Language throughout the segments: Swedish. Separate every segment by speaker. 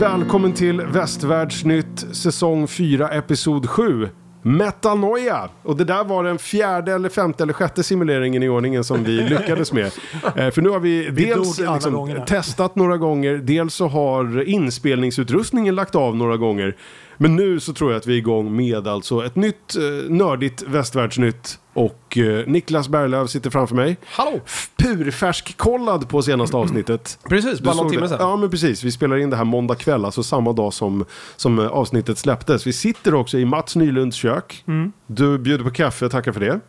Speaker 1: Välkommen till Västvärldsnytt säsong 4 episod 7. Metanoia! Och det där var den fjärde eller femte eller sjätte simuleringen i ordningen som vi lyckades med. Eh, För nu har vi dels
Speaker 2: dog alla
Speaker 1: liksom
Speaker 2: gångerna.
Speaker 1: testat några gånger, dels så har inspelningsutrustningen lagt av några gånger. Men nu så tror jag att vi är igång med alltså ett nytt eh, nördigt Västvärldsnytt. Och eh, Niklas Berglöf sitter färsk framför mig.
Speaker 3: Hallå!
Speaker 1: Purfärsk kollad på senaste avsnittet.
Speaker 3: Precis,
Speaker 1: Du
Speaker 3: bara någon
Speaker 1: såg
Speaker 3: timme
Speaker 1: det?
Speaker 3: sedan.
Speaker 1: Ja, men precis. Vi spelar in det här måndag kväll, alltså samma dag som, som eh, avsnittet släpptes. Vi sitter också i Mats Nylunds kök. Du bjuder på kaffe, tackar för det.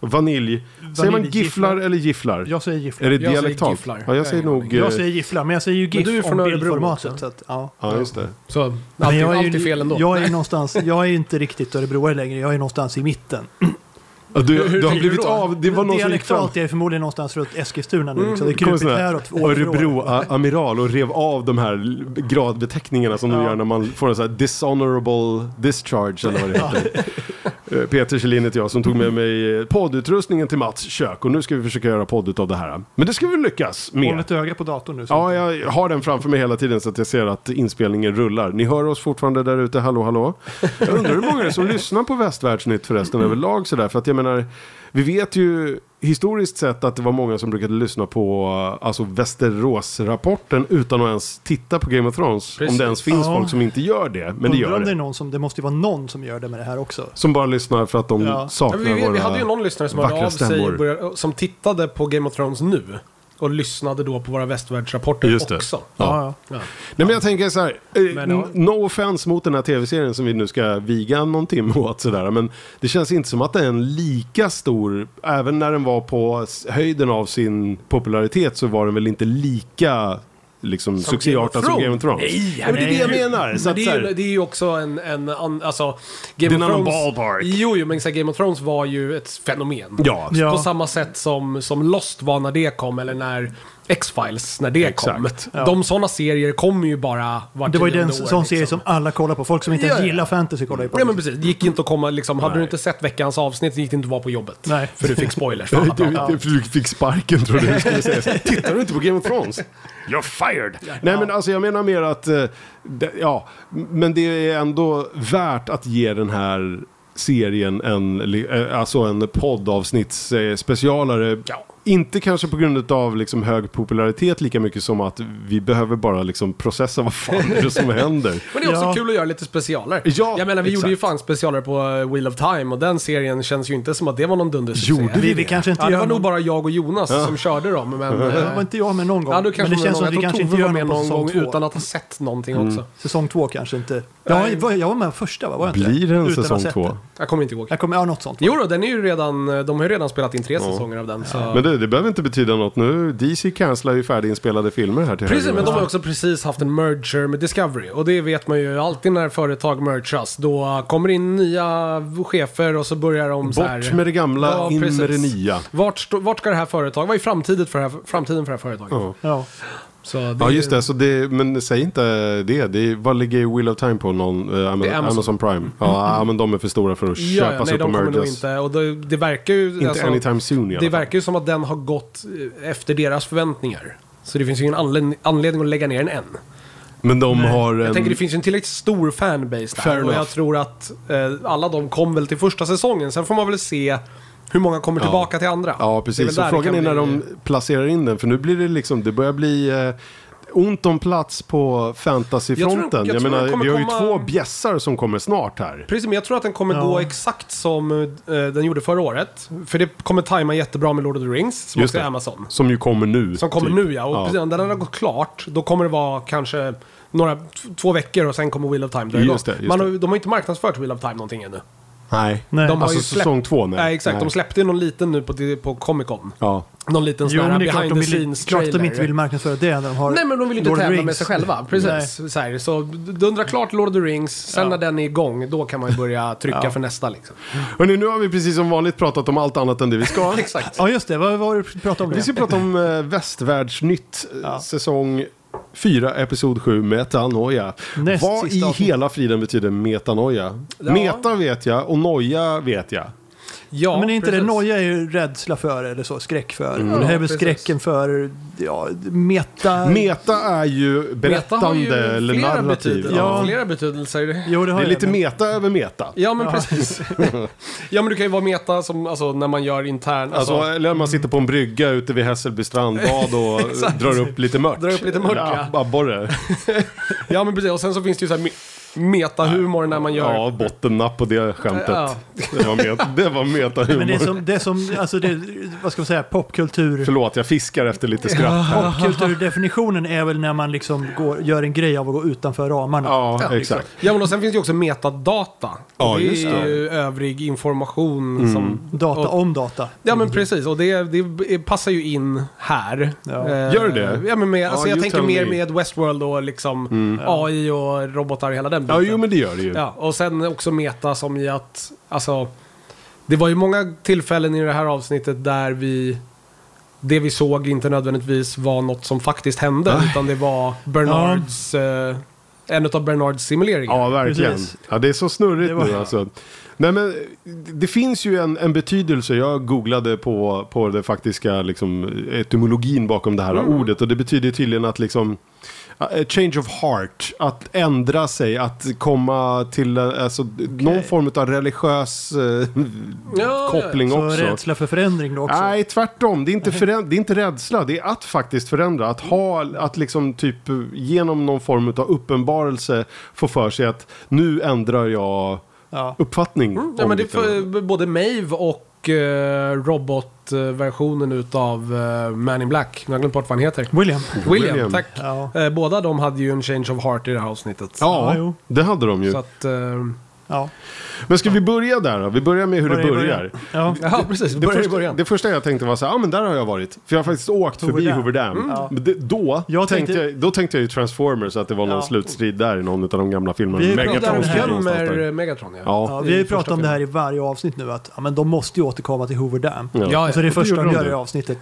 Speaker 1: Vanilj. Säger man
Speaker 2: Vaniljgifflar.
Speaker 1: gifflar eller gifflar?
Speaker 2: Jag säger gifflar.
Speaker 1: Är det
Speaker 3: jag säger
Speaker 1: dialektalt?
Speaker 3: gifflar.
Speaker 1: Ja, jag
Speaker 3: Jag
Speaker 1: säger
Speaker 3: har ingen
Speaker 1: nog... eh,
Speaker 2: Jag säger gifflar, men jag säger ju GIF
Speaker 3: Men du är från
Speaker 2: om
Speaker 3: Örebro
Speaker 2: bildformatet.
Speaker 3: också.
Speaker 2: Så att, ja.
Speaker 1: Ja, just det.
Speaker 3: Så
Speaker 2: Men
Speaker 3: alltid,
Speaker 2: jag är ju-
Speaker 3: alltid fel ändå.
Speaker 2: Jag är, ju någonstans, jag är ju inte riktigt örebroare längre, jag är någonstans i mitten.
Speaker 1: Ja,
Speaker 3: Hur-
Speaker 1: du,
Speaker 3: hur
Speaker 1: du har
Speaker 3: tänker du
Speaker 1: blivit
Speaker 3: då?
Speaker 1: av... Det var någon som gick fram...
Speaker 2: Dialektalt är jag förmodligen någonstans runt Eskilstuna nu. Liksom. Det
Speaker 1: Kom en
Speaker 2: krypit
Speaker 1: sån här
Speaker 2: häråt. år för år.
Speaker 1: Örebro-amiral och rev av de här gradbeteckningarna som de gör när man får en sån här dishonorable discharge eller vad det heter. Eh, Peter Kjellin heter jag som tog med mig eh, poddutrustningen till Mats kök och nu ska vi försöka göra podd av det här. Men det ska vi lyckas
Speaker 2: Håll
Speaker 1: med.
Speaker 2: ett öga på datorn nu. så-
Speaker 1: Ja, jag har den framför mig hela tiden så att jag ser att inspelningen rullar. Ni hör oss fortfarande där ute, hallå hallå. Jag undrar hur många det är som lyssnar på Västvärldsnytt förresten överlag sådär. För att jag menar, vi vet ju historiskt sett att det var många som brukade lyssna på eh, alltså Västeråsrapporten utan att ens titta på Game of Thrones. Om
Speaker 3: Precis.
Speaker 1: det ens finns
Speaker 2: Ja.
Speaker 1: folk som inte gör det, men det
Speaker 2: Undrar
Speaker 1: gör
Speaker 2: om det är
Speaker 1: det.
Speaker 2: någon som, det måste ju vara någon som gör det med det här också.
Speaker 1: Som bara lyssnar för att de
Speaker 2: Ja.
Speaker 3: Ja,
Speaker 1: saknar
Speaker 3: men vi,
Speaker 1: våra...
Speaker 3: vi hade ju någon lyssnare som
Speaker 1: vackra
Speaker 3: hörde av sig
Speaker 1: stämmor.
Speaker 3: och började, som tittade på Game of Thrones nu. Och lyssnade då på våra västvärldsrapporter
Speaker 1: Just det.
Speaker 3: också.
Speaker 1: Ja.
Speaker 2: Ja, ja.
Speaker 3: Ja.
Speaker 1: Nej men jag tänker så här, eh,
Speaker 2: Men, ja.
Speaker 1: n- no offense mot den här tv-serien som vi nu ska viga någon timme åt sådär. Men det känns inte som att den är en lika stor, även när den var på s- höjden av sin popularitet så var den väl inte lika liksom succéartad som Game of Thrones.
Speaker 3: Nej,
Speaker 1: ja, men det är det jag menar. Så
Speaker 3: Men
Speaker 1: att,
Speaker 3: det,
Speaker 1: så
Speaker 3: är
Speaker 1: här,
Speaker 3: ju, det är ju också en, en an, alltså... Game
Speaker 1: Det är
Speaker 3: of
Speaker 1: en annan
Speaker 3: Thrones-
Speaker 1: ballpark.
Speaker 3: Jo, jo, men så här, Game of Thrones var ju ett fenomen.
Speaker 1: ja,
Speaker 2: Ja.
Speaker 3: På samma sätt som, som Lost var när det kom, eller när X-Files, när det
Speaker 1: Exakt.
Speaker 3: kom. De sådana serier kommer ju bara var
Speaker 2: Det var ju den
Speaker 3: tionde år,
Speaker 2: sån serie
Speaker 3: liksom.
Speaker 2: som alla kollar på. Folk som inte
Speaker 3: Ja,
Speaker 2: ens
Speaker 3: ja.
Speaker 2: gillar fantasy kollar ju på
Speaker 3: Ja
Speaker 2: det.
Speaker 3: men precis, det gick inte att komma liksom, hade
Speaker 1: Nej.
Speaker 3: du inte sett veckans avsnitt så gick det inte att vara på jobbet.
Speaker 2: Nej.
Speaker 3: För du fick spoilers.
Speaker 1: Du, du, du fick sparken tror du skulle säga. Så, Tittar du inte på Game of Thrones? You're fired! Nej men alltså jag menar mer att, eh, det, ja, men det är ändå värt att ge den här serien en, li- eh, alltså en poddavsnitts eh, specialare.
Speaker 3: Ja.
Speaker 1: Inte kanske på grund av liksom hög popularitet lika mycket som att vi behöver bara liksom processa vad fan är det som händer.
Speaker 3: Men det är också
Speaker 2: Ja.
Speaker 3: kul att göra lite specialer.
Speaker 1: Ja,
Speaker 3: jag menar, vi gjorde ju
Speaker 1: exakt.
Speaker 3: fan specialer på eh, Wheel of Time och den serien känns ju inte som att det var någon dundersuccé.
Speaker 1: Gjorde
Speaker 2: vi Vi- vi det? kanske inte
Speaker 3: ja, det
Speaker 2: gör
Speaker 3: var nog
Speaker 2: någon-
Speaker 3: bara jag och Jonas som körde dem. Men, eh,
Speaker 2: Det var inte jag med någon gång.
Speaker 3: ja, du
Speaker 2: men
Speaker 3: kanske
Speaker 2: det känns som
Speaker 3: någon,
Speaker 2: att vi
Speaker 3: jag
Speaker 2: kanske
Speaker 3: tror
Speaker 2: inte
Speaker 3: Tove
Speaker 2: gör
Speaker 3: var
Speaker 2: någon
Speaker 3: med
Speaker 2: Mm. på
Speaker 3: någon
Speaker 2: säsong
Speaker 3: gång
Speaker 2: två.
Speaker 3: utan att ha sett någonting också.
Speaker 2: Säsong två kanske inte. Ja, jag var- jag var med första va? Var jag inte?
Speaker 1: Blir det en
Speaker 2: Utan att ha
Speaker 1: säsong
Speaker 2: sett
Speaker 1: två?
Speaker 2: den.
Speaker 3: Jag kommer inte ihåg.
Speaker 2: Jag kommer, ja, något sånt.
Speaker 3: Jo då, den är ju redan, eh, de har ju redan spelat in tre säsonger av den. Så.
Speaker 1: Men det, det behöver inte betyda något nu. DC cancelar ju färdiginspelade filmer här till
Speaker 3: Precis,
Speaker 1: höger
Speaker 3: men
Speaker 1: och
Speaker 3: de har
Speaker 1: vänster.
Speaker 3: också precis haft en merger med Discovery. Och det vet man ju alltid när företag merchas. Då kommer det in nya chefer och så börjar de så här...
Speaker 1: Bort med det gamla,
Speaker 3: Ja,
Speaker 1: in med det
Speaker 3: precis.
Speaker 1: nya.
Speaker 3: Vart, stå- vart ska det här företaget... Vad är framtiden för det här, framtiden för det här företaget?
Speaker 1: Ja.
Speaker 2: Ja.
Speaker 3: Så det
Speaker 1: Ja
Speaker 3: är-
Speaker 1: just det, så det, men säg inte det. det är- vad ligger Wheel of Time på? Någon, eh, Ama-
Speaker 3: Det är
Speaker 1: Amazon.
Speaker 3: Amazon. Mm.
Speaker 1: Prime? Ja, men de är för stora för att
Speaker 3: Ja, ja,
Speaker 1: köpas
Speaker 3: nej,
Speaker 1: upp och
Speaker 3: de kommer nog
Speaker 1: mergas.
Speaker 3: inte. Och det, det verkar ju...
Speaker 1: Inte
Speaker 3: alltså,
Speaker 1: anytime soon i alla
Speaker 3: Det
Speaker 1: fall.
Speaker 3: verkar ju som att den har gått eh, efter deras förväntningar. Så det finns ju ingen anledning, anledning att lägga ner den än.
Speaker 1: Men de har en...
Speaker 3: Jag tänker det finns ju en tillräckligt stor fanbase där.
Speaker 1: Ehm, Fair
Speaker 3: och
Speaker 1: enough.
Speaker 3: jag tror att eh, alla de kom väl till första säsongen. Sen får man väl se hur många kommer tillbaka till andra.
Speaker 1: Ja,
Speaker 3: Det väl
Speaker 1: precis. Så
Speaker 3: där det
Speaker 1: frågan
Speaker 3: kan
Speaker 1: är när
Speaker 3: bli-
Speaker 1: de placerar in den. För nu blir det liksom, det börjar bli eh, ont om plats på
Speaker 3: Jag tror-
Speaker 1: fantasyfronten.
Speaker 3: jag
Speaker 1: Jag,
Speaker 3: tror det
Speaker 1: menar,
Speaker 3: kommer
Speaker 1: vi har ju
Speaker 3: komma-
Speaker 1: två bjässar som kommer snart här.
Speaker 3: Precis, men jag tror att den kommer
Speaker 2: Ja.
Speaker 3: gå exakt som eh, den gjorde förra året. För det kommer tajma jättebra med Lord of the Rings, som
Speaker 1: Just
Speaker 3: också är
Speaker 1: det.
Speaker 3: Amazon.
Speaker 1: Som ju kommer nu.
Speaker 3: Som kommer
Speaker 1: typ.
Speaker 3: nu ja, och precis när den har gått klart, då kommer det vara kanske några, t- två veckor och sen kommer Wheel of Time dra igång.
Speaker 1: Just det, just
Speaker 3: Man har,
Speaker 1: det.
Speaker 3: de har inte marknadsfört Wheel of Time någonting ännu.
Speaker 1: Nej.
Speaker 2: Nej.
Speaker 3: De har
Speaker 1: Alltså
Speaker 3: ju släppt-
Speaker 1: säsong två, nej.
Speaker 3: Nej, exakt.
Speaker 1: Nej.
Speaker 3: De släppte ju någon liten nu på, på Comic Con.
Speaker 1: Ja.
Speaker 3: Någon liten sån
Speaker 2: Jo,
Speaker 3: här
Speaker 2: men det är klart
Speaker 3: behind
Speaker 2: de,
Speaker 3: the
Speaker 2: vill,
Speaker 3: scenes
Speaker 2: klart
Speaker 3: trailer.
Speaker 2: de inte vill marknadsföra det när de har
Speaker 3: Nej men de vill ju inte
Speaker 2: Lord of the
Speaker 3: tävla med
Speaker 2: Rings.
Speaker 3: sig själva. Precis. Så, här, så dundra klart Lord of the Rings, sen när den är igång då kan man ju börja trycka för nästa liksom.
Speaker 1: Hörrni, nu har vi precis som vanligt pratat om allt annat än det vi ska.
Speaker 3: Exakt.
Speaker 2: Ja just det, vad var det du pratade om?
Speaker 1: Vi ska
Speaker 2: det?
Speaker 1: prata om eh, Västvärldsnytt eh, säsong 4, episod 7, metanoia.
Speaker 2: Näst
Speaker 1: Vad i
Speaker 2: sista avsnitt.
Speaker 1: hela friden betyder metanoia?
Speaker 3: Ja.
Speaker 1: Meta vet jag och noja vet jag.
Speaker 3: Ja,
Speaker 2: men är inte det
Speaker 3: precis.
Speaker 2: noja är ju rädsla för eller så, skräck för. Och det här är väl
Speaker 3: Mm. precis.
Speaker 2: skräcken för ja, meta...
Speaker 1: Meta är ju
Speaker 3: Meta har
Speaker 1: berättande
Speaker 3: ju
Speaker 1: eller
Speaker 3: flera
Speaker 1: narrativ.
Speaker 3: betydelser.
Speaker 1: Ja.
Speaker 2: Ja.
Speaker 3: Flera betydelser.
Speaker 2: jo, det har
Speaker 1: Det är
Speaker 2: jag.
Speaker 1: lite
Speaker 2: Men-
Speaker 1: meta över meta.
Speaker 3: Ja, men precis. ja, men du kan ju vara meta som, alltså, när man gör intern...
Speaker 1: Alltså,
Speaker 3: Alltså,
Speaker 1: eller man sitter på en brygga ute vid Hässelbystrand bad och drar upp lite mört.
Speaker 3: Drar upp lite mört, ja.
Speaker 1: Abborre.
Speaker 3: ja, men precis. Och sen så finns det ju så här me- metahumor när man gör...
Speaker 1: Ja, bottennapp på det skämtet.
Speaker 3: Ja.
Speaker 1: Det var, met- det var metahumor.
Speaker 2: Men det är som, det är som alltså det, vad ska man säga, popkultur.
Speaker 1: Förlåt, jag fiskar efter lite skratt.
Speaker 2: Popkulturdefinitionen är väl när man liksom går, gör en grej av att gå utanför ramarna.
Speaker 1: Ja, exakt.
Speaker 3: Ja, men och sen finns det ju också metadata.
Speaker 1: Ja,
Speaker 3: det
Speaker 1: just
Speaker 3: är
Speaker 1: det.
Speaker 3: ju övrig information som...
Speaker 2: Data
Speaker 3: och-
Speaker 2: om data.
Speaker 3: Ja men precis, och det, det passar ju in här.
Speaker 2: Ja.
Speaker 3: Eh,
Speaker 1: Gör det?
Speaker 3: Ja, men med, alltså,
Speaker 1: Ja,
Speaker 3: jag
Speaker 1: you
Speaker 3: tänker
Speaker 1: tell
Speaker 3: mer
Speaker 1: me. Mm.
Speaker 3: med Westworld och liksom AI och robotar och hela den biten.
Speaker 1: Ja, jo men det gör det ju.
Speaker 3: Ja, och sen också meta som i att, alltså, det var ju många tillfällen i det här avsnittet där vi, det vi såg inte nödvändigtvis var något som faktiskt hände, utan det var Bernards, eh, en av Bernards simuleringar.
Speaker 1: Ja, verkligen.
Speaker 2: Precis.
Speaker 1: Ja, det är så snurrigt
Speaker 2: Det var-
Speaker 1: nu alltså. Nej, men det finns ju en, en betydelse. Jag googlade på, på det faktiska liksom, etymologin bakom det här ordet. Och det betyder tydligen att liksom... a Change of heart, att ändra sig, att komma till eh, alltså, någon form av religiös eh,
Speaker 3: ja, ja.
Speaker 1: koppling
Speaker 2: Så
Speaker 1: också.
Speaker 2: rädsla för förändring då också.
Speaker 1: Nej, tvärtom. Det är, inte föränd- det är inte rädsla, det är att faktiskt förändra. Att ha, att liksom typ genom någon form av uppenbarelse få för sig att nu ändrar jag
Speaker 2: Ja.
Speaker 1: uppfattning.
Speaker 3: Mm.
Speaker 1: Mm.
Speaker 3: Ja,
Speaker 1: om
Speaker 3: men det är
Speaker 1: ditt-
Speaker 3: för, både Maeve och eh, robotversionen utav eh, Man in Black. Nu har jag glömt bort vad han heter.
Speaker 2: William.
Speaker 3: William,
Speaker 1: William.
Speaker 3: tack.
Speaker 2: Ja.
Speaker 3: Eh, båda de hade ju en change of heart i det här avsnittet.
Speaker 1: Ja,
Speaker 2: Ja, jo.
Speaker 1: det hade de ju.
Speaker 3: Så att... Eh,
Speaker 2: Ja.
Speaker 1: Men ska vi börja där då? Vi börjar med hur
Speaker 2: Börja i
Speaker 1: det börjar.
Speaker 2: början. Ja.
Speaker 3: ja, precis.
Speaker 1: Det
Speaker 3: Börja i
Speaker 1: första,
Speaker 3: början.
Speaker 1: det första jag tänkte var så här, ah, men där har jag varit. För jag har faktiskt åkt
Speaker 2: Hoover
Speaker 1: förbi
Speaker 2: Dam.
Speaker 1: Hoover Dam.
Speaker 3: Mm.
Speaker 2: Ja.
Speaker 1: Men det, då,
Speaker 2: Jag
Speaker 1: tänkte
Speaker 2: tänkte-
Speaker 1: jag, då tänkte jag ju Transformers, att det var någon
Speaker 2: Ja.
Speaker 1: slutstrid där i någon av de gamla filmerna.
Speaker 2: Vi
Speaker 3: Vi pratar
Speaker 1: Megatron
Speaker 3: om
Speaker 2: det här.
Speaker 1: stod någonstans
Speaker 3: Gömmer
Speaker 1: där.
Speaker 3: eh, Megatron, ja.
Speaker 1: Ja.
Speaker 2: Ja, vi har ju
Speaker 3: första
Speaker 2: pratat om det här i varje avsnitt nu att ja, men de måste ju återkomma till Hoover Dam.
Speaker 1: Ja.
Speaker 3: Ja,
Speaker 2: Så Alltså, det är
Speaker 3: ja.
Speaker 2: det första
Speaker 1: gjorde
Speaker 2: de
Speaker 1: de
Speaker 2: gör i
Speaker 1: nu.
Speaker 2: det här avsnittet.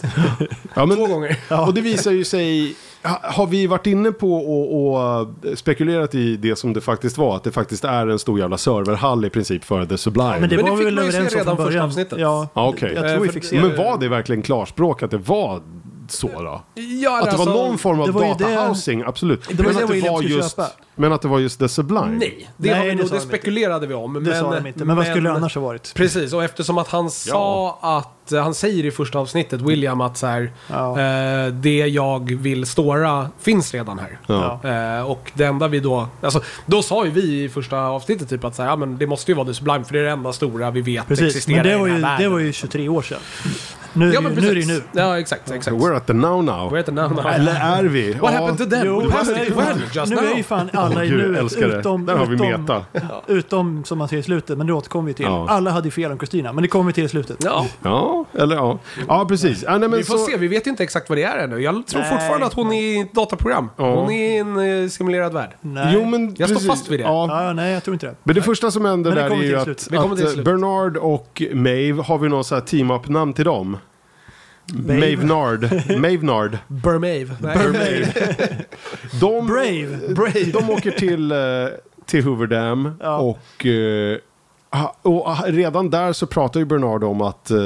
Speaker 1: Ja, men,
Speaker 3: Två gånger.
Speaker 1: Och det visar ju sig, ha- har vi varit inne på och, och eh, spekulerat i det som det faktiskt var, att det faktiskt är en stor jävla serverhall i princip för The Sublime.
Speaker 2: Men det
Speaker 3: Men det
Speaker 2: var vi
Speaker 3: fick
Speaker 2: väl
Speaker 3: man ju se
Speaker 2: överens om
Speaker 3: redan
Speaker 2: från
Speaker 3: första
Speaker 2: början.
Speaker 3: avsnittet.
Speaker 2: Ja,
Speaker 1: Ja, okej.
Speaker 2: Jag tror vi
Speaker 3: Eh,
Speaker 2: fick
Speaker 3: för-
Speaker 2: se
Speaker 1: Men var det verkligen klarspråk att det var så då?
Speaker 3: Ja,
Speaker 1: Att det var
Speaker 3: alltså-
Speaker 1: någon form av
Speaker 2: det var ju det-
Speaker 1: datahousing, absolut. men,
Speaker 2: var det
Speaker 1: att det
Speaker 2: William
Speaker 1: var
Speaker 2: skulle
Speaker 1: just,
Speaker 2: köpa.
Speaker 1: men att det var just The Sublime?
Speaker 3: Nej, det,
Speaker 2: Nej,
Speaker 3: har vi
Speaker 2: det
Speaker 3: nog,
Speaker 2: sa
Speaker 3: det
Speaker 2: de inte.
Speaker 3: spekulerade vi om. Men,
Speaker 2: Det sa de inte. Men vad skulle det annars ha varit?
Speaker 3: Precis, och eftersom att han sa att, eh, han säger i första avsnittet, William, att så här,
Speaker 2: Ja.
Speaker 3: eh, det jag vill ståra finns redan här.
Speaker 1: Ja.
Speaker 3: Eh, och det enda vi då, alltså, då sa ju vi i första avsnittet typ att så här, ja, men det måste ju vara The Sublime för det är det enda stora vi vet
Speaker 2: Precis,
Speaker 3: existerar
Speaker 2: men det
Speaker 3: i
Speaker 2: var,
Speaker 3: den här
Speaker 2: ju,
Speaker 3: världen.
Speaker 2: det var ju 23 år sedan. Nu, är
Speaker 3: ja,
Speaker 2: det
Speaker 3: men
Speaker 2: ju- nu är det
Speaker 3: precis.
Speaker 2: ju nu.
Speaker 3: Ja, exakt, exakt.
Speaker 1: We're at the now now.
Speaker 3: We're at the now, now.
Speaker 1: Eller är vi?
Speaker 3: What happened to them?
Speaker 2: Jo,
Speaker 3: We passed it well just
Speaker 2: nu
Speaker 3: now.
Speaker 2: är ju fan alla i
Speaker 1: Gud,
Speaker 2: nuet
Speaker 1: älskar det.
Speaker 2: utom,
Speaker 1: Där har vi
Speaker 2: utom,
Speaker 1: meta.
Speaker 2: utom som man ser i slutet, men det återkommer vi till.
Speaker 1: Ja.
Speaker 2: Alla hade ju fel om Kristina, men det kommer vi till i slutet.
Speaker 3: Ja,
Speaker 1: Ja, eller ja. Ja, precis. Ja, nej, men
Speaker 3: vi får
Speaker 1: så-
Speaker 3: se, vi vet ju inte exakt vad det är ännu. Jag tror
Speaker 2: Nej.
Speaker 3: fortfarande att hon är i ett dataprogram.
Speaker 1: Ja.
Speaker 3: Hon är i en eh, simulerad värld.
Speaker 2: Nej.
Speaker 1: Jo, men
Speaker 3: Jag står
Speaker 1: precis.
Speaker 3: fast vid det.
Speaker 1: Ja,
Speaker 2: Ja, nej, jag tror inte det.
Speaker 1: Men det första som händer
Speaker 2: Men det
Speaker 1: där är
Speaker 2: kommer
Speaker 1: ju
Speaker 2: till
Speaker 1: att,
Speaker 2: slut.
Speaker 3: Det kommer till
Speaker 1: att
Speaker 3: slut.
Speaker 1: Bernard och Maeve, har vi någon så här team-up-namn till dem? Mavenard. Mavenard.
Speaker 3: Burmave. Nej.
Speaker 1: De,
Speaker 2: Brave.
Speaker 3: Brave.
Speaker 1: de åker till, eh, till Hoover Dam
Speaker 2: Ja.
Speaker 1: och, eh, ha- och ah, redan där så pratar ju Bernard om att, eh,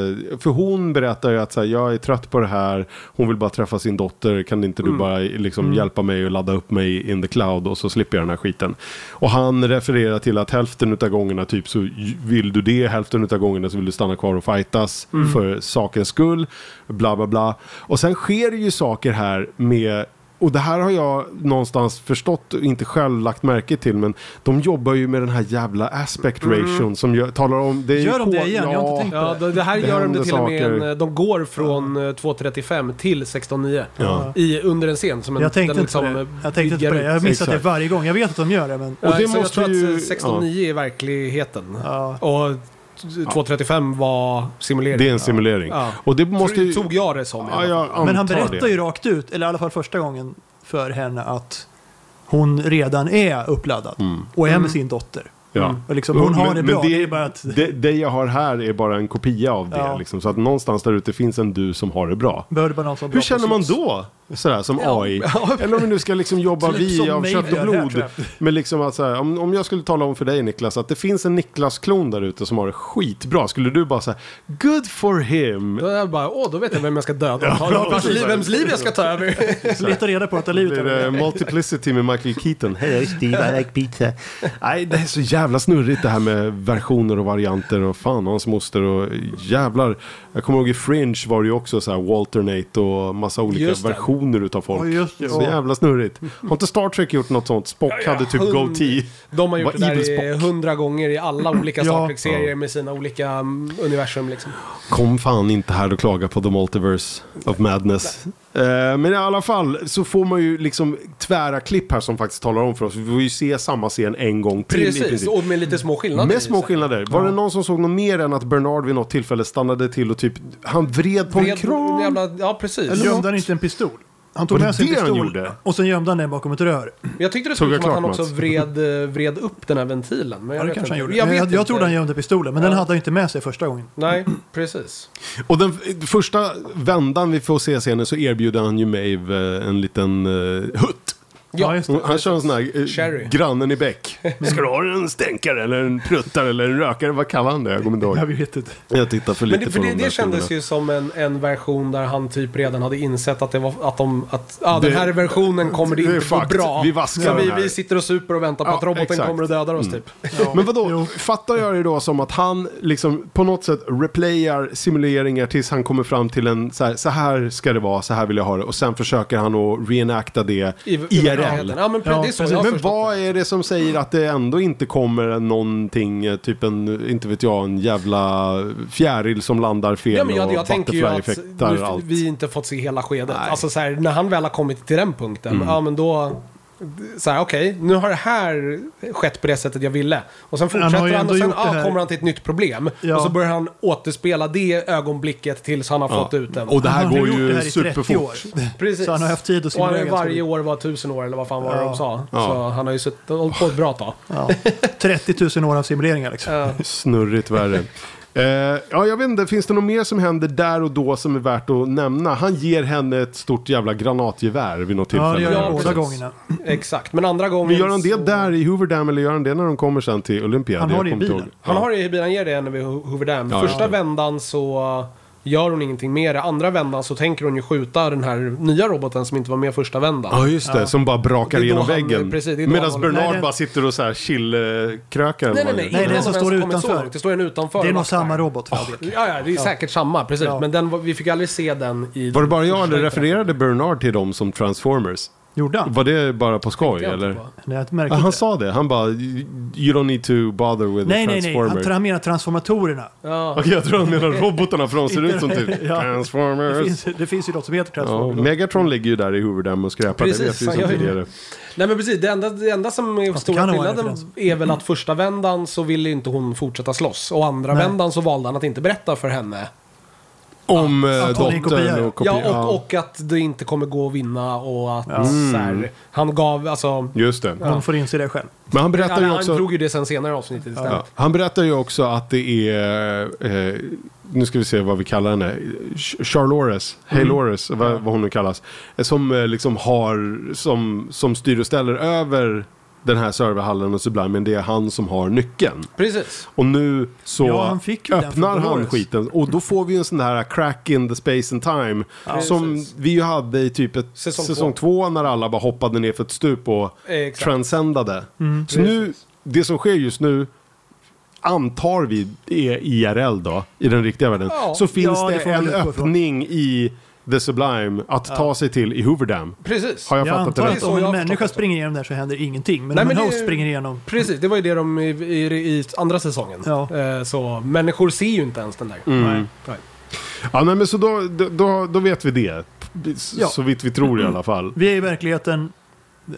Speaker 1: för hon berättar ju att så här, jag är trött på det här, hon vill bara träffa sin dotter, kan inte du bara liksom, hjälpa mig och ladda upp mig in the cloud och så slipper jag den här skiten. Och han refererar till att hälften av gångerna typ så j- vill du det, hälften av gångerna så vill du stanna kvar och fightas för sakens skull, bla bla bla. Och sen sker det ju saker här med och det här har jag någonstans förstått och inte själv lagt märke till. Men de jobbar ju med den här jävla aspect ration som gör, talar om... Det är
Speaker 2: Mm.
Speaker 1: ju
Speaker 2: Gör de det
Speaker 1: kol-
Speaker 2: igen? Jag har inte tänkt på
Speaker 3: Ja, det, det här
Speaker 1: Det
Speaker 3: gör de
Speaker 1: händer
Speaker 3: det till och med
Speaker 1: saker.
Speaker 3: en, eh, De går från eh, 2.35 till 16.9
Speaker 1: Ja.
Speaker 3: i, under en scen. Som en,
Speaker 2: Jag tänkte
Speaker 3: den
Speaker 2: inte på
Speaker 3: liksom,
Speaker 2: det.
Speaker 3: eh,
Speaker 2: Jag tänkte inte
Speaker 3: vidgar
Speaker 2: på det. Jag har
Speaker 3: ut.
Speaker 2: missat
Speaker 1: Exakt.
Speaker 2: det varje gång. Jag vet att de gör det, men...
Speaker 1: Och det
Speaker 3: Ja, så
Speaker 1: måste
Speaker 3: jag tror
Speaker 1: ju-
Speaker 3: att eh, 16.9 är verkligheten.
Speaker 2: Ja.
Speaker 3: Och t- 2.35 var simulering.
Speaker 1: Det är en simulering.
Speaker 3: Ja.
Speaker 1: Och det måste ju...
Speaker 3: Tog jag det som. i alla
Speaker 1: Ja,
Speaker 3: fall.
Speaker 1: jag
Speaker 2: Men han
Speaker 1: antar
Speaker 2: berättar
Speaker 1: det.
Speaker 2: ju rakt ut, eller i alla fall första gången för henne att hon redan är uppladdad
Speaker 1: Mm.
Speaker 2: och
Speaker 3: Mm.
Speaker 2: är med sin dotter.
Speaker 1: Ja.
Speaker 2: Och liksom, hon har det bra.
Speaker 1: Men
Speaker 2: det är bara att...
Speaker 1: det, det jag har här är bara en kopia av det.
Speaker 2: Ja.
Speaker 1: Liksom, så att någonstans där ute finns en du som har det bra.
Speaker 2: Behöver bara någon som är bra
Speaker 1: Hur
Speaker 2: på
Speaker 1: känner man
Speaker 2: slåss.
Speaker 1: då? Sådär, som AI. Eller om vi nu ska liksom jobba
Speaker 2: Typ som
Speaker 1: vi av
Speaker 2: mig
Speaker 1: kött
Speaker 2: gör
Speaker 1: och
Speaker 2: här,
Speaker 1: blod.
Speaker 2: tror jag.
Speaker 1: Men liksom att så här, om, om jag skulle tala om för dig Niklas att det finns en Niklas-klon där ute som har det skitbra. Skulle du bara säga good for him.
Speaker 3: Då är jag bara, åh, då vet jag vem jag ska döda. Ja,
Speaker 1: bra,
Speaker 3: vars
Speaker 1: precis.
Speaker 3: liv, vems liv jag ska ta över.
Speaker 2: Leta reda på att ta livet
Speaker 1: Blir
Speaker 2: av det.
Speaker 1: det multiplicity med Michael Keaton?
Speaker 4: Hej, jag är Steve, I like pizza.
Speaker 1: Nej, det är så jävla snurrigt det här med versioner och varianter och fan och hans moster och jävlar. Jag kommer ihåg i Fringe var det ju också så här Walternate och massa olika
Speaker 3: Just det.
Speaker 1: versioner utav folk.
Speaker 2: Ja, just det.
Speaker 1: Så jävla snurrigt. Har inte Star Trek gjort något sånt? Spock hade typ
Speaker 3: hund-
Speaker 1: goatee.
Speaker 3: De har gjort
Speaker 1: Vad
Speaker 3: det där
Speaker 1: evil
Speaker 3: i
Speaker 1: Spock.
Speaker 3: hundra gånger i alla olika Star
Speaker 2: Ja.
Speaker 3: Trek-serier med sina olika mm, universum. Liksom.
Speaker 1: Kom fan inte här och klaga på The Multiverse of Madness. Eh, men i alla fall så får man ju liksom tvära klipp här som faktiskt talar om för oss. Vi får ju se samma scen en gång till i princip.
Speaker 3: Precis, och med lite små skillnader. i
Speaker 1: Med
Speaker 3: sig.
Speaker 1: små skillnader. Var det någon som såg något mer än att Bernard vid något tillfälle stannade till och typ, han vred på en
Speaker 3: Bred-
Speaker 1: kran?
Speaker 3: Jävla, ja, precis.
Speaker 2: Eller gömde han inte en pistol? Han tog
Speaker 1: Var det
Speaker 2: med sig en
Speaker 1: det han
Speaker 2: pistol
Speaker 1: gjorde?
Speaker 2: och sen gömde han den bakom ett rör.
Speaker 3: Jag tyckte det
Speaker 1: Såg
Speaker 3: såg
Speaker 1: jag
Speaker 3: ut som att han
Speaker 1: klart,
Speaker 3: också
Speaker 1: Mats?
Speaker 3: vred, eh, vred upp den här ventilen. Men jag
Speaker 2: Ja, det
Speaker 3: vet
Speaker 2: kanske han
Speaker 3: inte.
Speaker 2: gjorde.
Speaker 3: Jag,
Speaker 2: Jag,
Speaker 3: vet
Speaker 2: jag, jag
Speaker 3: inte.
Speaker 2: trodde han gömde pistolen, men den
Speaker 3: Ja.
Speaker 2: hade han inte med sig första gången.
Speaker 3: Nej, precis.
Speaker 1: Och den f- första vändan vi får se scenen så erbjuder han ju Maeve eh, en liten uh, hutt.
Speaker 2: Ja, just det.
Speaker 1: Han kör en sån här eh,
Speaker 3: Sherry.
Speaker 1: grannen i bäck. Ska du ha en stänkare eller en pruttare eller en rökare? Vad kallar han det? Jag kommer inte
Speaker 2: Jag
Speaker 1: ihåg.
Speaker 2: vet inte.
Speaker 1: Jag tittar för lite
Speaker 3: Men det, för
Speaker 1: på
Speaker 3: det,
Speaker 1: de där
Speaker 3: det kändes
Speaker 1: filmerna.
Speaker 3: ju som en, en version där han typ redan hade insett att, det var, att, de, att ah,
Speaker 1: Det-
Speaker 3: den här versionen kommer det
Speaker 1: det är
Speaker 3: inte gå
Speaker 1: fucked.
Speaker 3: bra.
Speaker 1: Vi vaskar
Speaker 3: så
Speaker 1: den
Speaker 3: vi,
Speaker 1: här.
Speaker 3: vi sitter och super och väntar på
Speaker 1: Ja,
Speaker 3: att roboten
Speaker 1: exakt. Mm.
Speaker 3: kommer och dödar oss typ.
Speaker 1: Men vadå, fattar jag det då som att han liksom på något sätt replayar simuleringar tills han kommer fram till en så här, så här ska det vara, så här vill jag ha det och sen försöker han att reenacta det IRL.
Speaker 3: verkligheten. Ja, men pre-
Speaker 2: Ja,
Speaker 3: det är så
Speaker 2: precis.
Speaker 3: jag har
Speaker 1: Men
Speaker 3: förstått det.
Speaker 1: vad är det som säger att det ändå inte kommer någonting, eh, typ en, inte vet jag, en jävla fjäril som landar fel
Speaker 3: Ja, men jag, jag
Speaker 1: och
Speaker 3: tänker ju att
Speaker 1: butterfly-effektar och
Speaker 3: nu,
Speaker 1: allt.
Speaker 3: vi inte fått se hela skedet.
Speaker 1: Nej.
Speaker 3: Alltså så här, när han väl har kommit till den punkten,
Speaker 2: Mm.
Speaker 3: ja men då... Så här, okej, nu har det här skett på det sättet jag ville. Och sen
Speaker 2: har ju
Speaker 3: fortsätter han,
Speaker 2: ändå
Speaker 3: och sen
Speaker 2: gjort det
Speaker 3: ah,
Speaker 2: här.
Speaker 3: kommer han till ett nytt problem.
Speaker 2: Ja.
Speaker 3: Och så börjar han återspela det ögonblicket tills han har fått ut den.
Speaker 1: Och det här
Speaker 2: Han har
Speaker 1: går
Speaker 2: gjort det
Speaker 1: ju
Speaker 2: här i 30 år.
Speaker 1: superfort.
Speaker 3: Precis.
Speaker 2: Så han har haft tid att
Speaker 3: och han
Speaker 2: simulera
Speaker 3: har ju
Speaker 2: ganska
Speaker 3: varje
Speaker 2: mycket.
Speaker 3: år var tusen år eller vad fan var det
Speaker 2: Ja.
Speaker 3: de sa. Så
Speaker 1: Ja.
Speaker 3: han har ju suttit och hållit på bra tag.
Speaker 2: Ja. 30 000 år av simuleringar liksom.
Speaker 3: Eh,
Speaker 1: Snurrigt värre. Eh, ja, jag vet inte, finns det något mer som händer där och då som är värt att nämna? Han ger henne ett stort jävla granatgevär vid något
Speaker 2: Ja,
Speaker 1: tillfälle.
Speaker 2: det gör
Speaker 3: Ja,
Speaker 2: han båda
Speaker 3: precis.
Speaker 2: gångerna.
Speaker 3: Exakt, men andra gången...
Speaker 1: Men gör han det
Speaker 3: så-
Speaker 1: där i Hoover Dam eller gör han det när de kommer sen till Olympia?
Speaker 2: Han har det i
Speaker 1: kommer inte
Speaker 2: bilen.
Speaker 1: ihåg.
Speaker 3: Han
Speaker 1: Ja.
Speaker 3: har det i bilen, ger det henne vid Ho- Hoover Dam.
Speaker 1: Ja,
Speaker 3: Första
Speaker 1: ja.
Speaker 3: vändan så gör hon ingenting mer. Andra vändan så tänker hon ju skjuta den här nya roboten som inte var med första vändan.
Speaker 1: Ja just det, som bara brakar
Speaker 3: Det är då
Speaker 1: genom
Speaker 3: han-
Speaker 1: väggen.
Speaker 3: precis, det är då
Speaker 1: Medan
Speaker 3: han-
Speaker 1: Bernard
Speaker 2: Nej, det-
Speaker 1: bara sitter och så här chillkrökar.
Speaker 3: Nej, nej, nej.
Speaker 2: Nej,
Speaker 3: innan
Speaker 2: det är
Speaker 3: de
Speaker 2: som
Speaker 3: ens
Speaker 2: står
Speaker 3: har kommit
Speaker 2: utanför.
Speaker 3: så långt. Det står en utanför.
Speaker 2: Det är
Speaker 3: och
Speaker 2: nog
Speaker 3: vaktar.
Speaker 2: samma robot. vad jag vet.
Speaker 3: Ja, ja, det är säkert samma. Precis.
Speaker 2: Ja.
Speaker 3: Men den, var- vi fick aldrig se den i...
Speaker 1: Var det bara jag eller
Speaker 3: första
Speaker 1: refererade Bernard till dem som Transformers?
Speaker 2: Gjorde han?
Speaker 1: Var det bara på skoj
Speaker 3: jag inte
Speaker 1: eller?
Speaker 3: på.
Speaker 2: Nej, jag märkte
Speaker 1: Ja, han
Speaker 2: inte.
Speaker 1: sa det, han bara You don't need to bother with
Speaker 2: Nej,
Speaker 1: the
Speaker 2: nej, nej. Han,
Speaker 1: Transformer.
Speaker 2: han menar transformatorerna.
Speaker 3: Ja.
Speaker 1: Okej, jag tror han menar robotarna för de ser ut som typ
Speaker 2: Ja. Det
Speaker 1: Transformers.
Speaker 2: finns, det finns ju något som heter
Speaker 1: Ja,
Speaker 2: transformator.
Speaker 1: Megatron ligger ju där i Hoover Dam och skräpar, det
Speaker 3: Precis,
Speaker 1: vet vi
Speaker 3: han gör
Speaker 1: som
Speaker 3: ju det.
Speaker 1: tidigare.
Speaker 3: Nej men precis, det enda, det enda som är
Speaker 2: det
Speaker 3: stora
Speaker 2: kan ha varit
Speaker 3: skillnaden är väl att första vändan så ville inte hon fortsätta slåss. Och andra
Speaker 2: Nej.
Speaker 3: vändan så valde han att inte berätta för henne
Speaker 1: Om eh,
Speaker 2: att hon är
Speaker 1: dottern
Speaker 2: en kopia.
Speaker 1: och kopia.
Speaker 3: Ja, och, och att det inte kommer gå att vinna och att så
Speaker 1: Mm.
Speaker 3: här, han gav, alltså...
Speaker 1: Just det.
Speaker 2: Hon får inse det själv.
Speaker 1: Men han berättar ju
Speaker 3: Han, han
Speaker 1: också...
Speaker 3: drog ju det sen senare i avsnittet istället.
Speaker 1: Ja. Han berättar ju också att det är, eh, nu ska vi se vad vi kallar henne, Ch- Charlores,
Speaker 3: Mm.
Speaker 1: Haylores, vad, vad hon nu kallas, eh, som eh, liksom har, som, som styr och ställer över den här serverhallen och så ibland, men det är han som har nyckeln.
Speaker 3: Precis.
Speaker 1: Och nu så
Speaker 2: Ja, han fick ju den
Speaker 1: öppnar
Speaker 2: från
Speaker 1: han
Speaker 2: Dolores.
Speaker 1: skiten och då får vi ju en sån här crack in the space and time som
Speaker 3: Precis.
Speaker 1: vi ju hade i typ ett
Speaker 3: Säsong
Speaker 1: säsong,
Speaker 3: två.
Speaker 1: två. när alla bara hoppade ner för ett stup och
Speaker 2: Eh,
Speaker 3: Exakt.
Speaker 1: transcendade.
Speaker 2: Mm,
Speaker 1: Så nu, det som sker just nu antar vi är IRL då, i den riktiga världen.
Speaker 3: Ja,
Speaker 1: så finns
Speaker 2: ja, det
Speaker 1: det
Speaker 2: får man
Speaker 1: en
Speaker 2: utgå ifrån.
Speaker 1: öppning i The Sublime att ta sig till i Hoover Dam.
Speaker 3: Precis.
Speaker 1: Har jag,
Speaker 2: Jag
Speaker 1: fattat det
Speaker 2: antar
Speaker 1: rätt?
Speaker 2: att
Speaker 3: så
Speaker 2: om
Speaker 3: jag
Speaker 2: en
Speaker 3: har
Speaker 2: människa
Speaker 3: förstått det.
Speaker 2: springer igenom där så händer ingenting. Men
Speaker 3: Nej,
Speaker 2: om en
Speaker 3: men det
Speaker 2: host
Speaker 3: är-
Speaker 2: springer igenom...
Speaker 3: Precis, det var ju det de i, i, i andra säsongen.
Speaker 2: Ja.
Speaker 3: Eh, Så människor ser ju inte ens den där.
Speaker 1: Mm.
Speaker 2: Nej.
Speaker 3: Nej.
Speaker 1: Ja, nej, men så då, då, då vet vi det. S-
Speaker 2: Ja.
Speaker 1: Så vitt vi tror i alla fall.
Speaker 2: Vi är i verkligheten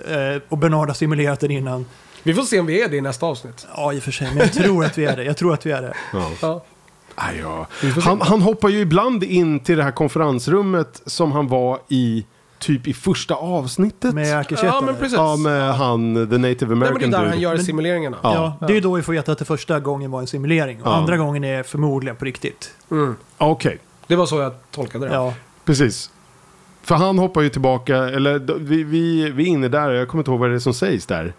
Speaker 2: eh, och Bernard har simulerat den innan.
Speaker 3: Vi får se om vi är det i nästa avsnitt.
Speaker 2: Ja, i och för sig, men jag tror att vi är det. Jag tror att vi är det.
Speaker 1: Ja.
Speaker 3: Ja.
Speaker 1: Ah, ja.
Speaker 3: får se.
Speaker 1: han, han hoppar ju ibland in till det här konferensrummet som han var i typ i första avsnittet.
Speaker 2: Med Akishet.
Speaker 3: Ja, men precis.
Speaker 1: ja, med han, the native
Speaker 3: Nej, men det är
Speaker 1: american
Speaker 3: där
Speaker 1: dude.
Speaker 3: han gör
Speaker 2: Men-
Speaker 3: simuleringarna.
Speaker 1: Ja.
Speaker 2: Ja, det är ju då vi får veta att det första gången var en simulering och
Speaker 1: Ja.
Speaker 2: andra gången är förmodligen på riktigt.
Speaker 3: Mm.
Speaker 1: Ah, Okej,
Speaker 3: Det var så jag tolkade det.
Speaker 2: Ja,
Speaker 1: precis. För han hoppar ju tillbaka, eller d- vi, vi, vi är inne där, jag kommer inte ihåg vad det är som sägs där.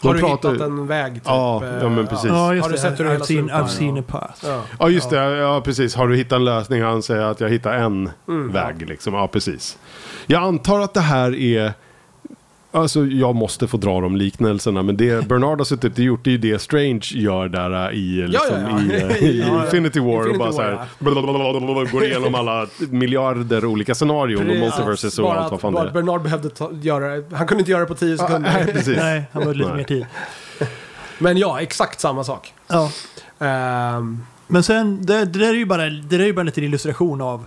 Speaker 1: De
Speaker 3: Har du
Speaker 1: pratar-
Speaker 3: hittat en väg? Typ?
Speaker 1: Ja,
Speaker 3: Eh,
Speaker 1: ja, men precis.
Speaker 2: Ja, just
Speaker 3: Har du
Speaker 2: det.
Speaker 3: sett hur det
Speaker 2: I've
Speaker 3: hela
Speaker 2: seen,
Speaker 3: slutar?
Speaker 2: I've seen a path.
Speaker 3: Ja.
Speaker 1: Ja just det, ja precis. Har du hittat en lösning? Han säger att jag hittar en
Speaker 3: Mm.
Speaker 1: väg liksom. Ja precis. Jag antar att det här är... Alltså jag måste få dra de liknelserna. Men det Bernard har suttit och gjort det är ju det Strange gör där äh, i, liksom,
Speaker 3: ja, ja.
Speaker 1: i, äh, i
Speaker 3: Ja, ja.
Speaker 1: Infinity War. och
Speaker 3: Infinity
Speaker 1: bara
Speaker 3: War,
Speaker 1: så här,
Speaker 3: ja.
Speaker 1: blablabla, går igenom alla miljarder olika scenarion. Och
Speaker 3: Precis.
Speaker 1: multiverses och
Speaker 3: Bara
Speaker 1: allt vad
Speaker 3: att-
Speaker 1: fan det
Speaker 3: bara
Speaker 1: är.
Speaker 3: att Bernard behövde ta, göra det. Han kunde inte göra det på 10
Speaker 1: Ja,
Speaker 3: sekunder.
Speaker 1: nej, precis.
Speaker 2: Nej, han behövde lite
Speaker 1: Nej.
Speaker 2: mer tid.
Speaker 3: Men ja, exakt samma sak.
Speaker 2: Ja.
Speaker 3: Ehm,
Speaker 2: Men sen, det, det där är ju bara, det där är ju bara en liten illustration av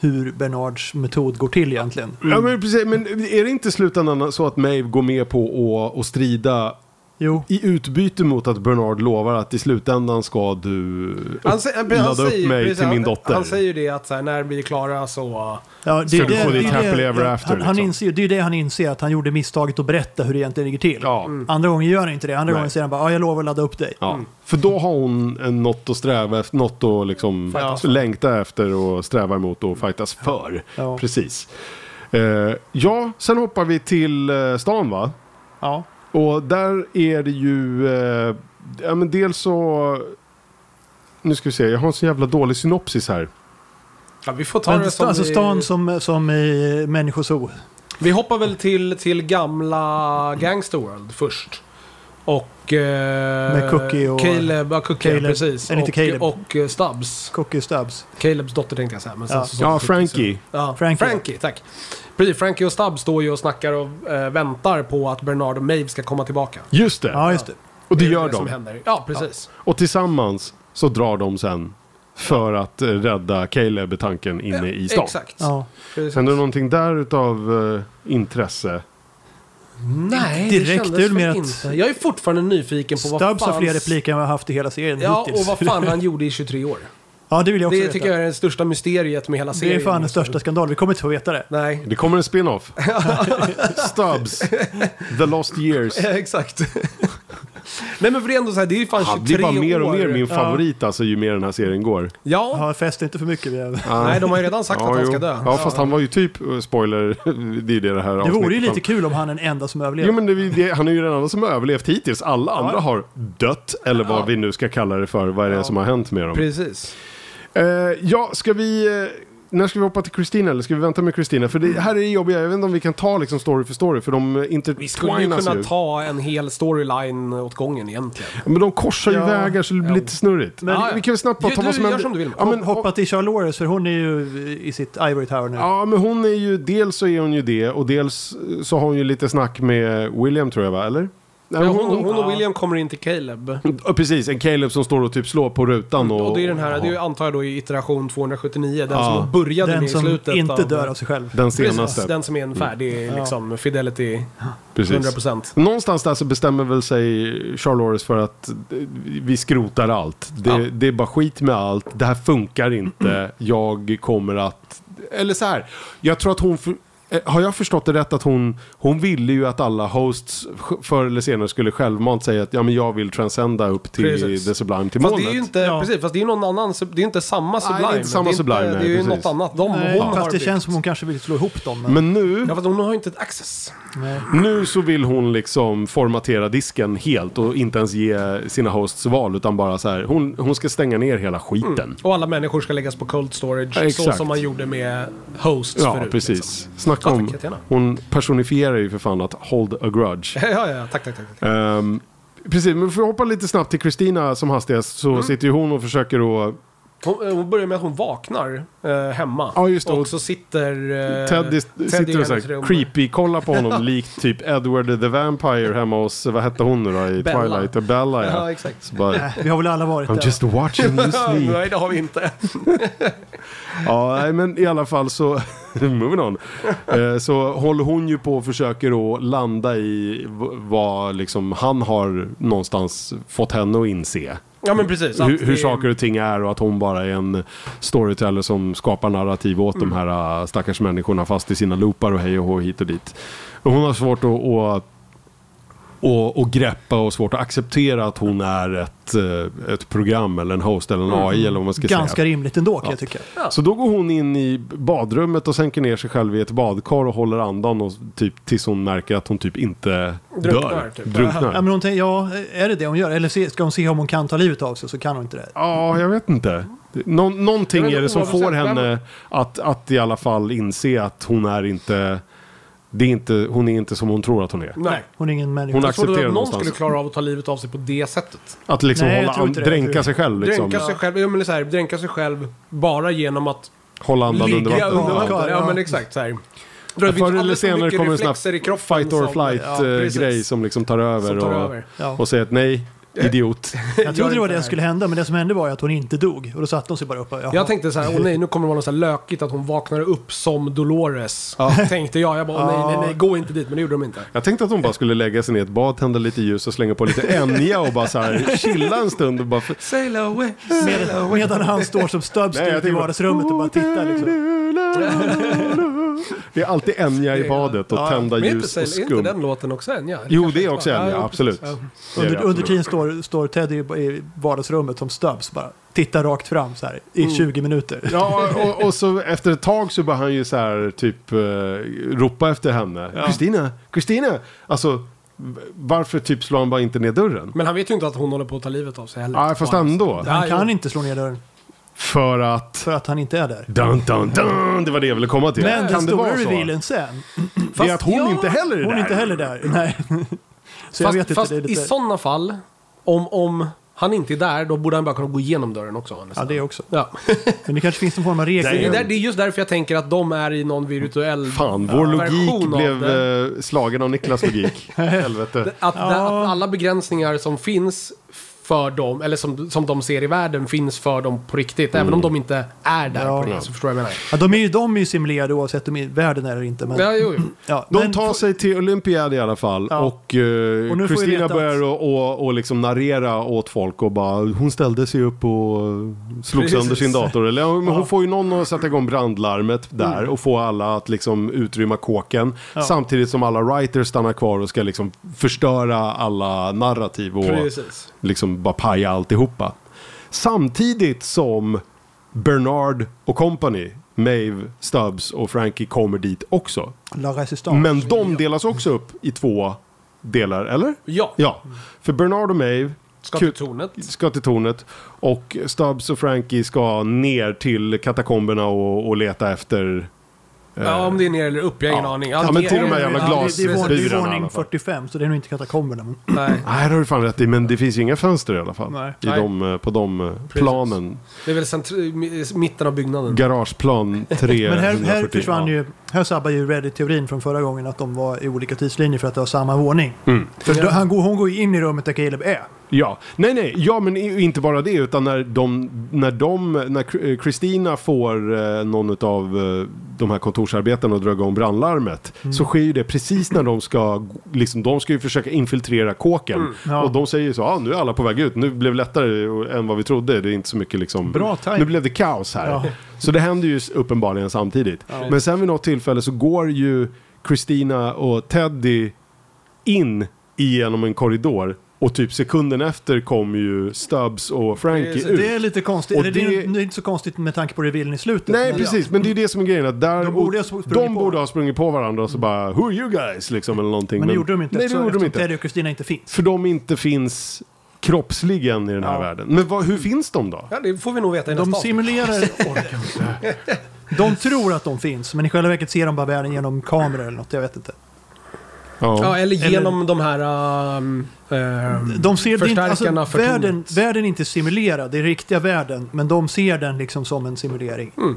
Speaker 2: hur Bernards metod går till egentligen.
Speaker 1: Ja
Speaker 3: Mm.
Speaker 1: men precis, men är det inte i slutändan så att Maeve går med på att- att strida
Speaker 2: Jo,
Speaker 1: I utbyte mot att Bernard lovar att i slutändan ska du
Speaker 3: han, sä- han,
Speaker 1: ladda upp
Speaker 3: säger-
Speaker 1: mig
Speaker 3: precis,
Speaker 1: till min
Speaker 3: han-
Speaker 1: dotter.
Speaker 3: Han säger ju det att så här, när vi är klara så...
Speaker 2: ja, det,
Speaker 1: Ska
Speaker 2: är
Speaker 1: du få
Speaker 2: det,
Speaker 1: ditt
Speaker 2: det, är
Speaker 1: happily
Speaker 2: det-
Speaker 1: ever after,
Speaker 2: han, han
Speaker 1: liksom?
Speaker 2: inser, ju- Det är ju det han inser, att han gjorde misstaget att berätta hur det egentligen ligger till.
Speaker 1: ja.
Speaker 3: Mm.
Speaker 2: Andra gången gör han inte det. Andra
Speaker 1: Nej.
Speaker 2: gången säger han bara ja, jag lovar att ladda upp dig.
Speaker 1: Ja. För då har hon en, något att sträva efter, något att liksom
Speaker 3: Fightas för.
Speaker 1: längta efter och sträva emot och fightas för.
Speaker 2: Ja.
Speaker 1: Precis. Eh, ja, sen hoppar vi till eh, stan va?
Speaker 2: Ja.
Speaker 1: Och där är det ju... Eh, ja, men dels så... Nu ska vi se, jag har en så jävla dålig synopsis här.
Speaker 3: Ja, vi får ta
Speaker 2: Men,
Speaker 3: det som
Speaker 2: alltså
Speaker 3: vi,
Speaker 2: stan som, som i människoso.
Speaker 3: Vi hoppar väl till, till gamla Gangster World först. Och... eh,
Speaker 2: Med Cookie och-
Speaker 3: Caleb, ja, Cookie,
Speaker 2: Caleb.
Speaker 3: precis.
Speaker 2: Eller inte
Speaker 3: och,
Speaker 2: Caleb.
Speaker 3: och eh, Stubbs.
Speaker 2: Cookie Stubbs.
Speaker 3: Calebs dotter tänkte jag säga. Men sen
Speaker 2: Ja.
Speaker 3: så-
Speaker 1: Ja, Frankie.
Speaker 3: Ja,
Speaker 2: Frankie.
Speaker 3: Frankie. tack. Precis, Frankie och Stubbs står ju och snackar och eh, väntar på att Bernard och Maeve ska komma tillbaka.
Speaker 1: Just det,
Speaker 2: Ja, just det.
Speaker 1: och det
Speaker 3: är
Speaker 1: gör
Speaker 3: det Som
Speaker 1: de.
Speaker 3: händer. Ja, precis.
Speaker 1: Och tillsammans så drar de sen för att eh, rädda Caleb i tanken inne i stan.
Speaker 3: Eh, Exakt.
Speaker 2: Ja.
Speaker 3: Precis.
Speaker 1: Kände du någonting där utav eh, intresse?
Speaker 3: Nej,
Speaker 2: Direkt,
Speaker 3: det kändes
Speaker 2: det är väl mer
Speaker 3: väl
Speaker 2: att-
Speaker 3: inte. Jag är fortfarande nyfiken på vad
Speaker 2: Stubbs har
Speaker 3: fan...
Speaker 2: fler repliker än vad jag haft i hela serien
Speaker 3: Ja,
Speaker 2: hittills.
Speaker 3: och vad fan han gjorde i 23 år.
Speaker 2: ja, det vill jag också
Speaker 3: Det
Speaker 2: veta.
Speaker 3: tycker jag är det största mysteriet med hela
Speaker 2: det
Speaker 3: serien.
Speaker 2: är fan den största skandalen. Vi kommer inte få veta det.
Speaker 3: Nej.
Speaker 1: Det kommer en spin-off. Stubbs. The Lost Years.
Speaker 3: Exakt. Nej men för det är ändå så här, det är ju fan
Speaker 1: Han
Speaker 3: 23
Speaker 1: Ah, blir bara mer och
Speaker 3: år.
Speaker 1: mer min favorit alltså ju mer den här serien går.
Speaker 3: Ja.
Speaker 2: Ja, fest är inte för mycket. men-
Speaker 3: Nej, de har ju redan sagt att han
Speaker 1: jo.
Speaker 3: ska dö.
Speaker 1: Ja, fast han var ju typ, eh, spoiler, det är det det här
Speaker 2: Det
Speaker 1: avsnittet
Speaker 2: vore ju lite
Speaker 1: om.
Speaker 2: kul om han är den enda som överlevde.
Speaker 1: Jo men det, är ju det, han är ju den enda som har överlevt hittills. Alla andra har dött, eller vad
Speaker 3: Ja.
Speaker 1: vi nu ska kalla det för. Vad är det som har hänt med dem?
Speaker 3: Precis.
Speaker 1: Eh, ja, ska vi... Eh, när ska vi hoppa till Kristina eller ska vi vänta med Kristina? För det här är det jobbiga, jag vet inte om vi kan ta liksom story för story för de eh,
Speaker 3: Vi skulle ju
Speaker 1: intertwinas ju.
Speaker 3: kunna ta en hel storyline åt gången egentligen.
Speaker 1: Men de korsar ju
Speaker 2: Ja.
Speaker 1: vägar så det blir
Speaker 3: Ja.
Speaker 1: lite snurrigt. Men
Speaker 3: Men-
Speaker 1: vi kan väl snabbt bara
Speaker 3: Du-
Speaker 1: ta vad
Speaker 3: du
Speaker 1: som
Speaker 3: gör
Speaker 1: händer.
Speaker 3: som du vill.
Speaker 1: Ja men,
Speaker 2: Hoppa till Charlores för hon är ju i sitt Ivory Tower nu.
Speaker 1: ja men hon är ju, dels så är hon ju det och dels eh, så har hon ju lite snack med William tror jag va, eller? Nej,
Speaker 3: Ja,
Speaker 1: men
Speaker 3: hon, hon och
Speaker 1: ja.
Speaker 3: William kommer in till Caleb.
Speaker 1: Ja, precis, en Caleb som står och typ slår på rutan och...
Speaker 3: Och det är den här, det är ju, antar jag då i iteration 279, den
Speaker 1: Ja.
Speaker 3: som började
Speaker 2: Den
Speaker 3: med i
Speaker 2: som
Speaker 3: slutet.
Speaker 2: inte
Speaker 3: av,
Speaker 2: dör av sig själv.
Speaker 1: Den
Speaker 3: Precis,
Speaker 1: senaste.
Speaker 3: den som är en färdig liksom, fidelity
Speaker 1: Mm. Precis.
Speaker 3: 100%.
Speaker 1: Någonstans där så bestämmer väl sig Charlores för att eh, vi skrotar allt. Det,
Speaker 3: Ja.
Speaker 1: det är bara skit med allt. Det här funkar inte. Jag kommer att... Eller så här. Jag tror att hon... För... eh, Har jag förstått det rätt att hon, hon ville ju att alla hosts sj- förr eller senare skulle självmant säga att ja, men jag vill transcenda upp till
Speaker 3: Precis.
Speaker 1: The Sublime till
Speaker 3: Fast
Speaker 1: molnet.
Speaker 3: det är ju inte,
Speaker 2: Ja.
Speaker 3: precis, fast det är ju någon annan, sub- det är ju inte samma
Speaker 1: det är
Speaker 3: Sublime.
Speaker 1: inte samma
Speaker 3: det är, inte-
Speaker 1: Sublime, nej,
Speaker 3: det är ju
Speaker 1: precis.
Speaker 3: något annat. De,
Speaker 2: Nej,
Speaker 3: hon har
Speaker 2: fast det
Speaker 3: byggt.
Speaker 2: känns som hon kanske vill slå ihop dem. Men,
Speaker 1: Men nu,
Speaker 3: Ja, fast hon har ju inte ett access.
Speaker 2: Nej.
Speaker 1: nu så vill hon liksom formatera disken helt och inte ens ge sina hosts val utan bara så här. Hon, hon ska stänga ner hela skiten.
Speaker 3: Och alla människor ska läggas på cold storage,
Speaker 1: Ja,
Speaker 3: så
Speaker 1: exakt.
Speaker 3: som man gjorde med hosts
Speaker 1: Ja,
Speaker 3: förut.
Speaker 1: precis.
Speaker 3: Liksom.
Speaker 1: Snacka
Speaker 3: Ja,
Speaker 1: om...
Speaker 3: tack, jättegärna.
Speaker 1: Hon personifierar ju för fan att hold a grudge.
Speaker 3: Ja, ja, ja, tack, tack, tack. tack.
Speaker 1: Ehm, precis, men får jag hoppa lite snabbt till Kristina som hastigast
Speaker 3: Mm.
Speaker 1: så sitter ju hon och försöker att...
Speaker 3: Hon, eh, hon börjar med att hon vaknar eh, hemma.
Speaker 1: Ja, just det.
Speaker 3: Och så sitter... Eh,
Speaker 1: Teddy
Speaker 3: i
Speaker 1: sitter och
Speaker 3: hennes
Speaker 1: såhär
Speaker 3: rum.
Speaker 1: creepy kollar på honom likt typ Edward the Vampire hemma hos, vad hette hon nu då i
Speaker 3: Bella.
Speaker 1: Twilight? Ja, Bella ja.
Speaker 3: Ja, exakt.
Speaker 1: Så bara,
Speaker 2: vi har väl alla varit
Speaker 1: I'm
Speaker 2: där.
Speaker 1: just watching you sleep.
Speaker 3: Nej, det har vi inte.
Speaker 1: Ja, nej, men i alla fall så, moving on. Eh, Så håller hon ju på och försöker att landa i v- vad liksom han har någonstans fått henne att inse.
Speaker 3: Ja, men precis. att
Speaker 1: hur, hur
Speaker 3: det-
Speaker 1: saker och ting är och att hon bara är en storyteller som skapar narrativ åt
Speaker 3: Mm.
Speaker 1: de här äh, stackars människorna fast i sina loopar och hej och hå hit och dit. Och hon har svårt att, att och, och greppa och svårt att acceptera att hon är ett, eh, ett program eller en host eller en AI
Speaker 3: Mm.
Speaker 1: eller vad man ska säga.
Speaker 2: Ganska rimligt ändå kan jag tycka.
Speaker 1: Så då går hon in i badrummet och sänker ner sig själv i ett badkar och håller andan och typ, tills hon märker att hon typ inte
Speaker 3: Drunknar,
Speaker 1: dör.
Speaker 3: typ.
Speaker 1: Drunknar.
Speaker 2: Ja, men hon tänker, ja, är det det hon gör? Eller se- ska hon se om hon kan ta livet av sig så kan hon inte det.
Speaker 1: Ja, jag vet inte. Nå någonting
Speaker 3: Jag vet
Speaker 1: är det
Speaker 3: inte,
Speaker 1: som
Speaker 3: oavsett
Speaker 1: får
Speaker 3: vem-
Speaker 1: henne att, att i alla fall inse att hon är inte... Det är inte hon är inte som hon tror att hon är.
Speaker 3: Nej.
Speaker 2: Hon är ingen människa.
Speaker 1: Hon
Speaker 3: Jag trodde att
Speaker 1: accepterar
Speaker 3: någon
Speaker 1: någonstans.
Speaker 3: skulle klara av att ta livet av sig på det sättet.
Speaker 1: Att liksom
Speaker 2: Nej, jag
Speaker 1: hålla
Speaker 2: tror
Speaker 1: an,
Speaker 2: inte det.
Speaker 1: dränka sig själv. Liksom.
Speaker 3: Dränka sig själv, ja, men så här, dränka sig själv bara genom att
Speaker 1: Hålla andan
Speaker 3: ligga
Speaker 1: under vatten.
Speaker 2: under vatten.
Speaker 3: Ja,
Speaker 2: Ja.
Speaker 3: men exakt så här.
Speaker 1: Ja. Förr eller senare kommer en sån här fight or
Speaker 2: ja,
Speaker 1: flight-grej
Speaker 3: precis.
Speaker 1: som liksom tar över,
Speaker 3: Som tar
Speaker 1: och,
Speaker 3: över.
Speaker 2: Ja.
Speaker 1: och säger att nej, idiot.
Speaker 2: Jag
Speaker 3: Gör
Speaker 2: trodde det var
Speaker 3: inte
Speaker 2: det
Speaker 3: här.
Speaker 2: som skulle hända, men det som hände var ju att hon inte dog. Och då satte hon sig bara upp och, jaha.
Speaker 3: Jag tänkte så här, åh nej, nu kommer det vara något så här lökigt att hon vaknar upp som Dolores. Tänkte jag, jag bara, åh, nej, nej, nej, gå inte dit, men det gjorde de inte.
Speaker 1: Jag tänkte att hon bara skulle lägga sig ner i ett bad, tända lite ljus och slänga på lite Enya och bara så här chilla en stund och bara...
Speaker 3: Sail away.
Speaker 2: Med, medan han står som
Speaker 1: Nej, jag
Speaker 2: stubbstut i
Speaker 1: tänker bara-
Speaker 2: vardagsrummet och bara tittar liksom.
Speaker 1: Det är alltid Enya i badet och tända
Speaker 3: Men är inte,
Speaker 1: ljus och
Speaker 3: Sail, är inte
Speaker 1: skum.
Speaker 3: den låten också en? Ja,
Speaker 1: Jo, det är också en, ja, absolut.
Speaker 3: precis.
Speaker 1: Det är det
Speaker 2: Under, under
Speaker 1: absolut.
Speaker 2: tiden står, står Teddy i vardagsrummet som stubbs bara. Tittar rakt fram så här i
Speaker 1: Mm.
Speaker 2: 20 minuter.
Speaker 1: Ja, och, och så efter ett tag så börjar han ju så här typ eh, ropa efter henne. Kristina, Kristina! Alltså, v- varför typ slår han bara inte ner dörren?
Speaker 3: Men han vet ju inte att hon håller på att ta livet av sig heller.
Speaker 1: Ja, fast ändå.
Speaker 2: Han
Speaker 3: Ja,
Speaker 2: kan
Speaker 3: jo.
Speaker 2: inte slå ner dörren
Speaker 1: För att...
Speaker 2: för att han inte är där.
Speaker 1: Dun, dun, dun, det var det jag ville komma till.
Speaker 2: Men den
Speaker 1: kan det
Speaker 2: stora
Speaker 1: vara så?
Speaker 2: revealen sen.
Speaker 1: det är att hon
Speaker 3: ja,
Speaker 1: inte heller är
Speaker 2: Hon är
Speaker 1: där.
Speaker 2: inte heller där. Nej. Så jag
Speaker 3: fast
Speaker 2: vet inte.
Speaker 3: fast
Speaker 2: det är lite...
Speaker 3: i sådana fall, om, om han inte är där, då borde han bara kunna gå igenom dörren också.
Speaker 2: Ja,
Speaker 3: nästan.
Speaker 2: det också.
Speaker 3: Ja.
Speaker 2: Men det kanske finns någon form av regler.
Speaker 3: Det, är där, det är just därför jag tänker att de är i någon virtuell
Speaker 1: Fan, vår logik
Speaker 3: version av
Speaker 1: blev
Speaker 3: det.
Speaker 1: eh, slagen av Niklas logik. Helvete.
Speaker 3: Att, att alla begränsningar som finns för dem, eller som, som de ser i världen, finns för dem på riktigt. Även om de inte är där
Speaker 2: Ja.
Speaker 3: på riktigt, så förstår jag vad jag menar.
Speaker 2: Ja, de är ju, de är ju simulerade oavsett om i världen är eller inte. Men,
Speaker 3: Ja, jo, jo.
Speaker 2: ja,
Speaker 1: De
Speaker 2: men-
Speaker 1: tar sig till Olympiad i alla fall
Speaker 2: Ja.
Speaker 1: och eh,
Speaker 2: Och nu får vi
Speaker 1: Kristina
Speaker 2: veta att-
Speaker 1: börjar och, och, och liksom narrera åt folk och bara hon ställde sig upp och eh, slog
Speaker 3: Precis.
Speaker 1: sönder sin dator. Eller, ja, men hon får ju någon att sätta igång brandlarmet där och få alla att liksom utrymma kåken. Samtidigt som alla writers stannar kvar och ska liksom förstöra alla narrativ och
Speaker 3: Precis.
Speaker 1: liksom bara paja alltihopa. Samtidigt som Bernard och company, Maeve, Stubbs och Frankie kommer dit också.
Speaker 2: La Resistance.
Speaker 1: Men de delas också upp i två delar, eller?
Speaker 3: Ja,
Speaker 1: Ja, för Bernard och Maeve
Speaker 3: ska
Speaker 1: kul-
Speaker 3: till tornet.
Speaker 1: ska till tornet och Stubbs och Frankie ska ner till katakomberna och, och leta efter...
Speaker 3: Ja, om det är ner eller upp, jag har ingen aning.
Speaker 1: Ja, men till de här
Speaker 3: ner-
Speaker 1: jävla
Speaker 2: Ja, det- det är vår- Det är
Speaker 1: glasbyrarna i alla
Speaker 2: våning
Speaker 1: fall.
Speaker 2: 45, så det är nog inte katakomberna. Men...
Speaker 3: Nej,
Speaker 1: Nej, det har du fan rätt i, men det finns ju inga fönster i alla fall.
Speaker 2: Nej.
Speaker 1: I
Speaker 3: Nej.
Speaker 1: de, eh, på de eh, planen.
Speaker 3: det är väl centr- mi- mitten av byggnaden.
Speaker 1: Garageplan 3.
Speaker 2: Men här, här försvann ju, här sabbar ju Reddit-teorin från förra gången att de var i olika tidslinjer för att det var samma våning. För då, han, går- hon går ju in i rummet där Caleb är.
Speaker 1: Mm. Ja, nej nej, ja men i- inte bara det utan när de, när de, när Kr- eh, Kristina får eh, någon av eh, de här kontorsarbetarna att dra igång brandlarmet
Speaker 2: Mm.
Speaker 1: så sker ju det precis när de ska, g- liksom de ska ju försöka infiltrera kåken
Speaker 2: Mm. Ja.
Speaker 1: och de säger ju så, ah, nu är alla på väg ut, nu blev det lättare än vad vi trodde, det är inte så mycket liksom,
Speaker 2: Bra tajm.
Speaker 1: nu blev det kaos här.
Speaker 2: Ja.
Speaker 1: Så det händer ju s- uppenbarligen samtidigt. Men sen vid något tillfälle så går ju Kristina och Teddy in genom en korridor och typ sekunden efter kom ju Stubbs och Frankie
Speaker 3: Precis,
Speaker 1: ut.
Speaker 2: Det är lite konstigt.
Speaker 1: Och
Speaker 2: Eller det... är
Speaker 1: det-
Speaker 2: ju- det är inte så konstigt med tanke på revealen i slutet.
Speaker 1: Nej
Speaker 2: men-
Speaker 1: precis, men det är det som är grejen. Att där,
Speaker 2: De borde ha sprungit
Speaker 1: de
Speaker 2: på
Speaker 1: borde ha sprungit på varandra och så bara Who are you guys? Liksom, eller någonting.
Speaker 2: Men det gjorde de inte.
Speaker 1: Nej, det
Speaker 2: eftersom-
Speaker 1: gjorde de
Speaker 2: eftersom
Speaker 1: inte.
Speaker 2: Teddy och Kristina inte finns.
Speaker 1: För de inte finns kroppsligen i den här
Speaker 2: Ja.
Speaker 1: världen. Men vad, hur finns de då?
Speaker 3: Ja, det får vi nog veta i
Speaker 2: De
Speaker 3: nästa avsnitt.
Speaker 2: simulerar... De tror att de finns, men i själva verket ser de bara världen genom kameror eller något. Jag vet inte.
Speaker 3: Ja, eller
Speaker 2: Eller-
Speaker 3: genom de här... ehm, ehm,
Speaker 2: De ser det inte,
Speaker 3: Förstärkarna
Speaker 2: alltså,
Speaker 3: för tornet.
Speaker 2: världen, världen är inte simulerad, det är riktiga världen, men de ser den liksom som en simulering.
Speaker 3: Mm.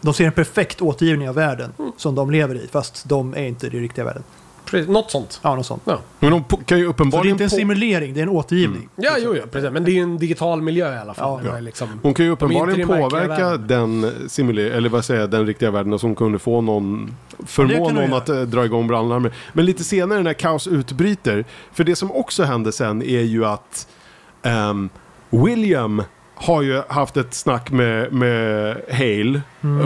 Speaker 2: De ser en perfekt återgivning av världen som de lever i, fast de är inte det riktiga världen.
Speaker 3: precis, något sånt.
Speaker 2: Ja, något sånt.
Speaker 3: Ja,
Speaker 1: Men de po- kan ju
Speaker 2: Så det är
Speaker 1: uppenbarligen...
Speaker 2: inte en
Speaker 1: på-
Speaker 2: simulering, det är en återgivning.
Speaker 3: ja jo, ja, precis. Men det är ju en digital miljö i alla fall.
Speaker 2: Ja.
Speaker 3: Det var ju liksom,
Speaker 1: Hon kan ju
Speaker 3: De är
Speaker 1: uppenbarligen
Speaker 3: inte i den verkliga
Speaker 1: påverka den, simuler- eller vad säger, jag, den riktiga världen och som kunde få någon,
Speaker 2: Ja, det
Speaker 1: förmå
Speaker 2: kan hon
Speaker 1: någon att eh, dra igång brandlarmet. Men lite senare när kaos utbryter, för det som också händer sen är ju att ehm, William har ju haft ett snack med, med Hale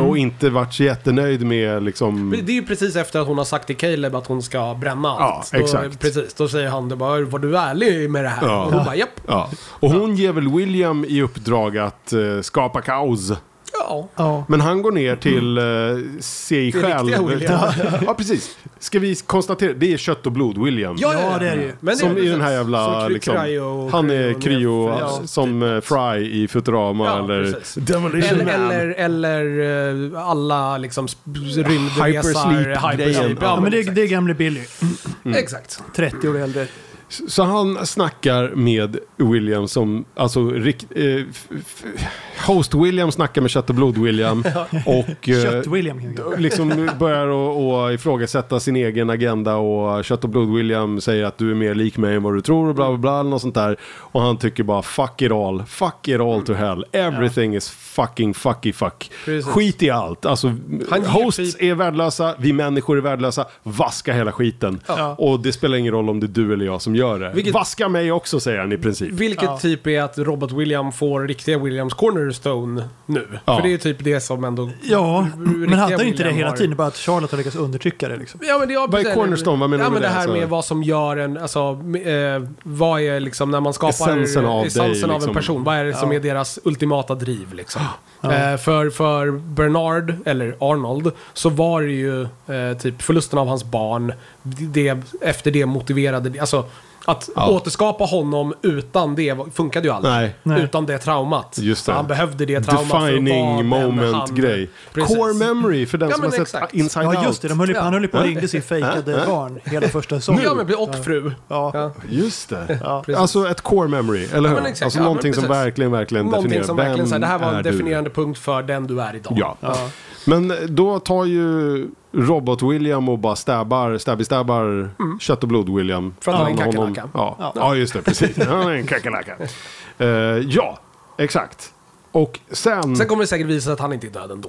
Speaker 1: och inte varit så jättenöjd med liksom...
Speaker 3: Mm. Det är ju precis efter att hon har sagt till Caleb att hon ska bränna allt.
Speaker 1: Ja,
Speaker 3: Då,
Speaker 1: exakt.
Speaker 3: precis, då säger han det bara, var du ärlig med det här?
Speaker 1: Ja.
Speaker 3: Och hon bara, japp.
Speaker 1: Ja. Och hon ger väl William i uppdrag att eh, skapa kaos.
Speaker 3: Ja.
Speaker 2: Ja.
Speaker 1: Men han går ner till eh, sig
Speaker 3: Mm. Det är
Speaker 1: själv.
Speaker 3: riktiga William.
Speaker 1: ja, precis. Ska vi konstatera, det är kött och blod William.
Speaker 2: Ja, det är det ju.
Speaker 3: Men
Speaker 1: Som
Speaker 3: det är
Speaker 1: i den här
Speaker 3: precis.
Speaker 1: jävla...
Speaker 3: Som
Speaker 1: Liksom,
Speaker 3: Cryo-
Speaker 1: han är
Speaker 3: Cryo-
Speaker 1: kryo
Speaker 3: Ja. typ
Speaker 1: som eh, Fry i Futurama
Speaker 3: Ja,
Speaker 1: eller
Speaker 3: precis.
Speaker 1: Demolition
Speaker 3: Eller,
Speaker 1: Man.
Speaker 3: eller, eller eh, alla liksom sp- rymdresar, eh,
Speaker 1: Hypersleep-grejen.
Speaker 3: hypersleep.
Speaker 1: Ja,
Speaker 2: Ja, men det,
Speaker 3: exakt.
Speaker 2: det är gamle Billy.
Speaker 3: Exakt.
Speaker 2: 30 år äldre.
Speaker 1: Så han snackar med William som, alltså Rick, eh, f- f- host William snackar med kött och blod William och eh,
Speaker 2: Kött-William. kan jag kalla
Speaker 1: liksom börjar och, och ifrågasätta sin egen agenda och kött och blod William säger att du är mer lik mig än vad du tror och bla bla bla eller något sånt där. Och han tycker bara fuck it all, fuck it all to hell, everything is fucking fucky fuck.
Speaker 3: Precis.
Speaker 1: Skit i allt, alltså
Speaker 3: Han ger typ-
Speaker 1: hosts
Speaker 3: skit.
Speaker 1: är värdelösa, vi människor är värdelösa, vaska hela skiten.
Speaker 3: Ja.
Speaker 1: Och det spelar ingen roll om det är du eller jag som gör det.
Speaker 3: Vilket-
Speaker 1: Vaska mig också säger han i princip.
Speaker 3: Vilket
Speaker 2: Ja.
Speaker 3: typ är att Robert William får riktiga Williams Cornerstone nu.
Speaker 1: Ja.
Speaker 3: För det är ju typ det som ändå...
Speaker 2: Ja, men hade han inte det
Speaker 3: William
Speaker 2: hela
Speaker 3: har-
Speaker 2: tiden? Bara att Charlotte har lyckats undertrycka det liksom.
Speaker 3: Ja, men det, ja,
Speaker 1: Vad är
Speaker 3: precis.
Speaker 1: cornerstone? Vad menar
Speaker 3: ja,
Speaker 1: du
Speaker 3: men
Speaker 1: med det?
Speaker 3: det?
Speaker 1: Alltså-
Speaker 3: här
Speaker 1: Så-
Speaker 3: med vad som gör en, alltså, eh, vad är liksom när man skapar
Speaker 1: Essensen av dig,
Speaker 3: essensen av
Speaker 1: liksom.
Speaker 3: en person. Vad är det som
Speaker 2: Ja.
Speaker 3: är deras ultimata driv liksom? Eh, för, för Bernard, eller Arnold, så var det ju eh, typ förlusten av hans barn, det, efter det motiverade, alltså att
Speaker 1: Ja.
Speaker 3: återskapa honom utan det var- funkade ju aldrig.
Speaker 1: Nej.
Speaker 2: Nej.
Speaker 3: Utan det traumat.
Speaker 1: Just det.
Speaker 3: Han behövde det traumat för att vara
Speaker 1: Defining
Speaker 3: den han-
Speaker 1: moment-grej.
Speaker 3: Precis.
Speaker 1: Core memory för den
Speaker 3: Ja,
Speaker 1: som har
Speaker 3: men
Speaker 1: sett
Speaker 3: exakt.
Speaker 1: Inside
Speaker 2: Ja,
Speaker 1: Out.
Speaker 2: just det. De höll, ju- Han höll ju på och ringde sin fejkade barn hela första säsongen.
Speaker 3: Ja, men, och fru.
Speaker 2: Ja.
Speaker 3: Ja.
Speaker 1: Just det.
Speaker 3: precis.
Speaker 1: Alltså ett core memory, eller hur?
Speaker 3: men exakt.
Speaker 1: alltså
Speaker 3: Ja, men
Speaker 1: någonting som
Speaker 3: precis.
Speaker 1: verkligen, verkligen
Speaker 3: Någonting
Speaker 1: definierar.
Speaker 3: som verkligen
Speaker 1: Vem
Speaker 3: så här, det här var
Speaker 1: är
Speaker 3: en
Speaker 1: du?
Speaker 3: definierande punkt för den du är idag.
Speaker 1: Ja. Mm. Men eh, då tar ju Robot-William och bara stabbar, stabby-stabbar
Speaker 3: Mm.
Speaker 1: kött och blod-William.
Speaker 3: För att han är en
Speaker 1: Honom-
Speaker 3: kackerlacka.
Speaker 1: Ja. Ja. just det. Precis. Han är en kackerlacka. Eh, ja, exakt. Och sen...
Speaker 3: Sen kommer det säkert visa sig att han inte är död ändå.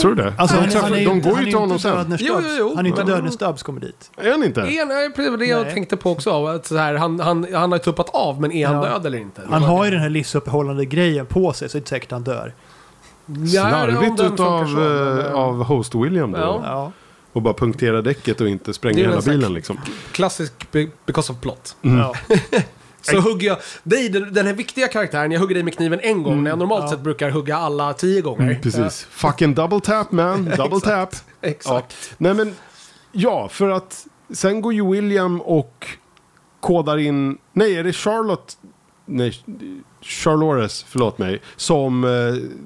Speaker 1: Tror du det?
Speaker 2: Alltså,
Speaker 1: de,
Speaker 2: han,
Speaker 1: träffar-
Speaker 2: han är,
Speaker 1: de
Speaker 2: inte-
Speaker 1: går
Speaker 2: han
Speaker 1: ju
Speaker 2: är
Speaker 1: till honom
Speaker 2: inte
Speaker 1: sen.
Speaker 2: död när
Speaker 3: Jo, jo,
Speaker 2: Stubbs-
Speaker 3: jo.
Speaker 2: Han är inte
Speaker 3: Men-
Speaker 2: död när Stubbs kommer dit.
Speaker 1: Är han inte?
Speaker 3: Är, nej, precis, det var det jag
Speaker 2: Nej.
Speaker 3: tänkte på också. Att så här, han, han, han har ju tuppat av, men är han
Speaker 2: Ja.
Speaker 3: död eller inte?
Speaker 2: Han har ju den här livsuppehållande grejen på sig så det är inte säkert han dör.
Speaker 1: Slarvigt utav, eh,
Speaker 3: av...
Speaker 1: av host William då.
Speaker 3: Ja.
Speaker 2: Ja.
Speaker 1: Och bara punktera däcket och inte spränga
Speaker 3: Det är väl
Speaker 1: hela
Speaker 3: en slags-
Speaker 1: bilen liksom.
Speaker 3: Klassisk be- because of plot.
Speaker 1: Mm.
Speaker 2: Ja.
Speaker 3: Så hugger jag dig, den den här viktiga karaktären, jag hugger dig med kniven en gång när jag normalt
Speaker 2: Ja.
Speaker 3: sett brukar hugga alla tio gånger.
Speaker 1: Mm. Precis. Fucking double tap man, double tap.
Speaker 3: Exakt.
Speaker 1: Ja. Nej men, ja för att sen går ju William och kodar in, nej är det Charlotte, nej Charlores, förlåt mig, som eh,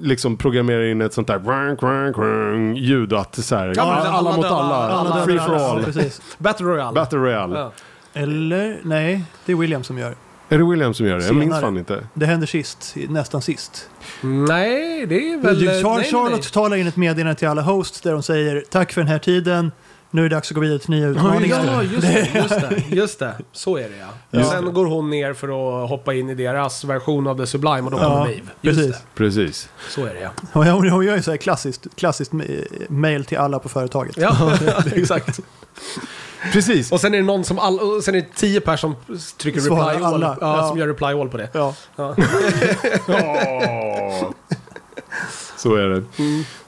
Speaker 1: liksom programmerar in ett sånt där rank, rank, rank, ljud att så här,
Speaker 3: Ja, men
Speaker 1: alla,
Speaker 3: alla
Speaker 1: mot
Speaker 3: döda,
Speaker 1: alla,
Speaker 3: alla
Speaker 2: dödar
Speaker 1: free for
Speaker 2: alla.
Speaker 1: all,
Speaker 2: Precis.
Speaker 3: Battle Royale.
Speaker 1: battle royale.
Speaker 3: Ja.
Speaker 2: Eller? Nej, det är William som gör det.
Speaker 1: Är det William som gör det? Jag minns
Speaker 2: Senare.
Speaker 1: fan inte.
Speaker 2: Det händer sist, nästan sist.
Speaker 3: Nej, det är väl...
Speaker 2: Du, Char-
Speaker 3: nej, nej,
Speaker 2: Charlotte
Speaker 3: nej.
Speaker 2: talar in ett meddelande till alla hosts där hon säger tack för den här tiden, nu är det dags att gå vidare till nya utmaningar.
Speaker 3: Ja, just det, just det. Just det. Så är det ja.
Speaker 1: Just
Speaker 3: Sen
Speaker 1: det.
Speaker 3: går hon ner för att hoppa in i deras version av The Sublime och då kommer
Speaker 2: Ja,
Speaker 3: Maeve. Just
Speaker 2: precis.
Speaker 3: det.
Speaker 1: Precis.
Speaker 3: Så är det ja.
Speaker 2: Hon, hon, hon gör ju så här klassiskt, klassiskt ma- mail till alla på företaget.
Speaker 3: Ja, exakt.
Speaker 1: Precis.
Speaker 3: Och sen är det någon som all, och sen är det tio personer som trycker
Speaker 2: Svarar
Speaker 3: reply all.
Speaker 2: alla.
Speaker 3: Ja,
Speaker 2: Ja.
Speaker 3: Som gör reply all på det.
Speaker 2: Ja.
Speaker 3: Ja.
Speaker 1: Åh. Så är det.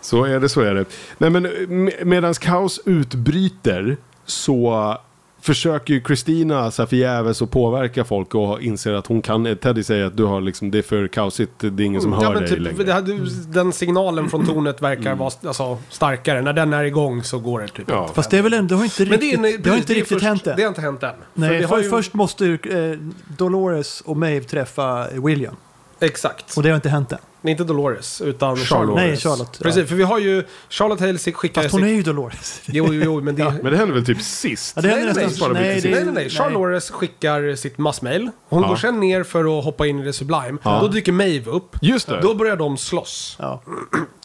Speaker 1: Så är det, så är det. Nej, men med, medans kaos utbryter så försöker ju Kristina så här förgäves att påverka folk och inser att hon kan. Teddy säger att du har liksom, det är för kaosigt, det är ingen som
Speaker 3: Ja,
Speaker 1: hör
Speaker 3: men
Speaker 1: dig
Speaker 3: typ,
Speaker 1: längre. Mm.
Speaker 3: det här, du-
Speaker 2: Mm.
Speaker 3: den signalen från tornet verkar vara alltså, starkare. När den är igång så går det typ.
Speaker 1: Ja.
Speaker 2: Fast det är väl ändå, det har inte
Speaker 3: Men det, är,
Speaker 2: riktigt,
Speaker 3: precis,
Speaker 2: det har inte
Speaker 3: är
Speaker 2: riktigt
Speaker 3: först,
Speaker 2: hänt än.
Speaker 3: Det har inte hänt än.
Speaker 2: Nej,
Speaker 3: för det
Speaker 2: för,
Speaker 3: har ju,
Speaker 2: först måste ju, eh, Dolores och Maeve träffa William.
Speaker 3: Exakt.
Speaker 2: Och det har inte hänt än.
Speaker 3: Nej, inte Dolores, utan
Speaker 1: Charlotte.
Speaker 3: Charlotte.
Speaker 2: Nej, Charlotte.
Speaker 3: Precis, för vi har ju Charlotte Hale skick- skickar...
Speaker 2: Fast hon
Speaker 3: sitt-
Speaker 2: är ju Dolores.
Speaker 3: Jo, jo, jo, men det...
Speaker 1: Men det händer väl typ sist?
Speaker 2: Ja, det händer
Speaker 3: Nej, nej,
Speaker 2: nästan.
Speaker 1: nej.
Speaker 2: Nej, det är-
Speaker 3: Nej, nej, nej. Charlotte Lawrence skickar sitt massmail. Hon
Speaker 1: Ja.
Speaker 3: går sen ner för att hoppa in i det Sublime.
Speaker 1: Ja.
Speaker 3: Då dyker Maeve upp.
Speaker 1: Just det.
Speaker 3: Då börjar de slåss.
Speaker 2: Ja.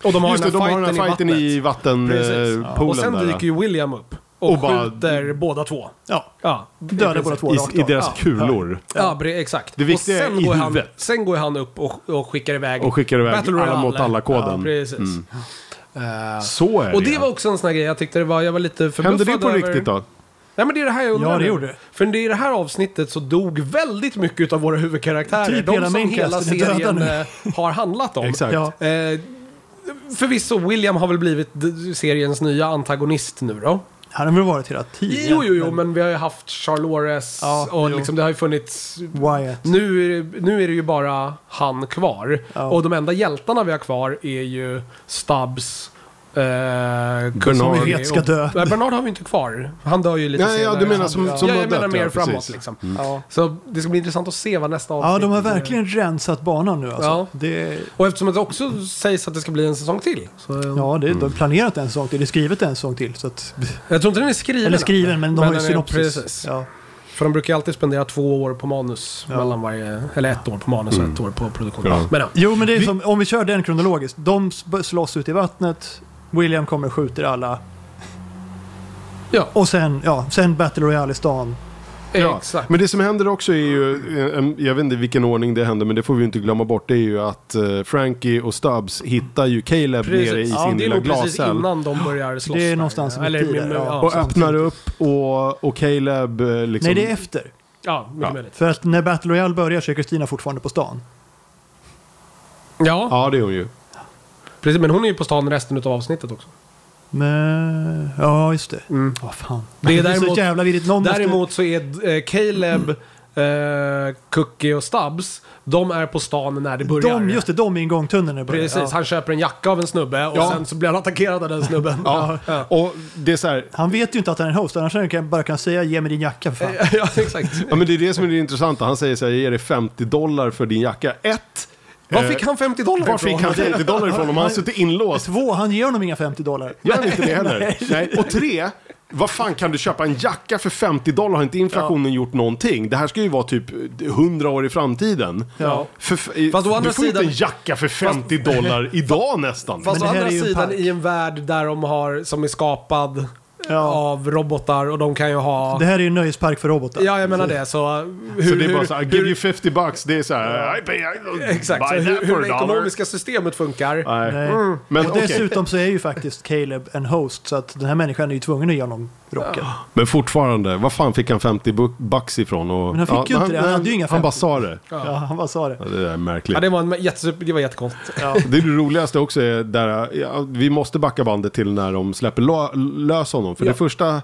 Speaker 3: Och de har,
Speaker 1: Just det, de
Speaker 3: den, här
Speaker 1: har den här fighten
Speaker 3: i
Speaker 1: i
Speaker 3: vattnet. Precis.
Speaker 1: vattenpoolen
Speaker 3: och sen
Speaker 1: där.
Speaker 3: dyker ju William upp. Och,
Speaker 1: Och bara-
Speaker 3: skjuter båda två.
Speaker 2: ja.
Speaker 3: Ja,
Speaker 2: Dödar båda två rakt
Speaker 1: I, I
Speaker 2: av.
Speaker 1: deras
Speaker 3: Ja.
Speaker 1: kulor.
Speaker 3: Ja, bre- exakt.
Speaker 1: Det viktiga
Speaker 3: och sen
Speaker 1: är i
Speaker 3: går han,
Speaker 1: huvudet.
Speaker 3: Sen går han upp och, och skickar iväg
Speaker 1: Och skickar iväg
Speaker 3: Battle
Speaker 1: alla Mm.
Speaker 3: Royale.
Speaker 1: mot alla-koden.
Speaker 3: Ja, precis. Eh,
Speaker 1: Så är
Speaker 3: och
Speaker 1: det.
Speaker 3: det var också en sån här grej jag tyckte det var, jag var lite förbluffad
Speaker 1: Hände det på
Speaker 3: över-
Speaker 1: riktigt då?
Speaker 3: Nej men det är det här jag undrar
Speaker 2: Ja, det
Speaker 3: nu.
Speaker 2: gjorde det.
Speaker 3: För det är det här avsnittet så dog väldigt mycket av våra huvudkaraktärer.
Speaker 2: Typ
Speaker 3: de
Speaker 2: hela
Speaker 3: som
Speaker 2: Maincast
Speaker 3: hela
Speaker 2: är döda
Speaker 3: serien
Speaker 2: nu.
Speaker 3: eh, har handlat om.
Speaker 1: Exakt.
Speaker 2: Ja.
Speaker 3: Eh, förvisso, William har väl blivit d- seriens nya antagonist nu då?
Speaker 2: Han har väl varit hela tiden.
Speaker 3: Jo, jo, jo, men vi har ju haft Charlores
Speaker 2: Ja,
Speaker 3: och
Speaker 2: jo.
Speaker 3: liksom, det har ju funnits...
Speaker 2: Wyatt.
Speaker 3: Nu är, det, nu är det ju bara han kvar.
Speaker 2: Ja.
Speaker 3: Och de enda hjältarna vi har kvar är ju Stubbs, eh,
Speaker 1: Som vi
Speaker 2: vet ska dö.
Speaker 3: Nej, Bernard har vi inte kvar. Han dör ju lite
Speaker 1: Nej,
Speaker 3: senare.
Speaker 1: ja, du menar som,
Speaker 2: Ja,
Speaker 1: som
Speaker 3: ja,
Speaker 1: har
Speaker 3: jag menar
Speaker 1: dött,
Speaker 3: mer
Speaker 1: ja, precis. Mm.
Speaker 3: framåt liksom.
Speaker 2: Ja.
Speaker 3: Så det ska bli intressant att se vad nästa avsnitt
Speaker 2: ja, de har verkligen rensat banan nu alltså.
Speaker 3: Ja.
Speaker 2: Det,
Speaker 3: Och eftersom det också sägs att det ska bli en säsong till. Så,
Speaker 2: ja det, de har planerat en säsong till. Det är skrivet en säsong till. Så att,
Speaker 3: Jag tror inte den är skriven.
Speaker 2: eller
Speaker 3: än.
Speaker 2: skriven, men de har ju
Speaker 3: den är-
Speaker 2: synopsis.
Speaker 3: precis.
Speaker 2: Ja.
Speaker 3: För de brukar ju alltid spendera två år på manus.
Speaker 2: Ja.
Speaker 3: Mellan varje, eller ett år på manus och ett år på produktion.
Speaker 1: Mm. Ja.
Speaker 3: Men, ja.
Speaker 2: Jo, men det är som, om vi kör den kronologiskt. De s- slåss ut i vattnet. William kommer och skjuter alla.
Speaker 3: Ja.
Speaker 2: Och sen, ja, sen Battle Royale i stan.
Speaker 1: Ja,
Speaker 3: Exakt.
Speaker 1: Men det som händer också är ju, eh, em, jag vet inte vilken ordning det händer, men det får vi inte glömma bort, det är ju att eh, Frankie och Stubbs hittar ju Caleb nere i
Speaker 3: Precis.
Speaker 1: sin
Speaker 3: Ja, det är
Speaker 1: lilla
Speaker 3: nog precis
Speaker 1: glashäll.
Speaker 3: innan de börjar slåss.
Speaker 2: Det är
Speaker 3: där.
Speaker 2: någonstans mitt i där,
Speaker 3: med-
Speaker 2: ja.
Speaker 1: Och
Speaker 3: ja,
Speaker 1: öppnar upp och, och Caleb eh, liksom...
Speaker 2: Nej, det är efter.
Speaker 3: ja, mycket
Speaker 1: Ja.
Speaker 3: möjligt.
Speaker 2: För att när Battle Royale börjar så är Kristina fortfarande på stan.
Speaker 3: Ja,
Speaker 1: Ja, det är hon ju.
Speaker 3: precis. Men hon är ju på stan resten av avsnittet också.
Speaker 2: Men, ja, just det.
Speaker 3: Mm.
Speaker 2: Åh fan.
Speaker 3: Det är
Speaker 2: så
Speaker 3: däremot-
Speaker 2: jävla vidrigt. Någon måste...
Speaker 3: Däremot så är eh, Caleb, eh, Cookie och Stubbs, de är på stan när det börjar.
Speaker 2: De, just det, de är ingångstunneln när det börjar.
Speaker 3: Precis,
Speaker 2: Ja.
Speaker 3: han köper en jacka av en snubbe och
Speaker 1: Ja.
Speaker 3: sen så blir han attackerad av den snubben.
Speaker 1: Ja.
Speaker 3: ja.
Speaker 1: Och det är så här,
Speaker 2: Han vet ju inte att han är en host, annars kan jag bara kan säga ge mig din jacka för fan.
Speaker 3: ja exakt.
Speaker 1: ja men det är det som är det intressanta. Han säger så här, jag ger dig 50 dollar för din jacka. Ett,
Speaker 3: Var
Speaker 1: Eh,
Speaker 3: fick han 50 dollar
Speaker 1: var fick
Speaker 3: ifrån?
Speaker 1: han 50 dollar ifrån om han har suttit inlåst?
Speaker 2: Två, han ger honom inga 50 dollar.
Speaker 1: Gör han inte det heller? Nej. Och tre, vad fan kan du köpa en jacka för 50 dollar? Har inte inflationen gjort någonting? Det här ska ju vara typ 100 år i framtiden.
Speaker 2: Ja.
Speaker 1: För,
Speaker 3: Fast å andra
Speaker 1: du får ju inte
Speaker 3: sidan-
Speaker 1: en jacka för 50 dollar idag nästan.
Speaker 3: Fast å
Speaker 2: Men det här
Speaker 3: andra
Speaker 2: är ju en
Speaker 3: sidan
Speaker 2: park.
Speaker 3: i en värld där de har, som är skapad
Speaker 2: Ja.
Speaker 3: av robotar och de kan ju ha...
Speaker 2: Det här är ju en nöjespark för robotar.
Speaker 3: Ja, jag menar det. Så eh, hur...
Speaker 1: så det är bara
Speaker 3: hur-
Speaker 1: så här, I
Speaker 3: hur-
Speaker 1: give you 50 bucks. Det är så här, I pay, I don't
Speaker 3: Exakt, så
Speaker 1: buy
Speaker 3: hur,
Speaker 1: that
Speaker 3: hur
Speaker 1: for
Speaker 3: det
Speaker 1: a dollar.
Speaker 3: ekonomiska systemet funkar.
Speaker 1: Nej.
Speaker 2: Nej.
Speaker 1: Mm. Men
Speaker 2: Eh, och
Speaker 1: okej.
Speaker 2: dessutom så är ju faktiskt Caleb en host, så att den här människan är ju tvungen att ge honom rocken.
Speaker 1: Men fortfarande, vad fan fick han 50 bu- bucks ifrån? Och,
Speaker 2: Men han fick ju inte det, han hade ju inga
Speaker 1: Han
Speaker 2: 50.
Speaker 1: bara sa det.
Speaker 2: Ja. han bara sa det.
Speaker 1: Ja, det där är märkligt.
Speaker 3: Ja, det var, en jättesuper, det var jättekonstigt.
Speaker 1: Det är det roligaste också är där, ja, vi måste backa bandet till när de släpper lo- lös honom. För
Speaker 3: Ja.
Speaker 1: det första,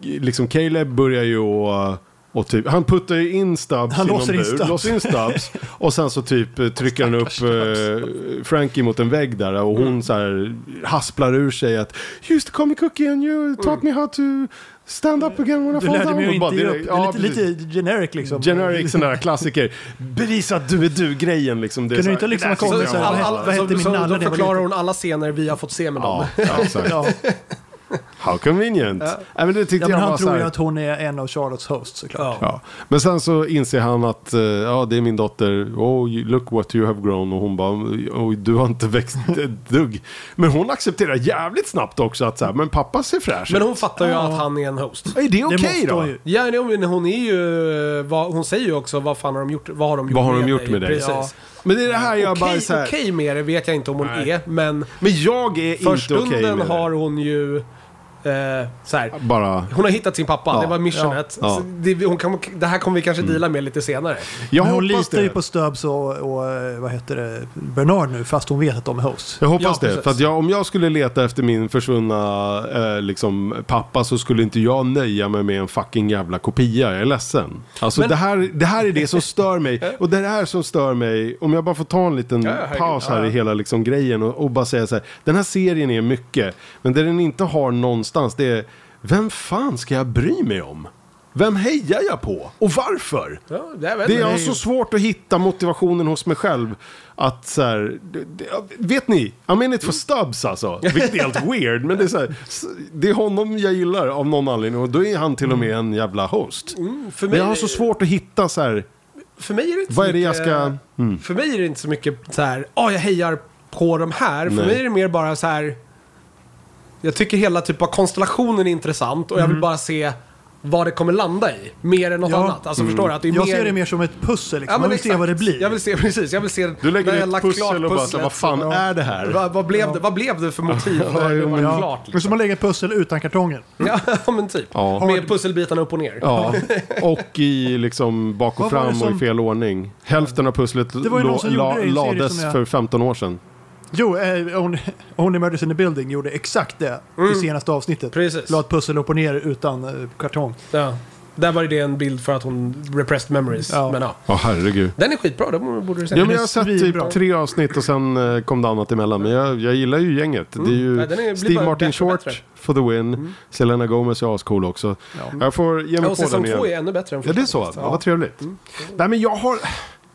Speaker 1: liksom Caleb börjar ju och, och typ, han puttar ju in Stubbs
Speaker 2: Han
Speaker 1: i någon
Speaker 2: låser in
Speaker 1: bur,
Speaker 2: Stubbs.
Speaker 1: låser in Stubbs. Och sen så typ eh, trycker han upp eh, Frankie mot en vägg där och
Speaker 2: Mm.
Speaker 1: hon så här hasplar ur sig att Just call me cookie and you taught me how to stand up again when I
Speaker 2: Du
Speaker 1: fall
Speaker 2: lärde
Speaker 1: down.
Speaker 2: mig ju
Speaker 1: Och bara
Speaker 2: inte ge upp.
Speaker 1: direkt-
Speaker 2: Det är
Speaker 1: ja,
Speaker 2: lite,
Speaker 1: precis.
Speaker 2: lite generic liksom.
Speaker 1: Generic, sån där klassiker. Bevisa att du är du-grejen liksom. Det är
Speaker 2: Kunde
Speaker 1: så
Speaker 2: du
Speaker 1: här,
Speaker 2: inte liksom
Speaker 1: "Det där
Speaker 2: ha kommit
Speaker 1: tycker
Speaker 2: så här,
Speaker 1: jag
Speaker 2: vad
Speaker 1: var bra."
Speaker 2: hette- vad hette min
Speaker 3: så,
Speaker 2: nalle när
Speaker 3: då
Speaker 2: jag var
Speaker 3: förklarar
Speaker 2: liten?
Speaker 3: hon alla scener vi har fått se med dem.
Speaker 1: Ja, ja, exakt.
Speaker 2: Ja.
Speaker 1: How convenient. Nej, men det tyckte
Speaker 2: Ja, men
Speaker 1: jag var
Speaker 2: han
Speaker 1: så
Speaker 2: tror ju
Speaker 1: här.
Speaker 2: att hon är en av Charlottes hosts såklart.
Speaker 1: Ja. Men sen så inser han att eh, ja, det är min dotter. Oh, you- look what you have grown. Och hon bara, oh, du har inte växt ett dugg. Men hon accepterar jävligt snabbt också att så här, men pappa ser fräsch
Speaker 3: Men
Speaker 1: ut.
Speaker 3: hon fattar ju
Speaker 2: Ja.
Speaker 3: att han är en host.
Speaker 1: Är det
Speaker 2: Det
Speaker 1: okej
Speaker 2: måste
Speaker 1: då?
Speaker 2: hon ju.
Speaker 3: Ja, nej, men hon är ju... Vad, hon säger ju också vad fan har de gjort, vad har de gjort,
Speaker 1: Vad har de gjort med dig?
Speaker 3: Precis.
Speaker 1: Men det är det här jag bara
Speaker 3: Okej,
Speaker 1: så här,
Speaker 3: okej med det vet jag inte om hon
Speaker 1: Nej.
Speaker 3: är, men
Speaker 1: Men jag är
Speaker 3: för
Speaker 1: inte okej
Speaker 3: stunden
Speaker 1: med
Speaker 3: har
Speaker 1: har...
Speaker 3: hon ju... Eh, så här,
Speaker 1: det. Bara...
Speaker 3: hon har hittat sin pappa,
Speaker 1: Ja.
Speaker 3: det var missionet.
Speaker 1: Ja. Mm.
Speaker 3: Så Det, hon kan, det här kommer vi kanske deala med lite senare.
Speaker 1: Jag
Speaker 2: Men hon
Speaker 1: hoppas
Speaker 2: litar
Speaker 1: det.
Speaker 2: ju på Stubbs och, och eh, vad heter det, Bernard nu fast hon vet att de är hosts.
Speaker 1: Jag hoppas
Speaker 3: Ja,
Speaker 1: det.
Speaker 3: precis.
Speaker 1: För att jag, om jag skulle leta efter min försvunna eh, liksom, pappa så skulle inte jag nöja mig med en fucking jävla kopia. Jag är ledsen. Alltså
Speaker 3: Men-
Speaker 1: det, här, det här är det som stör mig. Och det här som stör mig, om jag bara får ta en liten
Speaker 3: Ja, ja, herregud.
Speaker 1: paus här
Speaker 3: Ja, ja.
Speaker 1: i hela liksom, grejen och, och bara säga så här. Den här serien är mycket, men det den inte har någonstans det är vem fan ska jag bry mig om? Vem hejar jag på? Och varför?
Speaker 3: Ja, jag vet
Speaker 1: Det
Speaker 3: inte.
Speaker 1: jag har så svårt att hitta motivationen hos mig själv. Att så här, det- det- vet ni? I'm in it for stubs alltså. Vilket är helt weird. Men det är, så här, s- det är honom jag gillar av någon anledning. Och då är han till och med en jävla host.
Speaker 2: Mm.
Speaker 3: Mm, för
Speaker 1: Men
Speaker 3: mig,
Speaker 1: jag har så svårt att hitta så här.
Speaker 3: För mig är det inte så
Speaker 1: Vad är det jag
Speaker 3: mycket,
Speaker 1: ska- Mm.
Speaker 3: För mig är det inte så mycket så här, ja jag hejar på de här. För
Speaker 1: Nej.
Speaker 3: mig är det mer bara
Speaker 1: Mm.
Speaker 3: så här, jag tycker hela typ av konstellationen är intressant och jag vill bara se vad det kommer landa i. Mer än något
Speaker 2: Ja.
Speaker 3: annat. Alltså förstår du? Att det är
Speaker 2: Jag
Speaker 3: mer...
Speaker 2: ser det mer som ett pussel. Liksom. Man vill se
Speaker 3: exakt.
Speaker 2: vad det blir.
Speaker 3: Jag vill se, precis. Jag vill se
Speaker 1: Du lägger
Speaker 3: när jag
Speaker 1: ner ett
Speaker 3: lagt
Speaker 1: pussel
Speaker 3: klart
Speaker 1: och bara, så,
Speaker 3: pusslet.
Speaker 1: vad fan
Speaker 3: Ja.
Speaker 1: är det här?
Speaker 3: Vad, vad, blev det, vad blev det för motiv när det var klart?
Speaker 2: Men
Speaker 3: Liksom?
Speaker 2: som att lägga ett pussel utan kartongen.
Speaker 3: Ja, men typ.
Speaker 1: Mm. Ja.
Speaker 3: Med pusselbitarna upp och ner.
Speaker 1: Ja, och i liksom bak och
Speaker 2: Vad var det
Speaker 1: fram och i
Speaker 2: som-
Speaker 1: fel ordning. Hälften av pusslet
Speaker 2: Det var ju någon som
Speaker 1: la-
Speaker 2: gjorde det i en serie
Speaker 1: lades
Speaker 2: som jag-
Speaker 1: för 15 år sedan.
Speaker 2: Jo, eh, Only- Only Murders in the Building gjorde exakt det
Speaker 1: Mm.
Speaker 2: i senaste avsnittet.
Speaker 3: Precis.
Speaker 2: La ett pussel upp och ner utan eh, kartong.
Speaker 3: Ja. Där var ju det en bild för att hon repressed memories.
Speaker 2: Ja.
Speaker 3: Men, ja.
Speaker 1: Ja, herregud.
Speaker 3: Den är skitbra, den borde du se.
Speaker 1: Ja, men
Speaker 2: är
Speaker 1: jag har sett
Speaker 2: svinbra.
Speaker 1: typ tre avsnitt och sen eh, kom det annat emellan. Men jag, jag gillar ju gänget. Det är ju
Speaker 3: Ja, Mm. den är- blir
Speaker 1: Steve
Speaker 3: bara
Speaker 1: Martin
Speaker 3: bättre och
Speaker 1: Short
Speaker 3: bättre. Mm.
Speaker 1: for the win. Selena Gomez är ascool också. Jag får ge mig
Speaker 3: Ja, och
Speaker 1: på den
Speaker 3: säsong
Speaker 1: igen.
Speaker 3: två är Mm. ännu bättre
Speaker 1: Ja,
Speaker 3: än första.
Speaker 1: det är så. Ja. Vad trevligt. Nej, men jag har...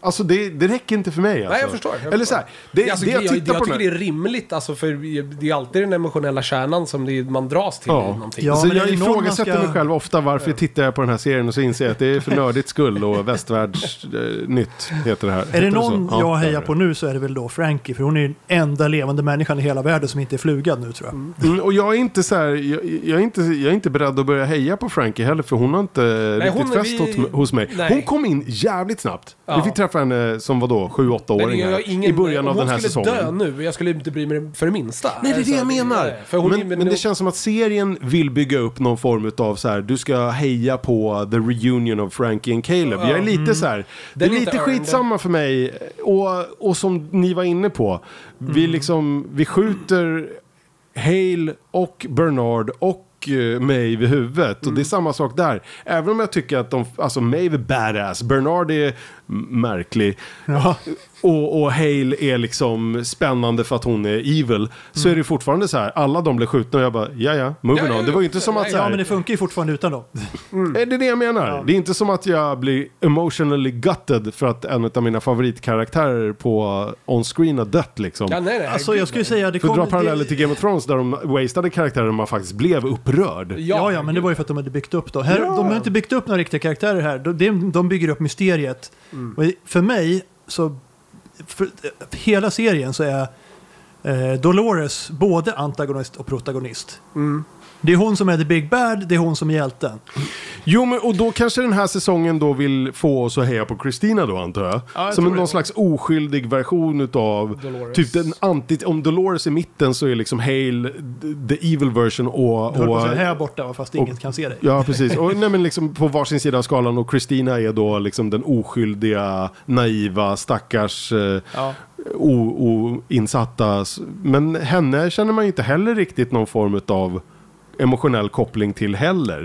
Speaker 1: Alltså det, det räcker inte för mig. Alltså.
Speaker 3: jag förstår, jag
Speaker 1: Eller så
Speaker 3: förstår.
Speaker 1: här, det,
Speaker 3: alltså,
Speaker 1: det jag
Speaker 3: jag, jag,
Speaker 1: tittar på
Speaker 3: tycker
Speaker 1: den
Speaker 3: det
Speaker 1: här-
Speaker 3: är rimligt, alltså, för det är alltid den emotionella kärnan som det är, man dras till.
Speaker 1: Ja.
Speaker 3: i någonting.
Speaker 2: Ja,
Speaker 1: så
Speaker 2: men är
Speaker 1: jag
Speaker 2: det någon man
Speaker 1: ifrågasätter
Speaker 2: ska-
Speaker 1: mig själv ofta varför tittar jag på den här serien och så inser jag att det är för nördigt skull och västvärldsnytt eh, nytt heter det här.
Speaker 2: Är
Speaker 1: Heter
Speaker 2: det
Speaker 1: så?
Speaker 2: någon
Speaker 1: Ja,
Speaker 2: jag
Speaker 1: det är
Speaker 2: hejar
Speaker 1: det.
Speaker 2: på nu så är det väl då Frankie. För hon är den enda levande människan i hela världen som inte är flugad nu tror jag.
Speaker 1: Mm, och jag är inte så här, jag, jag, är inte, jag är inte beredd att börja heja på Frankie heller för hon har inte riktigt
Speaker 3: hon-
Speaker 1: fäst
Speaker 3: vi-
Speaker 1: hos- hos mig.
Speaker 3: nej.
Speaker 1: Hon kom in jävligt snabbt.
Speaker 3: Ja.
Speaker 1: Vi fick träffa henne som var då 7-8
Speaker 3: Men
Speaker 1: åring
Speaker 3: jag har
Speaker 1: här,
Speaker 3: ingen,
Speaker 1: i början av
Speaker 3: om
Speaker 1: den här
Speaker 3: Om
Speaker 1: säsongen.
Speaker 3: hon skulle dö nu, jag skulle inte bry mig för det minsta.
Speaker 1: Nej, det är det
Speaker 3: Alltså,
Speaker 1: jag menar.
Speaker 3: För hon
Speaker 1: men,
Speaker 3: är,
Speaker 1: men det känns som att serien vill bygga upp någon form av så här, du ska heja på the reunion of Frankie and Caleb. Jag är lite så här, det är
Speaker 3: Mm. Den är
Speaker 1: lite
Speaker 3: inte earned.
Speaker 1: skitsamma för mig. Och, och som ni var inne på, vi
Speaker 3: Mm.
Speaker 1: liksom, vi skjuter Hale och Bernard och eh, Maeve vid huvudet.
Speaker 3: Mm.
Speaker 1: Och det är samma sak där. Även om jag tycker att de, alltså Maeve är badass, Bernard är m- märklig.
Speaker 2: Ja.
Speaker 1: Och, och Hale är liksom spännande för att hon är evil. Så är det fortfarande så här, alla de blev skjutna och jag bara, ja ja, moving
Speaker 3: Mm. Ja, ja,
Speaker 1: on. Det var ju inte
Speaker 3: ja,
Speaker 1: som att
Speaker 3: ja,
Speaker 1: så
Speaker 2: Ja,
Speaker 1: här,
Speaker 2: men det funkar ju fortfarande utan dem. Mm.
Speaker 1: är det det jag menar? Det är inte som att jag blir emotionally gutted för att en av mina favoritkaraktärer på on-screen har dött liksom.
Speaker 3: Ja, nej, nej,
Speaker 2: Alltså
Speaker 3: gud,
Speaker 2: jag skulle
Speaker 3: nej.
Speaker 2: säga... Det
Speaker 1: för att dra
Speaker 2: kom,
Speaker 1: paralleller
Speaker 2: det,
Speaker 1: till Game of Thrones där de wastade karaktärer och man faktiskt blev upprörd.
Speaker 2: Ja, ja, men det var ju för att de hade byggt upp då. Här, De har inte byggt upp några riktiga karaktärer här. De, de- de bygger upp mysteriet.
Speaker 3: Mm.
Speaker 2: Och i- för mig, så... För, för hela serien så är eh, Dolores både antagonist och protagonist.
Speaker 3: Mm.
Speaker 2: Det är hon som är the big bad, det är hon som är hjälten.
Speaker 1: Jo, men och då kanske den här säsongen då vill få oss att heja på Christina då antar jag.
Speaker 2: Ja, jag
Speaker 1: Som
Speaker 2: tror
Speaker 1: en
Speaker 2: det.
Speaker 1: någon slags oskyldig version utav...
Speaker 3: Dolores.
Speaker 1: Typ den anti... Om Dolores i mitten så är liksom Hale d- the evil version och...
Speaker 2: Du höll på att
Speaker 1: och
Speaker 2: säga här borta va, fast inget kan se dig.
Speaker 1: ja, precis. Och, nej, men liksom på varsin sida av skalan och Christina är då liksom den oskyldiga, naiva, stackars... Eh,
Speaker 2: Ja.
Speaker 1: o- oinsatta. S- Men henne känner man ju inte heller riktigt någon form av emotionell koppling till heller.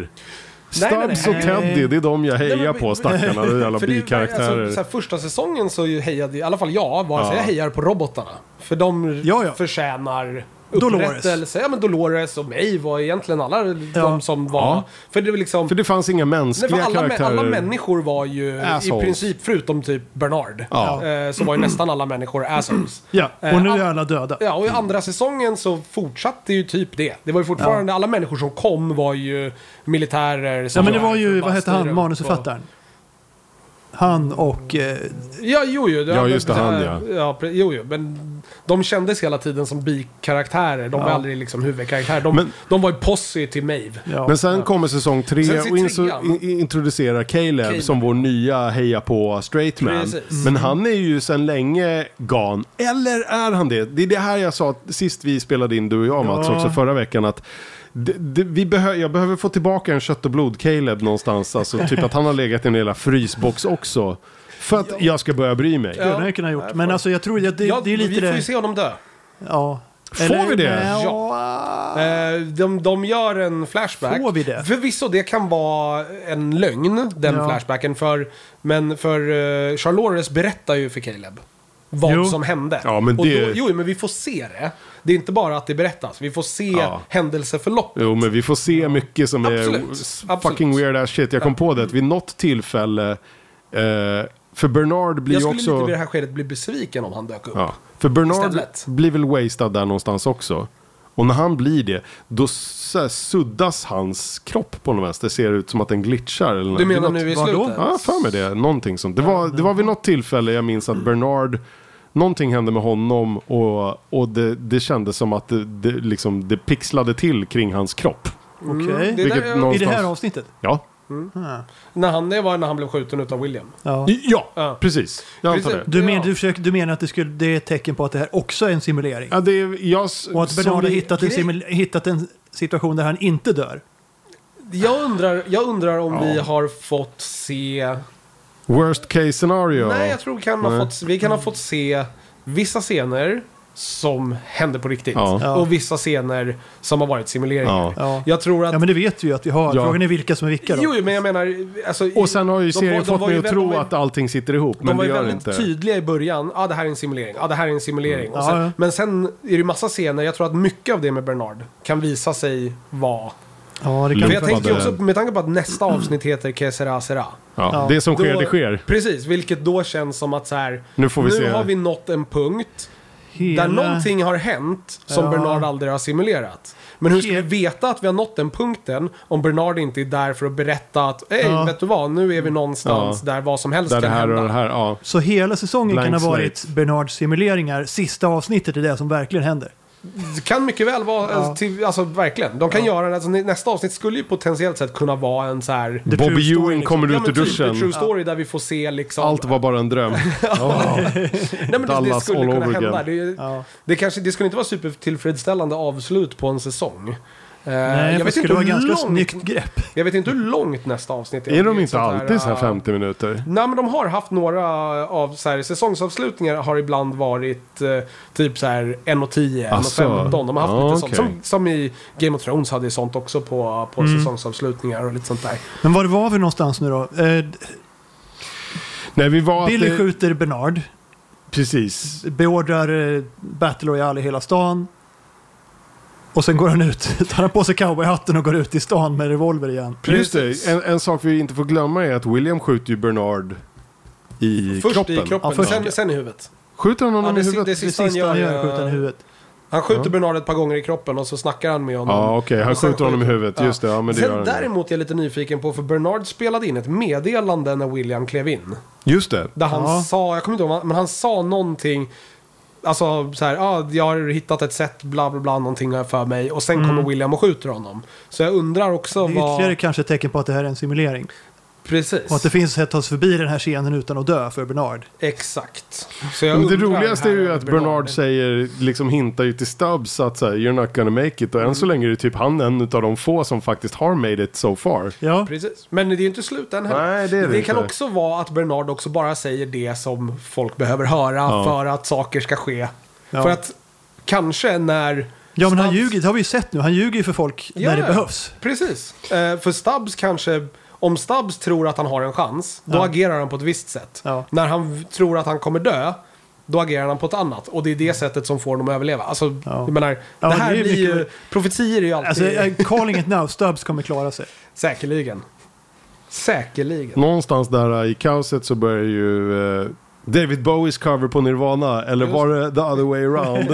Speaker 3: Nej, nej, nej.
Speaker 1: Stubbs och Teddy, det är de jag hejar
Speaker 3: Nej, men-
Speaker 1: på stackarna. Det är jävla
Speaker 3: För det är ju-
Speaker 1: bikaraktärer.
Speaker 3: Alltså, så här, första säsongen så ju hejade, i alla fall jag, vare sig
Speaker 1: Ja.
Speaker 3: jag hejar på robotarna. För de
Speaker 2: Ja, ja.
Speaker 3: förtjänar
Speaker 2: Dolores.
Speaker 3: upprättelse. Ja, men Dolores och mig var egentligen alla
Speaker 2: Ja.
Speaker 3: de som var...
Speaker 1: Ja.
Speaker 3: För det var liksom...
Speaker 1: för det fanns inga
Speaker 3: Nej, för
Speaker 1: mänskliga
Speaker 3: alla, mä-
Speaker 1: karaktärer.
Speaker 3: alla människor var ju
Speaker 1: Assholes.
Speaker 3: i princip, förutom typ Bernard,
Speaker 1: Ja.
Speaker 3: eh, så var ju nästan alla människor assholes.
Speaker 2: Ja,
Speaker 3: Eh,
Speaker 2: och nu
Speaker 3: all-
Speaker 2: är alla döda.
Speaker 3: Ja, och i andra säsongen så fortsatte ju typ det. Det var ju fortfarande, alla människor som kom var ju militärer.
Speaker 2: Ja,
Speaker 3: som liksom
Speaker 2: men det var ju,
Speaker 3: bara
Speaker 2: vad hette
Speaker 3: styrde
Speaker 2: han,
Speaker 3: upp
Speaker 2: manusförfattaren? Han och... Eh,
Speaker 3: och- Ja, jo, jo.
Speaker 1: Ja, just det,
Speaker 3: men-
Speaker 1: han, ja.
Speaker 3: ja. pre- Jo, jo, men de kändes hela tiden som bikaraktärer. De var aldrig liksom huvudkaraktärer. De,
Speaker 1: Men-
Speaker 3: de var ju posse till Maeve.
Speaker 2: ja.
Speaker 1: Men sen kommer säsong tre
Speaker 3: Sen ser
Speaker 1: och inso-
Speaker 3: trean.
Speaker 1: in- introducerar Caleb,
Speaker 3: Caleb.
Speaker 1: som vår nya heja på straight man.
Speaker 3: Precis.
Speaker 1: Men han är ju sedan länge gone. Eller är han det? Det är det här jag sa sist vi spelade in, du och jag Mats,
Speaker 2: Ja.
Speaker 1: också förra veckan. att det, det, vi behö- jag behöver få tillbaka en kött och blod-Caleb någonstans. Alltså typ att han har legat i en jävla frysbox också. För att jag ska börja bry mig.
Speaker 2: Det hade jag kunnat gjort. Men alltså jag tror att det,
Speaker 3: Ja,
Speaker 2: det är lite
Speaker 3: vi får
Speaker 2: det-
Speaker 3: ju se honom dö.
Speaker 2: Ja.
Speaker 1: Får vi det?
Speaker 2: Ja.
Speaker 3: Eh, de, de gör en flashback.
Speaker 2: Får vi det?
Speaker 3: Förvisso, det kan vara en lögn, den
Speaker 2: Ja.
Speaker 3: flashbacken. För, men för eh, Charlores berättar ju för Caleb vad
Speaker 2: Jo.
Speaker 3: som hände.
Speaker 1: Ja, men
Speaker 3: Och
Speaker 1: det-
Speaker 3: då, jo, men vi får se det. Det är inte bara att det berättas. Vi får se
Speaker 1: Ja.
Speaker 3: händelseförloppet.
Speaker 1: Jo, men vi får se mycket som
Speaker 3: Absolut.
Speaker 1: är s-
Speaker 3: Absolut.
Speaker 1: fucking weird ass shit. Jag kom på det att vid något tillfälle, eh, för Bernard blir
Speaker 3: Jag
Speaker 1: ju
Speaker 3: skulle
Speaker 1: också...
Speaker 3: lite vid det här skedet bli besviken om han dök upp.
Speaker 1: Ja. För Bernard
Speaker 3: Istället.
Speaker 1: blir väl wasted där någonstans också. Och när han blir det, då så här suddas hans kropp på något vänster. Det ser ut som att den glitchar. Eller
Speaker 3: Du
Speaker 1: något.
Speaker 3: menar
Speaker 1: Det är
Speaker 3: nu i
Speaker 1: något-
Speaker 3: slutet?
Speaker 1: Ja, för mig det. Någonting sånt. Det var, det var vid något tillfälle jag minns att Bernard, någonting hände med honom och, och det, det kändes som att det, det, liksom, det pixlade till kring hans kropp.
Speaker 2: Okej.
Speaker 3: Mm, det-
Speaker 1: Vilket
Speaker 3: där
Speaker 2: I
Speaker 3: jag-
Speaker 2: det
Speaker 1: någonstans...
Speaker 2: här avsnittet?
Speaker 1: Ja.
Speaker 2: Ah.
Speaker 3: När han, det var när han blev skjuten utav William.
Speaker 2: Ja.
Speaker 1: Ja,
Speaker 3: Ja.
Speaker 1: precis. Jag antar
Speaker 3: Precis.
Speaker 1: det.
Speaker 2: Du,
Speaker 3: Ja.
Speaker 2: men, du, försöker, du menar att det, skulle, det är ett tecken på att det här också är en simulering?
Speaker 1: Ja, det är, jag, s-
Speaker 2: Och att
Speaker 1: som
Speaker 2: Bernard har
Speaker 1: vi-
Speaker 2: hittat en,
Speaker 3: grej-
Speaker 2: simul- hittat en situation där han inte dör?
Speaker 3: Jag undrar, jag undrar om
Speaker 1: Ja.
Speaker 3: vi har fått se...
Speaker 1: Worst case scenario.
Speaker 3: Nej, jag tror kan
Speaker 1: Nej.
Speaker 3: ha fått, vi kan ha fått se vissa scener som hände på riktigt.
Speaker 1: Ja.
Speaker 2: Ja.
Speaker 3: Och vissa scener som har varit simuleringar.
Speaker 1: ja.
Speaker 2: Ja.
Speaker 3: Jag tror att...
Speaker 2: ja, men det vet vi ju att vi har.
Speaker 1: Ja.
Speaker 2: Frågan är vilka som är vilka då.
Speaker 3: jo, jo, men jag menar... Alltså,
Speaker 1: Och sen har ju
Speaker 3: de
Speaker 1: serien
Speaker 3: var- de
Speaker 1: fått
Speaker 3: var
Speaker 1: mig
Speaker 3: ju
Speaker 1: att
Speaker 3: väl-
Speaker 1: tro
Speaker 3: de var ju-
Speaker 1: att allting sitter ihop,
Speaker 3: De
Speaker 1: men
Speaker 3: var
Speaker 1: det
Speaker 3: ju
Speaker 1: gör det
Speaker 3: väldigt
Speaker 1: inte. Mm.
Speaker 3: tydliga i början. Ja, ah, det här är en simulering. Ja, ah, det här är en simulering. Och
Speaker 2: Ja,
Speaker 3: sen,
Speaker 2: ja.
Speaker 3: Men sen är det ju massa scener. Jag tror att mycket av det med Bernard kan visa sig
Speaker 2: Ja,
Speaker 3: vara...
Speaker 2: det kan
Speaker 1: Men
Speaker 3: Men
Speaker 2: vi
Speaker 3: jag
Speaker 1: Lupa
Speaker 2: faktiskt-
Speaker 3: tänker ju
Speaker 1: det.
Speaker 3: också, med tanke på att nästa avsnitt heter Que sera sera.
Speaker 1: Ja,
Speaker 2: Ja.
Speaker 1: Det som sker,
Speaker 3: Då-
Speaker 1: det sker.
Speaker 3: Precis, vilket då känns som att så här...
Speaker 1: Nu får vi
Speaker 3: nu
Speaker 1: se.
Speaker 3: har vi nått en punkt
Speaker 2: Hela-
Speaker 3: där någonting har hänt som
Speaker 2: Ja.
Speaker 3: Bernard aldrig har simulerat. Men hur ska vi
Speaker 2: Hel-
Speaker 3: veta att vi har nått den punkten om Bernard inte är där för att berätta att Ej,
Speaker 2: Ja.
Speaker 3: vet du vad, nu är vi någonstans där vad som helst
Speaker 1: Där det
Speaker 3: kan
Speaker 1: här
Speaker 3: hända.
Speaker 1: och det här. Ja.
Speaker 2: Så hela säsongen
Speaker 1: Blank
Speaker 2: kan ha varit Bernards simuleringar. Sista avsnittet är det som verkligen händer.
Speaker 3: Det kan mycket väl vara, alltså, till, alltså verkligen. De kan göra det, alltså, nästa avsnitt skulle ju potentiellt sett kunna vara en så här...
Speaker 2: The
Speaker 1: Bobby
Speaker 2: true story,
Speaker 1: Ewing
Speaker 2: liksom.
Speaker 1: kommer
Speaker 3: Ja,
Speaker 1: ut ur
Speaker 3: men typ en
Speaker 1: duschen.
Speaker 3: true story där vi får se liksom...
Speaker 1: Allt var bara en dröm. Ja.
Speaker 3: Nej, men det, det
Speaker 1: Dallas all
Speaker 3: skulle kunna
Speaker 1: over
Speaker 3: hända.
Speaker 1: again.
Speaker 3: Det, är ju-
Speaker 2: Ja.
Speaker 3: det, kanske, det skulle inte vara supertillfredsställande avslut på en säsong. Eh,
Speaker 2: Nej, jag det skulle vara ganska snyggt grepp.
Speaker 3: jag vet inte hur långt nästa avsnitt är.
Speaker 1: Är
Speaker 3: Det
Speaker 1: de inte
Speaker 3: sånt här,
Speaker 1: alltid så här
Speaker 3: eh,
Speaker 1: 50 minuter?
Speaker 3: Nej men de har haft några av så här, säsongsavslutningar har ibland varit eh, typ så här 1 och 10, 1 och
Speaker 1: Asså.
Speaker 3: 15. De har haft
Speaker 1: Alltså, Ja,
Speaker 3: lite
Speaker 1: okej.
Speaker 3: sånt. Som, som i Game of Thrones hade ju sånt också på, på
Speaker 2: Mm.
Speaker 3: säsongsavslutningar och lite sånt där.
Speaker 2: Men var var vi någonstans nu då? Eh,
Speaker 1: Nej, vi var att
Speaker 2: Billy
Speaker 1: det-
Speaker 2: skjuter Bernard,
Speaker 1: Precis.
Speaker 2: beordrar eh, Battle Royale i hela stan. Och sen går han ut, tar han på sig cowboyhatten och går ut i stan med revolver igen.
Speaker 1: Just
Speaker 3: Precis.
Speaker 1: det, en, en sak vi inte får glömma är att William skjuter ju Bernard i
Speaker 3: Först
Speaker 1: kroppen.
Speaker 3: i
Speaker 2: Ja,
Speaker 3: kroppen,
Speaker 2: först.
Speaker 3: sen, sen i huvudet.
Speaker 1: Skjuter han
Speaker 3: Ja,
Speaker 1: honom
Speaker 3: det,
Speaker 1: i
Speaker 3: si-
Speaker 1: huvudet?
Speaker 3: det
Speaker 2: Det
Speaker 3: sista,
Speaker 2: sista han gör är
Speaker 3: eh,
Speaker 2: att skjuta honom i hudet.
Speaker 3: Han skjuter
Speaker 1: Ja.
Speaker 3: Bernard ett par gånger i kroppen och så snackar han med honom.
Speaker 1: Ja, okej. Han
Speaker 3: Och sen
Speaker 1: skjuter honom i huvudet.
Speaker 3: Ja.
Speaker 1: Just det, ja men det gör
Speaker 3: Sen
Speaker 1: han. ju.
Speaker 3: däremot är jag lite nyfiken på, för Bernard spelade in ett meddelande när William klev in.
Speaker 1: Just det.
Speaker 3: Där han
Speaker 2: Ja.
Speaker 3: sa, jag kommer inte ihåg, vad han- men han sa någonting. Alltså så här, ah, jag har hittat ett sätt, bla bla bla, någonting har jag för mig. Och sen
Speaker 1: Mm.
Speaker 3: kommer William och skjuter honom. Så jag undrar också
Speaker 2: Det är ytterligare
Speaker 3: vad...
Speaker 2: kanske ett tecken på att det här är en simulering.
Speaker 3: Precis.
Speaker 2: Och att det finns ett sätt att ta sig förbi den här scenen utan att dö för Bernard.
Speaker 3: Exakt. Så jag
Speaker 1: Men det
Speaker 3: undrar
Speaker 1: roligaste är
Speaker 3: här
Speaker 1: ju
Speaker 3: om
Speaker 1: att Bernard säger, liksom hintar ju till Stubbs att så här, you're not gonna make it. Och än så länge är det typ han en av de få som faktiskt har made it so far.
Speaker 2: Ja,
Speaker 3: Precis. Men det är ju inte slut än heller.
Speaker 1: Nej, det är det
Speaker 3: det kan
Speaker 1: inte.
Speaker 3: också vara att Bernard också bara säger det som folk behöver höra
Speaker 1: Ja.
Speaker 3: för att saker ska ske.
Speaker 2: Ja.
Speaker 3: För att kanske när...
Speaker 2: ja men han
Speaker 3: Stubbs-
Speaker 2: ljuger, det har vi ju sett nu. Han ljuger ju för folk
Speaker 3: Ja,
Speaker 2: när det
Speaker 3: ja.
Speaker 2: behövs.
Speaker 3: Precis. Eh, för Stubbs kanske... Om Stubbs tror att han har en chans, då
Speaker 2: Ja.
Speaker 3: agerar han på ett visst sätt.
Speaker 2: Ja.
Speaker 3: När han v- tror att han kommer dö, då agerar han på ett annat. Och det är det sättet som får honom att överleva. Alltså,
Speaker 2: Mm. Ja.
Speaker 3: jag menar,
Speaker 2: Ja,
Speaker 3: det här
Speaker 2: det är
Speaker 3: blir ju...
Speaker 2: mycket-
Speaker 3: Profetier är ju alltid...
Speaker 2: Alltså, eh, calling it now, Stubbs kommer klara sig.
Speaker 3: Säkerligen. Säkerligen.
Speaker 1: Någonstans där eh, i kaoset så börjar ju eh, David Bowies cover på Nirvana, eller var det the other way around?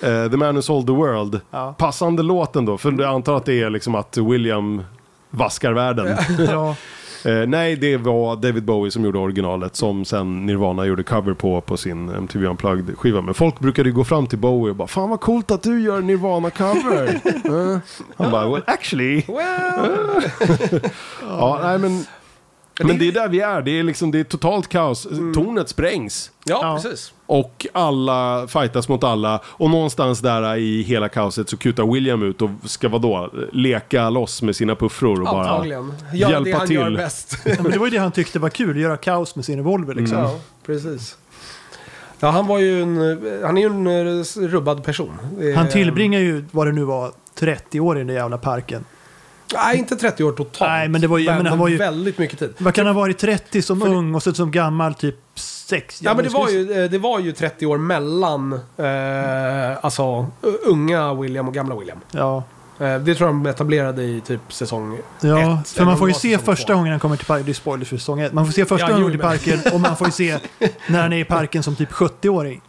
Speaker 1: Eh, the man who sold the world.
Speaker 2: Ja.
Speaker 1: Passande låten då, för jag antar att det är liksom att William vaskar världen.
Speaker 2: Ja,
Speaker 1: Eh, nej, det var David Bowie som gjorde originalet som sen Nirvana gjorde cover på på sin MTV Unplugged-skiva. Men folk brukade ju gå fram till Bowie och bara “Fan vad coolt att du gör Nirvana-cover!” Eh, Han bara “Well actually...”
Speaker 3: Well,
Speaker 1: Ja, nej men... Men det Mm. är där vi är. Det är liksom det är totalt kaos. Tornet sprängs.
Speaker 3: Ja,
Speaker 2: Ja.
Speaker 3: precis.
Speaker 1: Och alla fightas mot alla. Och någonstans där i hela kaoset så kutar William ut och ska vadå? Leka loss med sina puffror och bara...
Speaker 3: Antagligen. Göra
Speaker 1: hjälpa
Speaker 3: det han gör
Speaker 1: till.
Speaker 3: bäst.
Speaker 2: men det var ju det han tyckte var kul, göra kaos med sin revolver liksom.
Speaker 3: ja, precis. Ja, han var ju en, han är ju en eh, rubbad person. Eh,
Speaker 2: Han tillbringar ju, vad det nu var, 30 år i den där jävla parken.
Speaker 3: Nej, inte 30 år totalt.
Speaker 2: Nej, men det var ju- jag menar, han var ju-
Speaker 3: väldigt mycket tid.
Speaker 2: Vad kan han ha varit 30 som
Speaker 3: För det-
Speaker 2: ung och sen som gammal typ 6?
Speaker 3: Ja, men det var, ju, eh, det var ju 30 år mellan eh, alltså, u- unga William och gamla William.
Speaker 2: Ja,
Speaker 3: Eh, det tror jag de etablerade i typ säsong
Speaker 2: ja
Speaker 3: Ett,
Speaker 2: för
Speaker 3: eller
Speaker 2: man får ju
Speaker 3: vad
Speaker 2: se
Speaker 3: som var.
Speaker 2: första gången han kommer till parken, det är spoilers för säsong ett. Man får se första
Speaker 3: Ja,
Speaker 2: gången han
Speaker 3: jo,
Speaker 2: kommer till parken och man får ju se när han är i parken som typ 70-åring.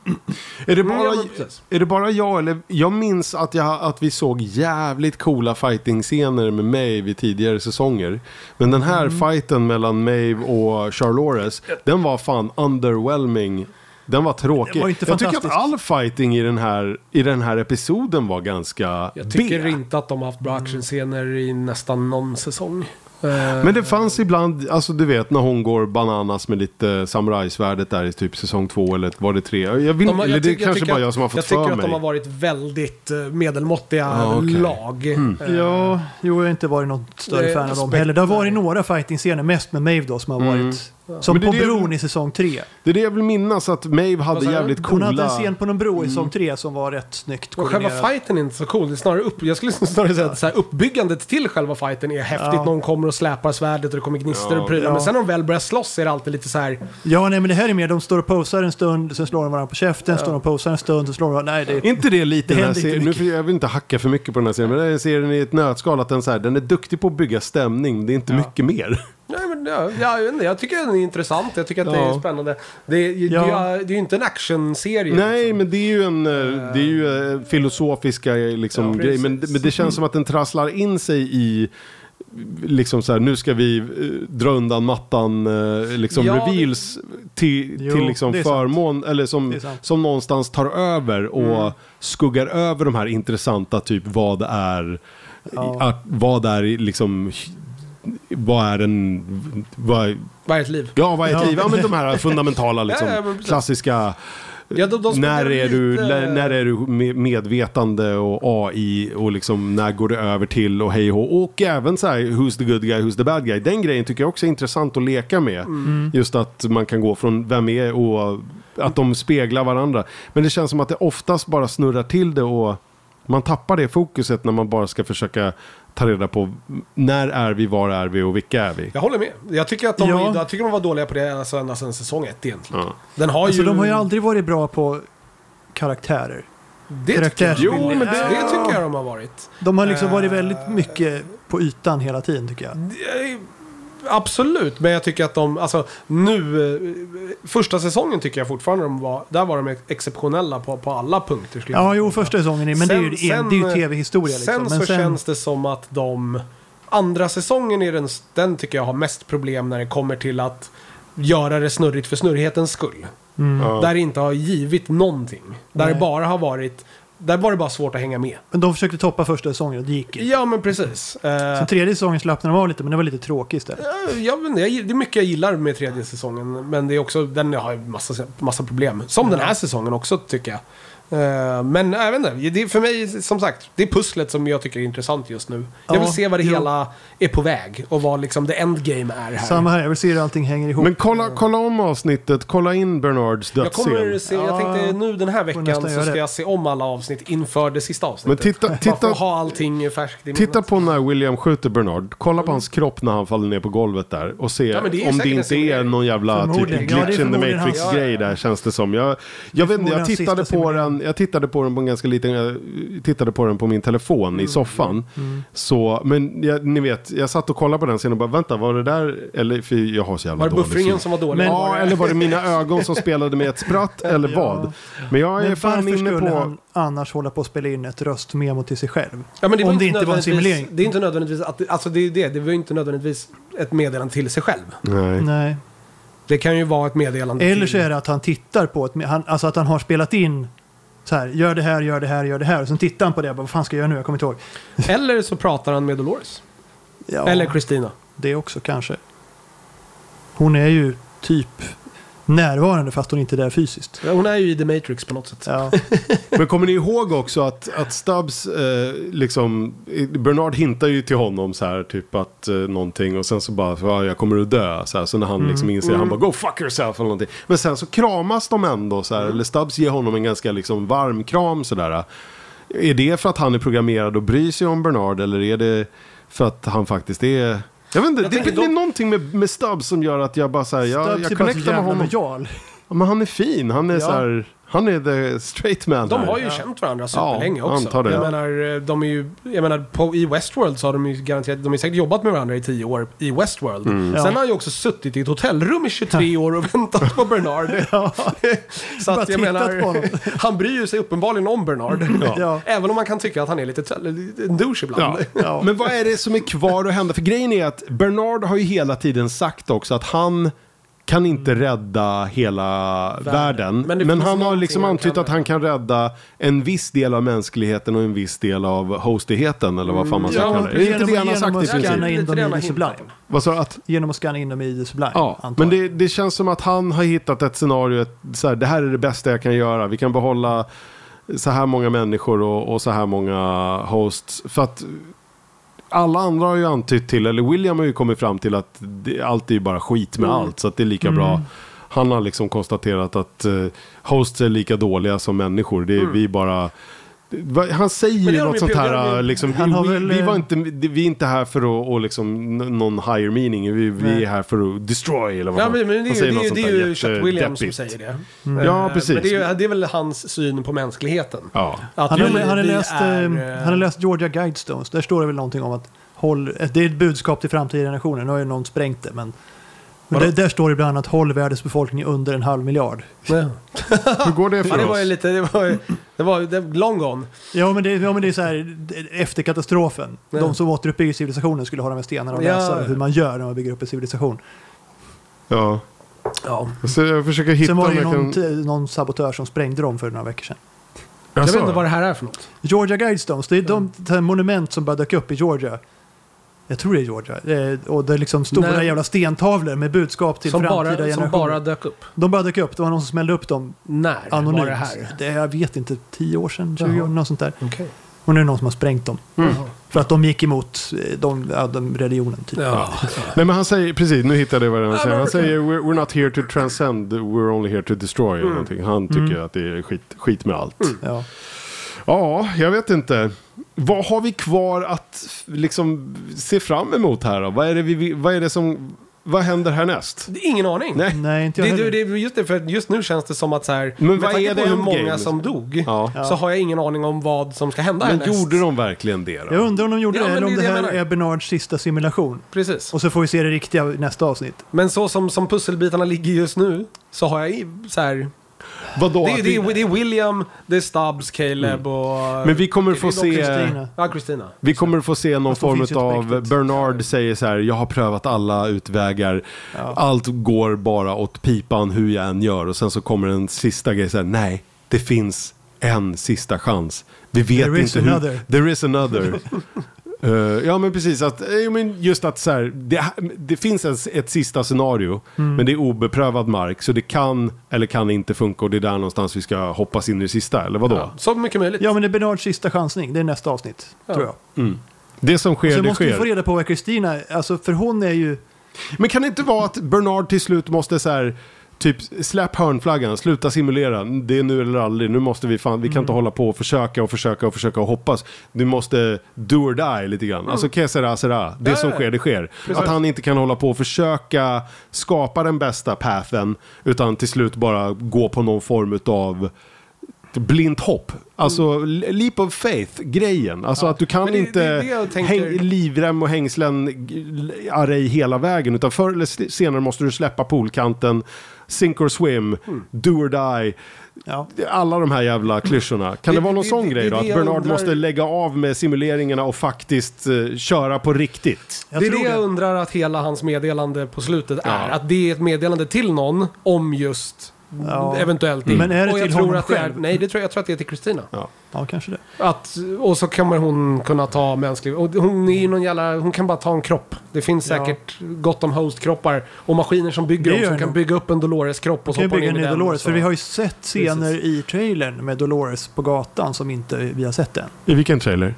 Speaker 1: Är det,
Speaker 3: Mm,
Speaker 1: bara,
Speaker 3: ja, men precis.
Speaker 1: är det bara jag eller? Jag minns att, jag, att vi såg jävligt coola fighting-scener med Maeve vid tidigare säsonger. Men den här
Speaker 3: Mm.
Speaker 1: fighten mellan Maeve och Charlores, den var fan underwhelming. Den var tråkig.
Speaker 2: Den var inte
Speaker 1: jag tycker att
Speaker 2: fantastisk.
Speaker 1: all fighting i den här, i den här episoden var ganska
Speaker 3: Jag tycker
Speaker 1: B.
Speaker 3: inte att de har haft bra actionscener i nästan någon säsong. Eh,
Speaker 1: Men det fanns ibland, alltså du vet när hon går bananas med lite samurajsvärdet där i typ säsong två eller var det tre? Jag vill,
Speaker 3: de har-
Speaker 1: eller det
Speaker 3: tycker-
Speaker 1: kanske
Speaker 3: tycker
Speaker 1: bara jag
Speaker 3: att-
Speaker 1: som har fått
Speaker 3: Jag
Speaker 1: för
Speaker 3: tycker
Speaker 1: mig.
Speaker 3: att de har varit väldigt eh, medelmåttiga
Speaker 1: Ja, okej. Mm.
Speaker 3: lag. Eh,
Speaker 2: Ja, jo, jag har inte varit något större
Speaker 3: Nej, Mm.
Speaker 2: fan av dem
Speaker 3: aspekter.
Speaker 2: heller. Det har varit några fighting-scener, mest med Maeve då, som har varit... Som
Speaker 1: Men det är
Speaker 2: på
Speaker 1: det-
Speaker 2: bron i säsong tre.
Speaker 1: Det är det jag vill minnas att Maeve
Speaker 3: Vad
Speaker 1: hade
Speaker 3: sa du?
Speaker 1: jävligt
Speaker 2: Hon
Speaker 1: coola...
Speaker 2: hade en scen på någon bro i säsong tre som var rätt snyggt
Speaker 3: Och Mm. själva
Speaker 2: koordinerad.
Speaker 3: fighten är inte så cool. Det är snarare upp, jag skulle snarare säga att så här, uppbyggandet till själva fighten är häftigt.
Speaker 2: Ja.
Speaker 3: Någon kommer och släpar svärdet och det kommer gnistor
Speaker 1: Ja.
Speaker 3: och prylar.
Speaker 2: Ja.
Speaker 3: Men sen när de väl börjar slåss är det alltid lite så här...
Speaker 2: Ja, nej men det här är mer, de står och posar en stund, sen slår de varandra på käften, står de och posar en stund, sen slår de varandra... Nej, det
Speaker 1: Är inte det lite
Speaker 2: Det
Speaker 1: den här
Speaker 2: händer inte
Speaker 1: serien, nu,
Speaker 2: mycket.
Speaker 1: får- jag vill inte hacka för mycket på den här serien, men den här serien i ett nötskal att den, så här, den är duktig på att bygga stämning, det är inte mycket mer.
Speaker 3: Nej, men, ja, ja, jag, vet inte, jag tycker den är intressant. Jag tycker att det
Speaker 1: Ja.
Speaker 3: är spännande. Det, är- det,
Speaker 2: Ja.
Speaker 3: är- det är ju inte en actionserie. liksom.
Speaker 1: Nej, men det är ju en, eh, det är ju eh, filosofiska eh, liksom,
Speaker 3: Ja,
Speaker 1: grej, men,
Speaker 3: precis.
Speaker 1: men det känns som att den trasslar in sig i Liksom så här, nu ska vi eh, dra undan mattan, eh, liksom
Speaker 3: Ja, det-
Speaker 1: reveals till,
Speaker 2: Jo,
Speaker 1: till liksom
Speaker 2: det är sant.
Speaker 1: förmån, eller
Speaker 2: Det
Speaker 1: som,
Speaker 2: är sant.
Speaker 1: som någonstans tar över och skuggar över de här intressanta, typ vad är,
Speaker 2: Ja.
Speaker 1: att, vad är liksom, vad är en, vad är,
Speaker 3: Vad är ett liv?
Speaker 1: ja vad är ett
Speaker 2: Ja.
Speaker 1: liv? Ja men de här fundamentala liksom,
Speaker 3: Ja, ja, men precis.
Speaker 1: klassiska
Speaker 3: Ja, de, de
Speaker 1: när,
Speaker 3: spelar
Speaker 1: är du,
Speaker 3: lite-
Speaker 1: när, när är du med- medvetande och AI och liksom när går det över till och hej och hå. Och även så här who's the good guy, who's the bad guy. Den grejen tycker jag också är intressant att leka med.
Speaker 3: Mm.
Speaker 1: Just att man kan gå från vem är och att de speglar varandra. Men det känns som att det oftast bara snurrar till det och man tappar det fokuset när man bara ska försöka ta reda på när är vi, var är vi och vilka är vi.
Speaker 3: Jag håller med. Jag tycker att de,
Speaker 2: Ja.
Speaker 3: jag tycker de var dåliga på det alltså, ända sedan säsong ett egentligen.
Speaker 1: Ja.
Speaker 3: Den har
Speaker 2: Alltså
Speaker 3: ju...
Speaker 2: de har ju aldrig varit bra på karaktärer.
Speaker 3: det tycker jag,
Speaker 2: karaktärsbilder.
Speaker 3: jo, men det,
Speaker 1: Ja.
Speaker 3: det tycker jag de har varit.
Speaker 2: De har liksom varit
Speaker 3: Eh.
Speaker 2: väldigt mycket på ytan hela tiden tycker jag.
Speaker 3: Eh, Absolut, men jag tycker att de, alltså nu, eh, första säsongen tycker jag fortfarande de var, där var de exceptionella på, på alla punkter. skulle jag
Speaker 2: Ja,
Speaker 3: säga.
Speaker 2: jo, första säsongen är, men det är ju,
Speaker 3: Sen-
Speaker 2: det är ju
Speaker 3: sen-
Speaker 2: tv-historia liksom.
Speaker 3: Sen
Speaker 2: men
Speaker 3: så känns det som att de, andra säsongen är den, den tycker jag har mest problem när det kommer till att göra det snurrigt för snurrighetens skull.
Speaker 1: Ja.
Speaker 3: Där det inte har givit någonting. Där
Speaker 2: Mm. Nej.
Speaker 3: det bara har varit, där var det bara svårt att hänga med.
Speaker 2: Men de försökte toppa första säsongen och det gick inte.
Speaker 3: Ja men precis. Eh,
Speaker 2: Sen tredje säsongen slappnade de av lite, men det var lite tråkigt istället.
Speaker 3: Eh, Jag vet inte, jag, det är mycket jag gillar med tredje säsongen. Men det är också, den har ju massa, massa problem. Som den här säsongen också tycker jag. Eh, Men jag vet inte, det är för mig som sagt, det är pusslet som jag tycker är intressant just nu.
Speaker 2: Ja,
Speaker 3: jag vill se vad det
Speaker 2: jo.
Speaker 3: hela är på väg och vad liksom the endgame är här.
Speaker 2: Samma här, jag vill se hur allting hänger ihop.
Speaker 1: Men kolla, kolla om avsnittet, kolla in Bernards
Speaker 3: Jag
Speaker 1: dödsscen.
Speaker 3: kommer se, jag tänkte nu den här veckan
Speaker 2: nästan
Speaker 3: så
Speaker 2: göra
Speaker 3: ska
Speaker 2: det.
Speaker 3: jag se om alla avsnitt inför det sista
Speaker 1: Men
Speaker 3: avsnittet.
Speaker 1: titta,
Speaker 3: Bara för
Speaker 1: titta,
Speaker 3: att ha allting färskt i
Speaker 1: Titta
Speaker 3: minnet.
Speaker 1: på när William skjuter Bernard. Kolla på hans kropp när han faller ner på golvet där. Och se
Speaker 3: Ja, men det är ju
Speaker 1: om det
Speaker 3: säkert en
Speaker 1: inte är
Speaker 3: simulering.
Speaker 1: någon jävla typ
Speaker 2: Förmodligen. Ja, det är
Speaker 1: glitch in the
Speaker 2: förmodligen hans-
Speaker 1: matrix-grej där känns det som. Jag, jag, vet, inte, jag,
Speaker 2: förmodligen hans
Speaker 1: tittade
Speaker 2: sista
Speaker 1: på
Speaker 2: simulering.
Speaker 1: den, jag tittade på den på en ganska liten... Jag tittade på den på min telefon
Speaker 2: Mm.
Speaker 1: i soffan. Så, men jag, ni vet, jag satt och kollade på den sen och bara vänta var det där... Eller för jag har så jävla
Speaker 3: Var det
Speaker 1: dålig
Speaker 3: buffringen
Speaker 1: syn.
Speaker 3: som var dålig?
Speaker 2: Men-
Speaker 1: Ja, eller var det mina ögon som spelade med ett spratt eller
Speaker 2: Ja.
Speaker 1: vad? Men jag är
Speaker 2: Men
Speaker 1: fan
Speaker 2: varför
Speaker 1: inne
Speaker 2: skulle
Speaker 1: på...
Speaker 2: han annars hålla på att spela in ett röstmemo till sig själv?
Speaker 3: Ja, men det var
Speaker 2: Om det inte var en
Speaker 3: nödvändigtvis-
Speaker 2: simulering.
Speaker 3: Det är inte nödvändigtvis att, alltså det är det, det var ju inte nödvändigtvis ett meddelande till sig själv.
Speaker 1: Nej.
Speaker 2: Nej.
Speaker 3: Det kan ju vara ett meddelande
Speaker 1: Mm.
Speaker 2: Eller så
Speaker 3: till...
Speaker 2: är det att han tittar på ett, han, alltså att han har spelat in så här, gör det här, gör det här, gör det här. Och sen tittar han på det och bara, vad fan ska jag göra nu? Jag kommer inte ihåg.
Speaker 3: Eller så pratar han med Dolores.
Speaker 2: Ja,
Speaker 3: Eller Christina.
Speaker 2: det också kanske. Hon är ju typ närvarande fast hon inte är där fysiskt.
Speaker 3: Hon är ju i The Matrix på något sätt.
Speaker 2: Ja.
Speaker 1: Men kommer ni ihåg också att, att Stubbs, eh, liksom, Bernard hintar ju till honom så här, typ att eh, någonting och sen så bara, "Ja, jag kommer att dö. Så, här, så när han liksom inser, han bara, go fuck yourself eller någonting. Men sen så kramas de ändå så här, eller Stubbs ger honom en ganska liksom varm kram sådär. Är det för att han är programmerad och bryr sig om Bernard eller är det för att han faktiskt är... Jag vet inte,
Speaker 3: Jag
Speaker 1: det,
Speaker 3: tänker
Speaker 1: det är
Speaker 3: de-
Speaker 1: någonting med, med Stubbs som gör att jag bara säger jag,
Speaker 2: Stubbs
Speaker 1: jag
Speaker 2: är bara så
Speaker 1: connectar
Speaker 2: jävla
Speaker 1: med honom.
Speaker 2: lojal.
Speaker 1: Ja, Men han är fin, han är
Speaker 2: Ja.
Speaker 1: så här, han är the straight man
Speaker 3: De
Speaker 1: här.
Speaker 3: har ju känt varandra superlänge
Speaker 1: Ja,
Speaker 3: också.
Speaker 1: antar det.
Speaker 3: Jag menar, eh, de är ju, jag menar på, i Westworld så har de ju garanterat, de har ju säkert jobbat med varandra i tio år i Westworld. Sen
Speaker 1: Mm.
Speaker 2: Ja.
Speaker 3: har han ju också suttit i ett hotellrum i 23 år och väntat på Bernard. så
Speaker 2: Bara
Speaker 3: att jag
Speaker 2: tittat på honom. Mm.
Speaker 3: menar, han bryr ju sig uppenbarligen om Bernard.
Speaker 1: Ja.
Speaker 2: Ja.
Speaker 3: Även om man kan tycka att han är lite töl- en douche ibland.
Speaker 1: Ja.
Speaker 2: Ja.
Speaker 1: Men vad är det som är kvar att hända? För grejen är att Bernard har ju hela tiden sagt också att han kan inte rädda hela världen.
Speaker 3: Men
Speaker 1: Men,
Speaker 3: det finns
Speaker 1: han har
Speaker 3: någonting
Speaker 1: liksom
Speaker 3: han
Speaker 1: antytt
Speaker 3: kan
Speaker 1: att han kan rädda en viss del av mänskligheten och en viss del av hostigheten eller vad fan man ska
Speaker 3: Mm, ja,
Speaker 1: kalla det. Det är inte det han har
Speaker 2: genom
Speaker 1: sagt i
Speaker 2: att scanna
Speaker 1: princip.
Speaker 2: in
Speaker 3: Lite
Speaker 2: dem
Speaker 3: det
Speaker 2: i
Speaker 3: han har
Speaker 2: det
Speaker 3: hintat
Speaker 2: sublime.
Speaker 1: Vad sa du? Att
Speaker 2: Genom att scanna in dem i det sublime,
Speaker 1: Ja,
Speaker 2: antar
Speaker 1: men
Speaker 2: jag.
Speaker 1: det, det känns som att han har hittat ett scenario, ett, så här, det här är det bästa jag kan göra, vi kan behålla så här många människor och, och så här många hosts. För att alla andra har ju antytt till, eller William har ju kommit fram till att det, allt är ju bara skit
Speaker 2: Mm.
Speaker 1: med allt, så att det är lika bra. Han har liksom konstaterat att eh, hosts är lika dåliga som människor, det är
Speaker 2: Mm.
Speaker 1: vi bara... Va- Han säger
Speaker 3: Men det
Speaker 1: ju
Speaker 3: har
Speaker 1: något
Speaker 3: de ju
Speaker 1: sånt
Speaker 3: pionjärer
Speaker 1: här,
Speaker 3: med.
Speaker 1: liksom,
Speaker 2: Han har
Speaker 1: vi,
Speaker 2: väl,
Speaker 1: vi,
Speaker 2: eh,
Speaker 1: var inte, vi är inte här för att och liksom, n- någon higher meaning, vi, vi
Speaker 2: Nej.
Speaker 1: är här för att destroy eller vad
Speaker 3: Ja,
Speaker 1: fan.
Speaker 3: men, men det
Speaker 1: Han
Speaker 3: är ju,
Speaker 1: säger
Speaker 3: det
Speaker 1: något
Speaker 3: är ju,
Speaker 1: sånt
Speaker 3: det är
Speaker 1: där
Speaker 3: ju Chuck Williams som
Speaker 1: jättedeppigt.
Speaker 3: säger det.
Speaker 1: Ja,
Speaker 3: Eh,
Speaker 1: precis.
Speaker 3: Men det är, ju, det är väl hans syn på mänskligheten.
Speaker 1: Ja.
Speaker 3: Att
Speaker 2: Han har,
Speaker 3: vi-
Speaker 2: han, har
Speaker 3: vi
Speaker 2: läst,
Speaker 3: är,
Speaker 2: eh,
Speaker 3: eh,
Speaker 2: han har läst Georgia Guidestones. Där står det väl någonting om att håll, det är ett budskap till framtida generationer. Nu har ju någon sprängt det, men, men
Speaker 3: Vadå?
Speaker 2: där, där står det bland annat håll världens befolkning under en halv miljard.
Speaker 3: Ja.
Speaker 1: Hur går det
Speaker 3: Ja,
Speaker 1: för
Speaker 3: det var ju
Speaker 1: oss?
Speaker 3: lite, det var ju, det var, det var long gone.
Speaker 2: Ja, men det, ja, men det är så här det- efter katastrofen.
Speaker 3: Ja.
Speaker 2: De som återuppbygger civilisationen skulle ha de här stenarna och
Speaker 3: Ja.
Speaker 2: läsa hur man gör när man bygger upp en civilisation.
Speaker 1: Ja.
Speaker 3: Ja.
Speaker 1: Så jag försöker hitta
Speaker 2: Sen var det
Speaker 1: om
Speaker 2: ju
Speaker 1: jag
Speaker 2: någon, typ-
Speaker 1: kan...
Speaker 2: t- någon sabotör som sprängde dem för några veckor sedan.
Speaker 3: Jag
Speaker 1: Jaså?
Speaker 3: vet inte vad det här är för något.
Speaker 2: Georgia Guidestones, det är
Speaker 3: Mm.
Speaker 2: de det här monument som bara dök upp i Georgia. Jag tror det är Georgia. Eh, Och det är liksom stora
Speaker 3: Nej.
Speaker 2: jävla stentavlor med budskap till
Speaker 3: Som
Speaker 2: framtida
Speaker 3: bara,
Speaker 2: generationer.
Speaker 3: som bara dök upp.
Speaker 2: De bara dök upp, det var någon som smällde upp dem
Speaker 3: När
Speaker 2: anonymt.
Speaker 3: var det här?
Speaker 2: Det, jag vet inte, 10 år sedan, 20
Speaker 3: Jaha.
Speaker 2: år, något sånt där.
Speaker 3: Okej.
Speaker 2: Och nu är det någon som har sprängt dem.
Speaker 1: Mm.
Speaker 3: Jaha.
Speaker 2: För att de gick emot eh, de, ja, de religionen. Typ.
Speaker 3: Ja.
Speaker 1: Nej men han säger, precis nu hittade jag vad han
Speaker 3: Ja,
Speaker 1: säger.
Speaker 3: men
Speaker 1: Han
Speaker 3: okej. Mm.
Speaker 1: säger we're, we're not here to transcend, we're only here to destroy. Eller någonting. Han tycker att det är skit, skit med allt.
Speaker 2: Ja.
Speaker 1: Ja, jag vet inte. Vad har vi kvar att f- liksom se fram emot här då? Vad är det, vi- vi, vad är det som... Vad händer härnäst?
Speaker 3: Det är Ingen aning.
Speaker 1: Nej.
Speaker 2: Nej, inte jag
Speaker 3: Det, det,
Speaker 2: heller.
Speaker 3: det, är just det, för just nu känns det som att så här,
Speaker 1: Men
Speaker 3: med
Speaker 1: vad
Speaker 3: tanke
Speaker 1: är
Speaker 3: på
Speaker 1: det
Speaker 3: hur
Speaker 1: endgame,
Speaker 3: många
Speaker 1: liksom?
Speaker 3: som dog,
Speaker 1: Ja.
Speaker 3: så har jag ingen aning om vad som ska hända
Speaker 1: Men
Speaker 3: härnäst.
Speaker 1: gjorde de verkligen det då?
Speaker 2: Jag undrar om de gjorde
Speaker 3: Ja,
Speaker 2: det,
Speaker 3: men
Speaker 2: eller om
Speaker 3: det
Speaker 2: det,
Speaker 3: är det jag
Speaker 2: här
Speaker 3: menar.
Speaker 2: är Bernards sista simulation.
Speaker 3: Precis.
Speaker 2: Och så får vi se det riktiga i nästa avsnitt.
Speaker 3: Men så som, som pusselbitarna ligger just nu, så har jag i- så här,
Speaker 1: Vadå?
Speaker 3: det,
Speaker 1: Att
Speaker 3: är- det,
Speaker 1: vi-
Speaker 3: är- det är William, det är Stubbs, Caleb och...
Speaker 1: Mm. Men vi kommer få
Speaker 3: och
Speaker 1: se...
Speaker 2: Kristina.
Speaker 3: Ja, Kristina.
Speaker 1: Vi kommer få se någon
Speaker 2: Fast de finns ju
Speaker 1: form
Speaker 2: inte
Speaker 1: av
Speaker 2: på riktigt.
Speaker 1: Bernard säger så här, jag har prövat alla utvägar, allt går bara åt pipan hur jag än gör och sen så kommer en sista grej så här, nej, det finns en sista chans. Vi vet
Speaker 2: There is
Speaker 1: inte
Speaker 2: another.
Speaker 1: hur... There is another. Eh, ja men precis, att, eh, men just att så här, det, det finns ett, ett sista scenario
Speaker 2: Mm.
Speaker 1: men det är obeprövad mark så det kan eller kan inte funka och det är där någonstans vi ska hoppas in i det sista eller vadå?
Speaker 3: Så mycket möjligt.
Speaker 2: Ja, men det är Bernards sista chansning. Det är nästa avsnitt,
Speaker 3: Ja.
Speaker 2: tror jag.
Speaker 1: Det som sker
Speaker 2: Så
Speaker 1: det
Speaker 2: Alltså, måste vi
Speaker 1: sker.
Speaker 2: få reda på vad Kristina, alltså för hon är ju...
Speaker 1: Men kan det inte vara att Bernard till slut måste så här, typ släpp hörnflaggan, sluta simulera, det är nu eller aldrig, nu måste vi fan, vi kan
Speaker 3: Mm.
Speaker 1: inte hålla på och försöka och försöka och försöka och hoppas. Du måste do or die lite grann. Alltså que sera sera, det
Speaker 3: Mm. Ja,
Speaker 1: som
Speaker 3: ja.
Speaker 1: sker det sker. Att han inte kan hålla på och försöka skapa den bästa pathen, utan till slut bara gå på någon form av blint hopp. Alltså leap of faith-grejen. Alltså att du kan
Speaker 3: Men det-
Speaker 1: inte
Speaker 3: det är det jag tänker.
Speaker 1: häng, livrem och hängslen g- array hela vägen. Utan förr eller s- senare måste du släppa poolkanten, sink or swim,
Speaker 3: Mm.
Speaker 1: do or die.
Speaker 2: Ja.
Speaker 1: Alla de här jävla klyschorna. Kan
Speaker 3: Det-
Speaker 1: det, vara någon
Speaker 3: det-
Speaker 1: sån
Speaker 3: det-
Speaker 1: grej
Speaker 3: det-
Speaker 1: då? Att
Speaker 3: det jag
Speaker 1: Bernard
Speaker 3: undrar-
Speaker 1: måste lägga av med simuleringarna och faktiskt eh, köra på riktigt?
Speaker 2: Jag
Speaker 3: det är det
Speaker 2: tror
Speaker 3: jag
Speaker 2: det.
Speaker 3: undrar att hela hans meddelande på slutet är.
Speaker 1: Ja.
Speaker 3: Att det är ett meddelande till någon om just
Speaker 2: Ja. Mm.
Speaker 3: eventuellt
Speaker 2: Men är det
Speaker 3: och jag
Speaker 2: till
Speaker 3: tror
Speaker 2: honom
Speaker 3: att det är,
Speaker 2: själv?
Speaker 3: Nej, det tror, jag tror att det är till Kristina.
Speaker 1: Ja.
Speaker 2: Ja, kanske det.
Speaker 3: Att, och så kommer hon kunna ta mänsklig... Och hon, är ju någon jävla, hon kan bara ta en kropp. Det finns
Speaker 2: Ja.
Speaker 3: säkert gott om hostkroppar och maskiner som
Speaker 2: Det
Speaker 3: bygger dem
Speaker 2: gör
Speaker 3: som
Speaker 2: det
Speaker 3: kan
Speaker 2: nog.
Speaker 3: bygga upp en Dolores-kropp och
Speaker 2: Kan
Speaker 3: så
Speaker 2: ju
Speaker 3: hoppar hon
Speaker 2: bygga en
Speaker 3: in
Speaker 2: ny
Speaker 3: i den. och
Speaker 2: Dolores,
Speaker 3: så-
Speaker 2: för vi har ju sett scener i trailern med Dolores på gatan som inte vi har sett än.
Speaker 1: I vilken trailer?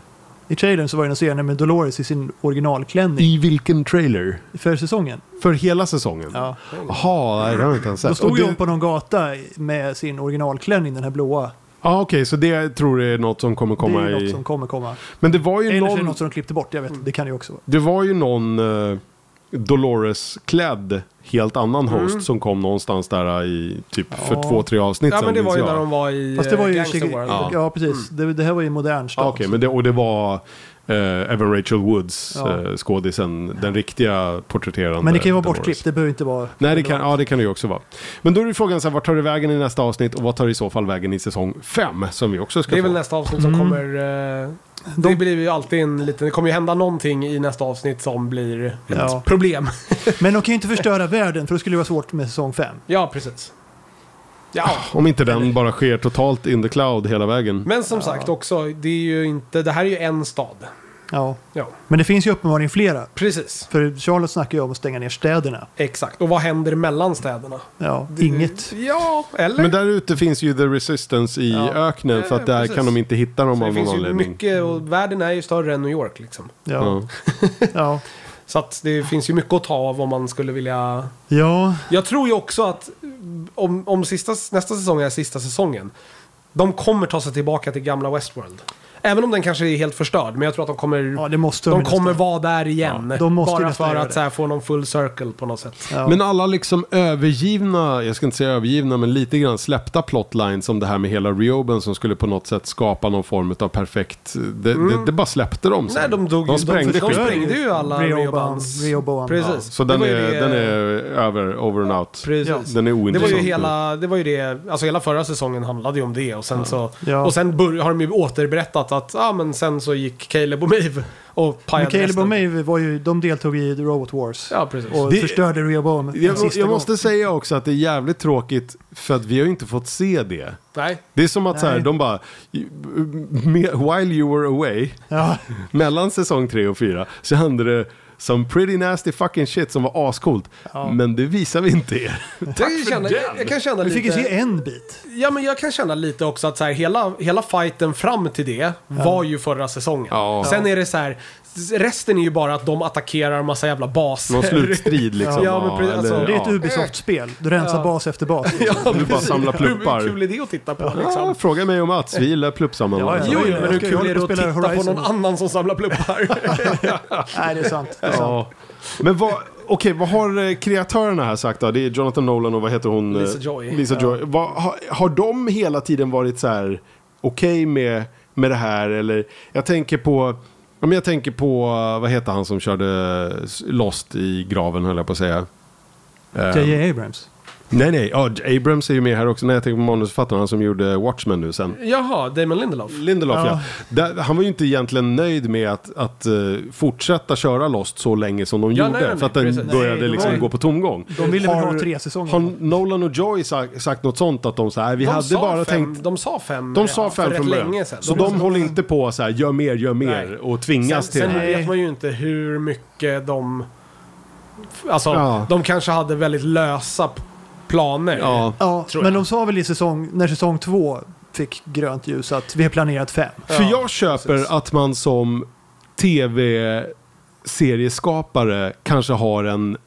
Speaker 2: I trailern så var det en scen med Dolores i sin originalklänning
Speaker 1: I vilken trailer?
Speaker 2: för säsongen.
Speaker 1: För hela säsongen?
Speaker 2: Ja.
Speaker 1: Jaha, nej, det har jag inte ens sett.
Speaker 2: Då
Speaker 1: Och
Speaker 2: stod
Speaker 1: det-
Speaker 2: ju hon på någon gata med sin originalklänning, den här blåa.
Speaker 1: Ja okej, så det tror jag är något som kommer
Speaker 2: Det
Speaker 1: komma
Speaker 2: är ju
Speaker 1: i...
Speaker 2: något som kommer komma.
Speaker 1: Men det var ju
Speaker 2: Eller så är det
Speaker 1: någon...
Speaker 2: något som de klippte bort, jag vet inte. Det kan ju också vara.
Speaker 1: Det var ju någon eh, Dolores-klädd helt annan host som kom någonstans där i typ för
Speaker 2: Mm. Ja.
Speaker 1: två, tre avsnitt
Speaker 3: Ja, men det
Speaker 1: minns
Speaker 3: var ju
Speaker 1: jag.
Speaker 3: när de var i
Speaker 2: Fast det
Speaker 3: eh,
Speaker 2: var ju...
Speaker 3: Gangster World.
Speaker 2: Ja, precis. Det, det här var ju modern
Speaker 1: Ja,
Speaker 2: stat.
Speaker 1: Okej, men det, och det var eh, även Rachel Woods,
Speaker 2: Ja.
Speaker 1: eh, skådisen, den riktiga porträtterande.
Speaker 2: Men det kan ju vara
Speaker 1: Dolores.
Speaker 2: bortklippt, det behöver inte vara...
Speaker 1: Nej, det kan, ja, det kan det ju också vara. Men då är ju frågan så här, vart tar det vägen i nästa avsnitt och vad tar det i så fall vägen i säsong 5? Som vi också ska
Speaker 3: Det är väl
Speaker 1: få.
Speaker 3: nästa avsnitt som
Speaker 2: Mm.
Speaker 3: kommer... eh, Det blir ju alltid en liten... Det kommer ju hända någonting i nästa avsnitt som blir ett
Speaker 2: Ja.
Speaker 3: problem.
Speaker 2: Men de kan ju inte förstöra världen för då skulle det vara svårt med säsong 5.
Speaker 3: Ja, precis. Ja,
Speaker 1: Om inte den bara sker totalt in the cloud hela vägen.
Speaker 3: men som sagt också, det är ju inte... Det här är ju en stad.
Speaker 2: Ja.
Speaker 3: Ja,
Speaker 2: Men det finns ju uppenbarligen flera.
Speaker 3: precis.
Speaker 2: För Charlotte snackar ju om att stänga ner städerna.
Speaker 3: Exakt. Och vad händer mellan städerna?
Speaker 2: Ja,
Speaker 3: Det-
Speaker 2: inget.
Speaker 3: Ja, eller?
Speaker 1: Men där ute finns ju The Resistance i
Speaker 3: Ja.
Speaker 1: öknen för att
Speaker 3: Ja,
Speaker 1: där
Speaker 3: precis.
Speaker 1: kan de inte hitta dem
Speaker 3: Så det
Speaker 1: av någon
Speaker 3: finns ju
Speaker 1: anledning.
Speaker 3: mycket och världen är ju större än New York liksom.
Speaker 2: Ja,
Speaker 1: Ja.
Speaker 2: ja.
Speaker 3: Så att det finns ju mycket att ta av om man skulle vilja...
Speaker 2: ja.
Speaker 3: Jag tror ju också att om, om sista, nästa säsong är sista säsongen, de kommer ta sig tillbaka till gamla Westworld. Även om den kanske är helt förstörd, men jag tror att de kommer,
Speaker 2: ja det måste
Speaker 3: de
Speaker 2: ju
Speaker 3: kommer
Speaker 2: nästan.
Speaker 3: vara där igen.
Speaker 2: Ja, de måste ju
Speaker 3: bara
Speaker 2: nästan
Speaker 3: för
Speaker 2: göra
Speaker 3: att
Speaker 2: det.
Speaker 3: så här, få någon full circle på något sätt.
Speaker 2: Ja.
Speaker 1: Men alla liksom övergivna, jag ska inte säga övergivna, men lite grann släppta plotlines som det här med hela Reoben som skulle på något sätt skapa någon form av perfekt... eh, Det, det, det bara släppte de sen.
Speaker 3: Mm. Nej, de dog ju-
Speaker 1: de sprängde
Speaker 3: de, de
Speaker 1: skiten.
Speaker 3: sprängde ju alla
Speaker 2: Rehoboam-
Speaker 3: Reobans.
Speaker 2: Rehoboam,
Speaker 1: Ja,
Speaker 3: Precis.
Speaker 1: så den
Speaker 3: Det
Speaker 1: är,
Speaker 3: var ju det-
Speaker 1: den är över, over and out.
Speaker 3: Precis.
Speaker 1: Den är
Speaker 3: Det var
Speaker 1: ointressant.
Speaker 3: ju hela, det var ju det, alltså hela förra säsongen handlade ju om det och sen så,
Speaker 2: Ja.
Speaker 3: och sen bör, har de ju återberättat att, ja ah, men sen så gick Caleb och Maeve och
Speaker 2: Men
Speaker 3: pajade
Speaker 2: Caleb
Speaker 3: resten.
Speaker 2: och Maeve var ju, de deltog i The Robot Wars.
Speaker 3: Ja, precis.
Speaker 2: Och
Speaker 1: Det-
Speaker 2: förstörde Rehoboam en
Speaker 1: Jag,
Speaker 2: sista
Speaker 1: jag måste
Speaker 2: gång.
Speaker 1: säga också att det är jävligt tråkigt för att vi har ju inte fått se det.
Speaker 3: Nej.
Speaker 1: Det är som att så här,
Speaker 2: Nej.
Speaker 1: de bara, while you were away,
Speaker 2: Ja,
Speaker 1: mellan säsong 3 och 4 så hände det some pretty nasty fucking shit som var ascoolt. Men det visar vi inte er.
Speaker 3: Jag kan, känna, jag, jag kan känna
Speaker 2: vi fick ju se
Speaker 3: lite,
Speaker 2: en bit.
Speaker 3: ja men jag kan känna lite också att så här, hela, hela fighten fram till det var ju förra säsongen.
Speaker 1: Ja.
Speaker 3: Sen är det så här, resten är ju bara att de attackerar massa jävla baser.
Speaker 1: Någon slutstrid liksom.
Speaker 3: Ja, men precis, alltså,
Speaker 2: Det är ett
Speaker 1: ja.
Speaker 2: Ubisoft-spel. Du rensar
Speaker 3: Ja.
Speaker 2: bas efter bas.
Speaker 3: Ja,
Speaker 1: Du bara
Speaker 3: precis.
Speaker 1: samlar pluppar.
Speaker 3: Hur, hur kul är det att titta på liksom?
Speaker 1: Ja, fråga mig och Mats, vi gillar
Speaker 2: Ja,
Speaker 1: pluppsammanhang.
Speaker 2: ja.
Speaker 3: Jo, jo, men
Speaker 2: Jag
Speaker 3: hur
Speaker 2: ska- jag
Speaker 3: kul är
Speaker 2: håller
Speaker 3: det
Speaker 2: på
Speaker 3: att
Speaker 2: att spela
Speaker 3: titta på någon
Speaker 2: Horizon.
Speaker 3: annan som samlar pluppar?
Speaker 2: Nej, det är sant. Det är sant.
Speaker 1: Ja. Men vad, okej, vad har eh, kreatörerna här sagt då? Det är Jonathan Nolan och vad heter hon?
Speaker 3: Lisa
Speaker 1: Eh,
Speaker 3: Joy.
Speaker 1: Lisa Joy. Vad, har, har de hela tiden varit så här okej med, med det här? Eller jag tänker på... Om jag tänker på, eh, vad heter han som körde eh, Lost i graven höll jag på att säga. Eh,
Speaker 2: J.J. Abrams.
Speaker 1: nej, nej, ja, Abrams är ju med här också. Nej, jag tänker på manusförfattaren, han som gjorde Watchmen nu sen.
Speaker 3: Jaha, Damon Lindelof.
Speaker 1: Lindelof ja.
Speaker 2: Ja.
Speaker 1: Där, han var ju inte egentligen nöjd med att, att eh, fortsätta köra Lost så länge som de
Speaker 3: Ja,
Speaker 1: gjorde.
Speaker 3: nej, nej, nej,
Speaker 1: för att den
Speaker 3: precis.
Speaker 1: började
Speaker 2: Nej,
Speaker 1: liksom
Speaker 2: nej.
Speaker 1: gå på tomgång.
Speaker 2: De ville väl
Speaker 1: Har-
Speaker 2: ha tre säsonger.
Speaker 1: Har Nolan och Joy sagt, sagt något sånt att de så här, vi
Speaker 3: De
Speaker 1: hade
Speaker 3: sa
Speaker 1: bara
Speaker 3: fem,
Speaker 1: tänkt...
Speaker 3: De sa fem.
Speaker 1: De sa
Speaker 3: redan
Speaker 1: fem
Speaker 3: för
Speaker 1: från
Speaker 3: rätt
Speaker 1: början.
Speaker 3: länge sedan.
Speaker 1: så de håller inte på så här, gör mer, gör mer
Speaker 3: Nej.
Speaker 1: och tvingas
Speaker 3: sen,
Speaker 1: till
Speaker 3: sen
Speaker 1: det.
Speaker 2: här.
Speaker 3: vet man ju inte hur mycket de... Alltså,
Speaker 1: Ja.
Speaker 3: de kanske hade väldigt lösa p- planer.
Speaker 1: Ja.
Speaker 2: Ja,
Speaker 3: tror jag.
Speaker 2: men de sa väl i säsong, när säsong två fick grönt ljus att vi har planerat fem.
Speaker 1: För
Speaker 3: Ja,
Speaker 1: jag köper
Speaker 3: precis.
Speaker 1: att man som tv-serieskapare kanske har en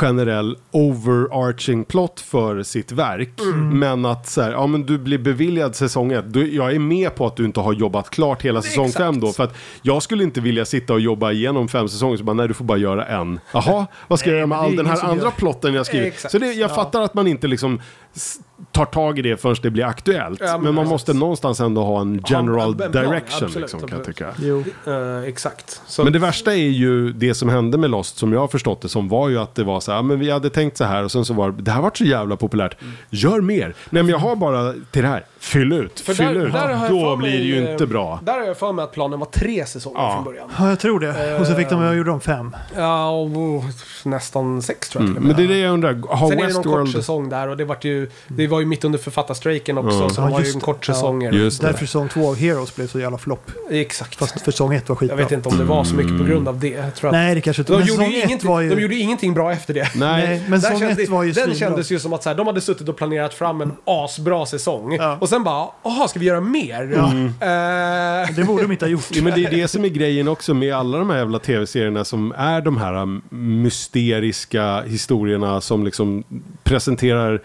Speaker 1: generell overarching plot för sitt verk. Men att så här, ja men du blir beviljad säsong ett. Du, jag är med på att du inte har jobbat klart hela säsong
Speaker 3: Exakt.
Speaker 1: fem då. För att jag skulle inte vilja sitta och jobba igenom fem säsonger så bara, nej du får bara göra en. Jaha, vad ska jag göra med
Speaker 2: men det är
Speaker 1: all den
Speaker 2: ingen
Speaker 1: här
Speaker 2: som
Speaker 1: andra
Speaker 2: gör.
Speaker 1: plotten jag skrivit?
Speaker 3: Exakt.
Speaker 1: Så det, jag fattar att man inte liksom s- tar tag i det förrän det blir aktuellt.
Speaker 3: Ja, men
Speaker 1: men, man
Speaker 3: precis.
Speaker 1: måste någonstans ändå ha en
Speaker 3: Ja,
Speaker 1: general
Speaker 3: en- en plan,
Speaker 1: direction
Speaker 3: absolut,
Speaker 1: liksom, kan jag
Speaker 3: absolut.
Speaker 1: tycka.
Speaker 2: Jo.
Speaker 3: Eh, exakt. Så,
Speaker 1: Men det värsta är ju det som hände med Lost som jag har förstått det som var ju att det var så här, "Ah, men vi hade tänkt så här och sen så var det, det här vart så jävla populärt,
Speaker 3: Mm.
Speaker 1: gör mer. Nej men jag har bara till det här, fyll ut,
Speaker 3: för
Speaker 1: fyll
Speaker 3: där-
Speaker 1: ut.
Speaker 3: där har jag för
Speaker 1: Då blir
Speaker 3: mig,
Speaker 1: det ju
Speaker 3: eh,
Speaker 1: inte bra.
Speaker 3: Där har jag för mig att planen var tre säsonger
Speaker 1: Ja.
Speaker 3: från början.
Speaker 2: Ja, jag tror det. Och så fick de,
Speaker 3: Ehm.
Speaker 2: jag gjorde de fem.
Speaker 3: Ja, och, oh, nästan sex tror jag till och med.
Speaker 1: Mm. Men det är det jag undrar, har
Speaker 3: Sen är det någon kort
Speaker 1: Westworld...
Speaker 3: säsong där och det, vart ju, det var ju mitt under författarstrejken också. Så
Speaker 2: Ja,
Speaker 3: det var ju
Speaker 2: just
Speaker 3: en
Speaker 2: det.
Speaker 3: kort säsong.
Speaker 1: Just
Speaker 2: Därför
Speaker 1: det.
Speaker 2: säsong två av Heroes blev så jävla flopp.
Speaker 3: Exakt.
Speaker 2: Fast för säsong ett var
Speaker 3: Mm. Jag
Speaker 2: skitbra.
Speaker 3: vet inte om det var så
Speaker 1: Mm.
Speaker 3: mycket på grund av det. Jag tror att
Speaker 2: Nej, det kanske inte
Speaker 3: De
Speaker 2: Men
Speaker 3: gjorde,
Speaker 2: säsong
Speaker 3: ju
Speaker 2: ett
Speaker 3: ingenting,
Speaker 2: var ju...
Speaker 3: de gjorde ingenting bra efter det.
Speaker 1: Nej,
Speaker 2: Nej, men
Speaker 3: Där
Speaker 2: säsong
Speaker 3: kändes-
Speaker 2: ett var ju
Speaker 3: den
Speaker 2: svinbra.
Speaker 3: kändes ju som att så här, de hade suttit och planerat fram en asbra säsong.
Speaker 2: Ja.
Speaker 3: Och sen bara, jaha, ska vi göra mer? Eh,
Speaker 2: Det borde de inte ha gjort.
Speaker 1: Ja, men det är det som är grejen också med alla de här jävla tv-serierna som är de här um, mysteriska historierna som liksom presenterar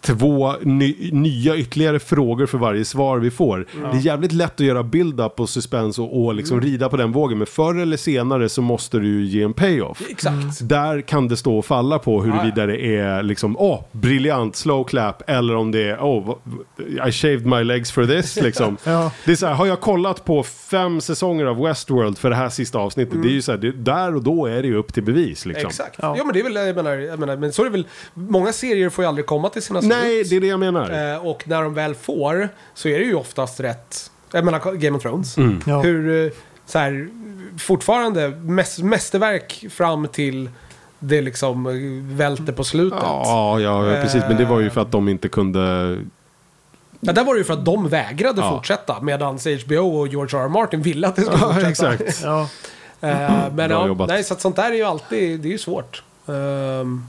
Speaker 1: två ny, nya ytterligare frågor för varje svar vi får. Det är jävligt lätt att göra build-up och suspense och, och liksom rida på den vågen. Men förr eller senare så måste du ju ge en payoff.
Speaker 3: Exakt.
Speaker 2: Mm.
Speaker 1: Där kan det stå och falla på
Speaker 3: Ja,
Speaker 1: huruvida det är liksom, åh, briljant, slow clap, eller om det är, åh, oh, I shaved my legs for this, liksom.
Speaker 2: Ja.
Speaker 1: Det är så här, har jag kollat på fem säsonger av Westworld för det här sista avsnittet, det är ju så här, det, där och då är det ju upp till bevis liksom.
Speaker 3: Exakt.
Speaker 2: Ja.
Speaker 3: Ja. men det är väl, jag menar, jag menar, men så är det väl, många serier får ju aldrig komma till sina
Speaker 1: Nej,
Speaker 3: slut.
Speaker 1: det är det jag menar.
Speaker 3: Eh, och när de väl får så är det ju oftast rätt, jag menar Game of Thrones.
Speaker 2: Mm. Ja.
Speaker 3: Hur, eh, så här, fortfarande mäs- mästerverk fram till det liksom eh, välter på slutet. Ja.
Speaker 1: Ja, ja, ja, precis. Men det var ju för att de inte kunde...
Speaker 3: där var det ju för att de vägrade
Speaker 1: Ja.
Speaker 3: fortsätta medan HBO och George R. R. Martin ville att det skulle
Speaker 1: Ja,
Speaker 3: fortsätta.
Speaker 1: exakt.
Speaker 2: Ja. Mm.
Speaker 3: Eh, men
Speaker 1: Bra
Speaker 3: ja,
Speaker 1: jobbat.
Speaker 3: nej, så att sånt där är ju alltid, det är ju svårt. Ehm,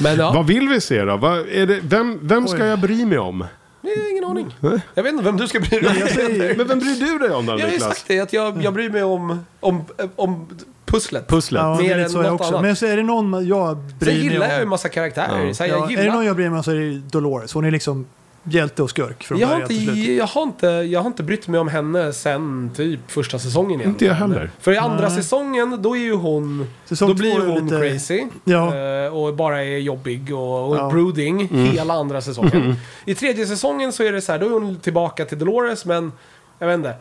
Speaker 3: men ja,
Speaker 1: Vad vill vi se då? Vad är det, vem vem ska
Speaker 2: Oj.
Speaker 1: jag bry mig om?
Speaker 3: det är ingen aning.
Speaker 2: Mm. Eh?
Speaker 3: Jag vet inte vem du ska bry dig om.
Speaker 1: Men vem bryr du dig om då,
Speaker 3: Jag har ju
Speaker 1: Niklas?
Speaker 3: sagt det, att jag, jag bryr mig om, om, om pusslet.
Speaker 1: Pusslet.
Speaker 2: Ja,
Speaker 3: Mer
Speaker 2: det är
Speaker 3: än
Speaker 2: lite så jag
Speaker 3: något
Speaker 2: också.
Speaker 3: annat.
Speaker 2: Men så är det någon man- jag
Speaker 3: Sen
Speaker 2: bryr
Speaker 3: gillar jag
Speaker 2: mig
Speaker 3: ju
Speaker 2: om.
Speaker 3: massa karaktärer.
Speaker 1: Ja.
Speaker 3: Så här, jag
Speaker 2: Ja, är det
Speaker 3: gillar...
Speaker 2: någon jag bryr mig om så är det Dolores. Hon är liksom hjälte och skurk från
Speaker 3: Jag har,
Speaker 2: början
Speaker 3: inte,
Speaker 2: till slut.
Speaker 3: jag, har inte, jag har inte brytt mig om henne sen typ första säsongen igen.
Speaker 1: Inte jag heller.
Speaker 3: För i andra
Speaker 2: Nej.
Speaker 3: säsongen, då är ju hon...
Speaker 2: Säsong
Speaker 3: då
Speaker 2: två
Speaker 3: blir
Speaker 2: är
Speaker 3: ju hon
Speaker 2: lite-
Speaker 3: crazy.
Speaker 2: Ja.
Speaker 3: eh, Och bara är jobbig och, och
Speaker 2: Ja. Mm.
Speaker 3: brooding hela andra säsongen. I tredje säsongen så är det så här, då är hon tillbaka till Dolores men... Jag vet inte.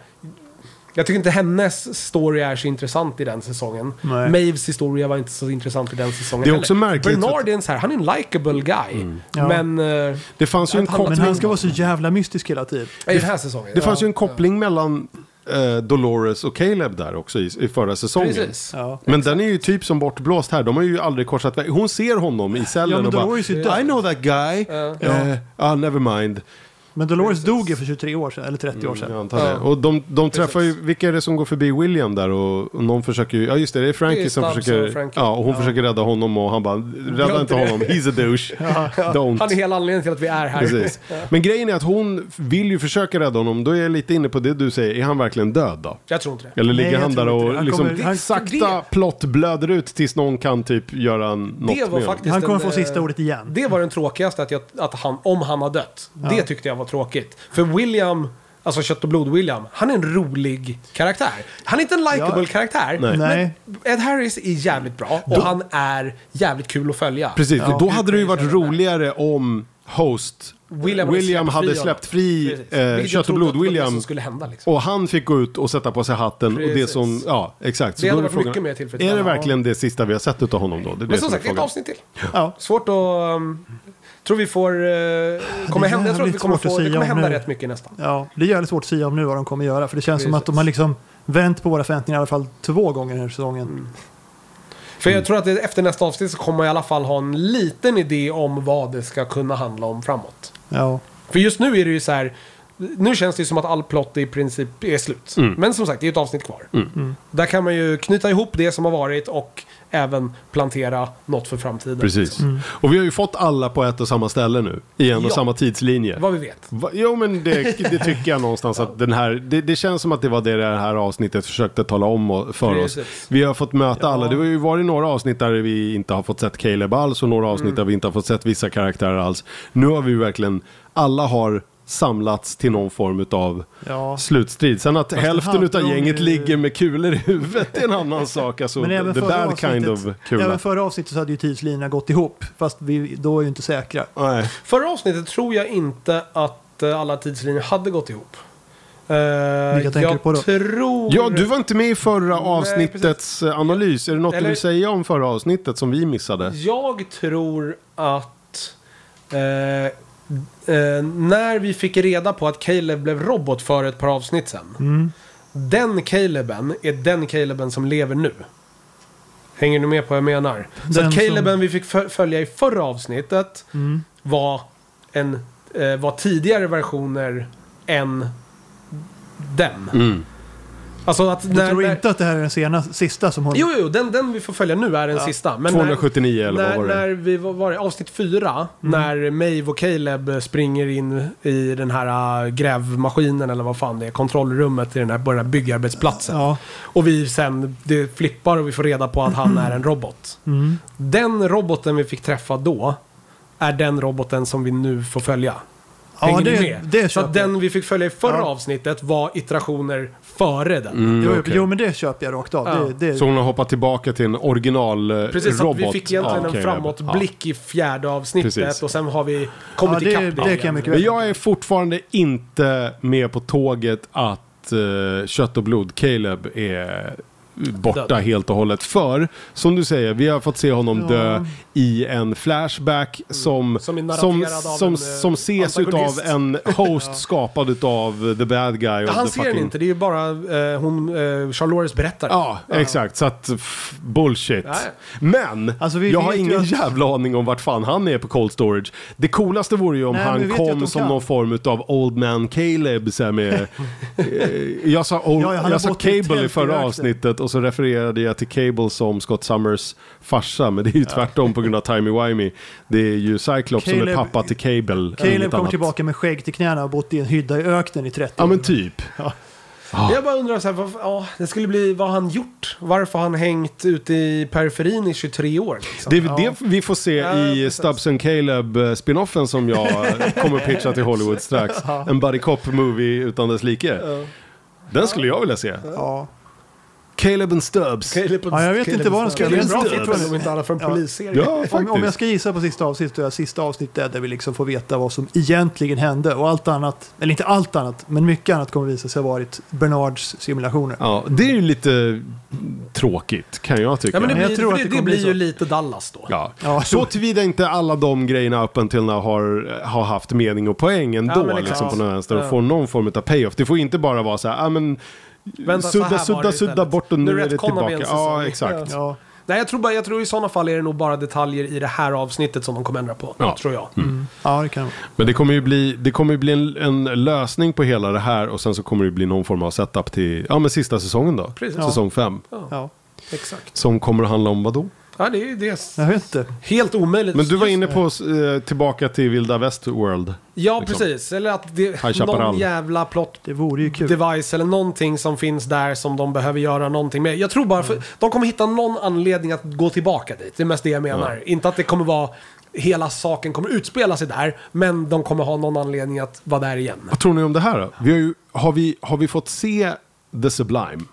Speaker 3: Jag tycker inte hennes story är så intressant i den säsongen.
Speaker 2: Nej.
Speaker 3: Maves historia var inte så intressant i den säsongen
Speaker 1: Det är
Speaker 3: heller.
Speaker 1: också märkligt
Speaker 3: Bernard är en så här, han är en likable guy.
Speaker 2: Ja.
Speaker 3: Men... eh,
Speaker 1: Det fanns ju en
Speaker 3: Han-
Speaker 2: Men
Speaker 1: koppling,
Speaker 2: han ska vara så jävla mystisk hela tiden.
Speaker 3: I den här säsongen.
Speaker 1: det fanns ju en koppling mellan eh, Dolores och Caleb där också i, i förra säsongen.
Speaker 3: Precis.
Speaker 2: Ja.
Speaker 1: Men den är ju typ som bortblåst här. De har ju aldrig korsat väg. Hon ser honom i cellen
Speaker 2: Ja, men
Speaker 1: och
Speaker 2: Dolores är ju
Speaker 1: bara
Speaker 2: död.
Speaker 1: I know that guy. Eh, ah, never mind.
Speaker 2: Men Dolores dog ju för 23 år sedan, eller 30 år sedan.
Speaker 3: Mm,
Speaker 1: Jag antar det. Och de, de träffar ju, vilka är det som går förbi William där och, och någon försöker ju, ja just det, det är Frankie
Speaker 3: Det är
Speaker 1: som
Speaker 3: Stubbs
Speaker 1: försöker,
Speaker 3: och Frankie.
Speaker 1: ja och hon försöker rädda honom och han bara, rädda inte
Speaker 3: Gör inte det.
Speaker 1: honom, he's a douche,
Speaker 3: Han är
Speaker 1: don't.
Speaker 3: hela anledningen till att vi är här.
Speaker 1: Precis. Men grejen är att hon vill ju försöka rädda honom, då är jag lite inne på det du säger, är han verkligen död då?
Speaker 3: Jag tror inte det.
Speaker 1: Eller
Speaker 2: Nej,
Speaker 1: ligger
Speaker 2: jag
Speaker 1: han
Speaker 2: tror
Speaker 1: där
Speaker 2: inte
Speaker 1: och
Speaker 2: det. Han
Speaker 1: liksom
Speaker 2: kommer- han-
Speaker 1: sakta plott blöder ut tills någon kan typ göra en- något
Speaker 3: Det var
Speaker 1: med
Speaker 3: faktiskt
Speaker 2: Han kommer
Speaker 3: en,
Speaker 2: få sista
Speaker 3: eh,
Speaker 2: ordet igen.
Speaker 3: Det var den tråkigaste, att jag, att han, om han har dött. Det
Speaker 2: Ja.
Speaker 3: tyckte jag var tråkigt. För William, alltså kött och blod-William, han är en rolig karaktär. Han är inte en likable
Speaker 2: Ja.
Speaker 3: karaktär,
Speaker 1: Nej.
Speaker 2: Nej.
Speaker 3: men Ed Harris är jävligt bra och han är jävligt kul att följa.
Speaker 1: Precis, för
Speaker 2: Ja.
Speaker 1: då hade det ju varit roligare om host
Speaker 3: William
Speaker 1: William,
Speaker 3: hade släppt
Speaker 1: hade
Speaker 3: fri
Speaker 1: släppt fri,
Speaker 3: Precis.
Speaker 1: eh,
Speaker 3: Vilket
Speaker 1: kött
Speaker 3: jag
Speaker 1: och
Speaker 3: trodde att det var Det
Speaker 1: blod-William
Speaker 3: som skulle hända liksom.
Speaker 1: Och han fick gå ut och sätta på sig hatten. Och det
Speaker 3: Precis.
Speaker 1: som, ja, exakt. Så
Speaker 3: Det
Speaker 1: då
Speaker 3: hade
Speaker 1: är
Speaker 3: varit
Speaker 1: frågan,
Speaker 3: mycket mer
Speaker 1: Är
Speaker 3: tillfredsställande.
Speaker 1: det verkligen det sista vi har sett utav honom då? Det är det
Speaker 3: Men som sagt, det är ett
Speaker 1: frågan.
Speaker 3: avsnitt till.
Speaker 2: Ja.
Speaker 3: Svårt att... Um, tror vi får... Uh, kommer hända, jag tror att vi
Speaker 2: jävligt
Speaker 3: kommer
Speaker 2: svårt att
Speaker 3: få, det
Speaker 2: säga
Speaker 3: kommer
Speaker 2: om
Speaker 3: hända
Speaker 2: nu.
Speaker 3: rätt mycket nästan.
Speaker 2: Ja, det är jävligt svårt att säga om nu vad de kommer göra. För det känns som
Speaker 3: Precis.
Speaker 2: att de har liksom vänt på våra förväntningar i alla fall två gånger den här säsongen.
Speaker 3: Mm. För
Speaker 1: Mm.
Speaker 3: jag tror att det- efter nästa avsnitt så kommer man i alla fall ha en liten idé om vad det ska kunna handla om framåt.
Speaker 2: Ja.
Speaker 3: För just nu är det ju så här... Nu känns det ju som att all plott i princip är slut.
Speaker 1: Mm.
Speaker 3: Men som sagt, det är ju ett avsnitt kvar.
Speaker 2: Mm.
Speaker 3: Där kan man ju knyta ihop det som har varit och även plantera något för framtiden.
Speaker 1: Precis. Och vi har ju fått alla på ett och samma ställe nu. I en och
Speaker 3: Ja.
Speaker 1: samma tidslinje.
Speaker 3: Vad vi vet.
Speaker 1: Va? Jo men det, det tycker jag någonstans att den här, det, det känns som att det var det det här avsnittet försökte tala om och- för oss.
Speaker 3: Precis.
Speaker 1: Vi har fått möta
Speaker 2: Ja.
Speaker 1: alla, det har ju varit några avsnitt där vi inte har fått sett Caleb alls och
Speaker 2: Mm.
Speaker 1: några avsnitt där vi inte har fått sett vissa karaktärer alls. Nu har vi ju verkligen, alla har samlats till någon form av
Speaker 2: Ja.
Speaker 1: slutstrid. Sen att hälften
Speaker 2: hade
Speaker 1: utav
Speaker 2: de
Speaker 1: gänget
Speaker 2: ju-
Speaker 1: ligger med kulor i huvudet är en annan sak. Alltså,
Speaker 2: Men även
Speaker 1: the
Speaker 2: förra,
Speaker 1: bad kind of
Speaker 2: avsnittet,
Speaker 1: kula.
Speaker 2: även förra avsnittet så hade ju tidslinjerna gått ihop. Fast vi då är ju inte säkra.
Speaker 1: Nej.
Speaker 3: Förra avsnittet tror jag inte att eh, alla tidslinjer hade gått ihop. Uh,
Speaker 2: Vilka tänker du på då?
Speaker 3: Tror...
Speaker 1: Ja, du var inte med i förra avsnittets eh,
Speaker 3: precis.
Speaker 1: analys. Är det något du
Speaker 3: Eller-
Speaker 1: vill säga om förra avsnittet som vi missade?
Speaker 3: Jag tror att eh, eh, när vi fick reda på att Caleb blev robot för ett par avsnitt sen.
Speaker 2: Mm.
Speaker 3: Den Caleben är den Caleben som lever nu. Hänger du med på vad jag menar? Så
Speaker 2: Den
Speaker 3: att
Speaker 2: som-
Speaker 3: Caleben vi fick fö- följa i förra avsnittet var, en, eh, var tidigare versioner än den.
Speaker 1: Mm.
Speaker 3: Alltså att
Speaker 2: Du
Speaker 3: när,
Speaker 2: tror
Speaker 3: när,
Speaker 2: inte att det här är den sena, sista som hon...
Speaker 3: Jo, jo, den, den vi får följa nu är den sista. Men
Speaker 1: 279
Speaker 3: när,
Speaker 1: eller vad var det?
Speaker 3: när, när vi var, var det? Avsnitt 4,
Speaker 2: Mm.
Speaker 3: när Maeve och Caleb springer in i den här äh, grävmaskinen eller vad fan det är, kontrollrummet i den här, på den här byggarbetsplatsen.
Speaker 2: Ja.
Speaker 3: Och vi sen, det
Speaker 2: Mm.
Speaker 3: flippar och vi får reda på att han är en robot. Den roboten vi fick träffa då är den roboten som vi nu får följa.
Speaker 2: Ja,
Speaker 3: Hänger ni
Speaker 2: det,
Speaker 3: med?
Speaker 2: det
Speaker 3: Så
Speaker 2: köper
Speaker 3: att den
Speaker 2: jag.
Speaker 3: vi fick följa i förra
Speaker 2: Ja.
Speaker 3: avsnittet var iterationer före den.
Speaker 1: Mm,
Speaker 2: Jo,
Speaker 1: okej.
Speaker 2: jo, men det köper jag rakt av.
Speaker 3: Ja.
Speaker 2: Det, det,
Speaker 1: Så hon har hoppat tillbaka till en eh, originalrobot?
Speaker 3: Precis, så att vi fick egentligen
Speaker 1: Ah,
Speaker 3: en framåtblick i fjärde avsnittet
Speaker 1: Precis.
Speaker 3: och sen har vi kommit
Speaker 2: Ja, det- det
Speaker 3: ikapp
Speaker 2: kan jag
Speaker 3: igen.
Speaker 2: mycket väl-
Speaker 1: Men jag är fortfarande inte med på tåget att eh, kött och blod Caleb är borta
Speaker 3: Död.
Speaker 1: helt och hållet. För, som du säger, vi har fått se honom
Speaker 2: Ja.
Speaker 1: dö i en flashback som,
Speaker 3: Mm. Som är narrerad
Speaker 1: som,
Speaker 3: av
Speaker 1: som,
Speaker 3: en, eh,
Speaker 1: som ses utav
Speaker 3: antagonist.
Speaker 1: en host skapad utav the bad guy. och
Speaker 3: Han
Speaker 1: the
Speaker 3: ser
Speaker 1: fucking-
Speaker 3: den inte, det är ju bara eh, hon, eh, Charlores berättar.
Speaker 1: Ja, exakt. Så att f- bullshit.
Speaker 3: Ja, ja.
Speaker 1: Men
Speaker 2: Alltså, vi
Speaker 1: jag
Speaker 2: vet
Speaker 1: har
Speaker 2: ju
Speaker 1: ingen
Speaker 2: att-
Speaker 1: jävla aning om vart fan han är på cold storage. Det coolaste vore ju om
Speaker 2: Nej, men vi
Speaker 1: han
Speaker 2: vet ju att de
Speaker 1: kom som
Speaker 2: kan.
Speaker 1: någon form av old man Caleb. Så här med, eh, jag sa, old,
Speaker 2: Ja, ja, han har
Speaker 1: jag sa
Speaker 2: bott i ett
Speaker 1: Cable i
Speaker 2: tält i
Speaker 1: förra
Speaker 2: öknen.
Speaker 1: avsnittet och så refererade jag till Cable som Scott Summers farsa. Men det är ju tvärtom på grund av timey-wimey. Det är ju Cyclops som är
Speaker 2: Caleb-
Speaker 1: pappa till Cable.
Speaker 2: Caleb
Speaker 1: inget
Speaker 2: kom
Speaker 1: annat.
Speaker 2: tillbaka med skägg till knäna och bott i en hydda i öknen i 30
Speaker 1: Ja
Speaker 2: år.
Speaker 1: men typ.
Speaker 3: Jag bara undrar så här, vad, ja, det skulle bli vad har han gjort. Varför har han hängt ute i periferin i 23 år? Liksom?
Speaker 1: Det är väl det vi får se i
Speaker 3: Ja, precis.
Speaker 1: Stubbs and Caleb eh, spinoffen som jag kommer pitcha till Hollywood strax. En buddy cop movie utan dess like. Den skulle jag vilja se.
Speaker 2: Ja.
Speaker 1: Caleb and Stubbs.
Speaker 3: Caleb
Speaker 2: Ja, jag vet inte vad de ska-
Speaker 3: Det är en bra
Speaker 2: jag vet
Speaker 3: titel
Speaker 2: inte.
Speaker 3: om inte annat för en
Speaker 2: Ja.
Speaker 3: polisserie.
Speaker 1: Ja,
Speaker 2: Om, om jag
Speaker 1: faktiskt.
Speaker 2: ska gissa på sista avsnittet, då är sista avsnittet där vi liksom får veta vad som egentligen hände. Och allt annat, eller inte allt annat, men mycket annat kommer visa sig ha varit Bernards simulationer.
Speaker 1: Ja, det är ju lite tråkigt kan jag tycka.
Speaker 3: Ja, men det
Speaker 2: Men
Speaker 3: blir,
Speaker 2: jag tror
Speaker 3: för
Speaker 2: att
Speaker 3: det,
Speaker 2: det
Speaker 3: det
Speaker 2: kommer
Speaker 3: blir
Speaker 2: bli
Speaker 3: ju
Speaker 2: så.
Speaker 3: lite Dallas då.
Speaker 1: Ja.
Speaker 2: Ja.
Speaker 1: Så tillvida inte alla de grejerna öppen till när har, har haft mening och poäng
Speaker 3: Ja,
Speaker 1: ändå
Speaker 3: men exakt.
Speaker 1: liksom, på den här vänster och
Speaker 3: Ja.
Speaker 1: får någon form av payoff. Det får inte bara vara så här, ah, men,
Speaker 3: Vänta, så här
Speaker 1: sudda,
Speaker 3: var det
Speaker 1: sudda, sudda
Speaker 3: istället.
Speaker 1: bort och nu,
Speaker 3: Nu
Speaker 1: är det
Speaker 3: retconar
Speaker 1: tillbaka.
Speaker 3: vi en
Speaker 1: Ja,
Speaker 3: säsong.
Speaker 1: exakt.
Speaker 2: Ja.
Speaker 3: Nej, jag tror, bara, jag tror i sådana fall är det nog bara detaljer i det här avsnittet som de kommer ändra på.
Speaker 1: Ja. Mm.
Speaker 3: Tror jag.
Speaker 2: ja, det kan vara.
Speaker 1: Men det kommer ju bli, det kommer ju bli en, en lösning på hela det här och sen så kommer det bli någon form av setup till ja, men sista säsongen då.
Speaker 3: Precis.
Speaker 1: Säsong fem.
Speaker 2: Ja.
Speaker 3: Exakt.
Speaker 1: Som kommer att handla om vad då?
Speaker 3: Ja, det är ju det.
Speaker 2: Jag vet inte.
Speaker 3: Helt omöjligt.
Speaker 1: Men du var inne på eh, tillbaka till vilda väst world.
Speaker 3: Ja,
Speaker 1: liksom.
Speaker 3: precis. Eller att det
Speaker 1: High
Speaker 3: någon
Speaker 1: Chaparral.
Speaker 3: jävla plot
Speaker 2: Det vore ju kul.
Speaker 3: device eller någonting som finns där som de behöver göra någonting med. Jag tror bara för, de kommer hitta någon anledning att gå tillbaka dit. Det är mest det jag menar. Inte att det kommer vara hela saken kommer utspela sig där, men de kommer ha någon anledning att vara där igen.
Speaker 1: Vad tror ni om det här då? Vi har, ju, har, vi, har vi fått se The Sublime?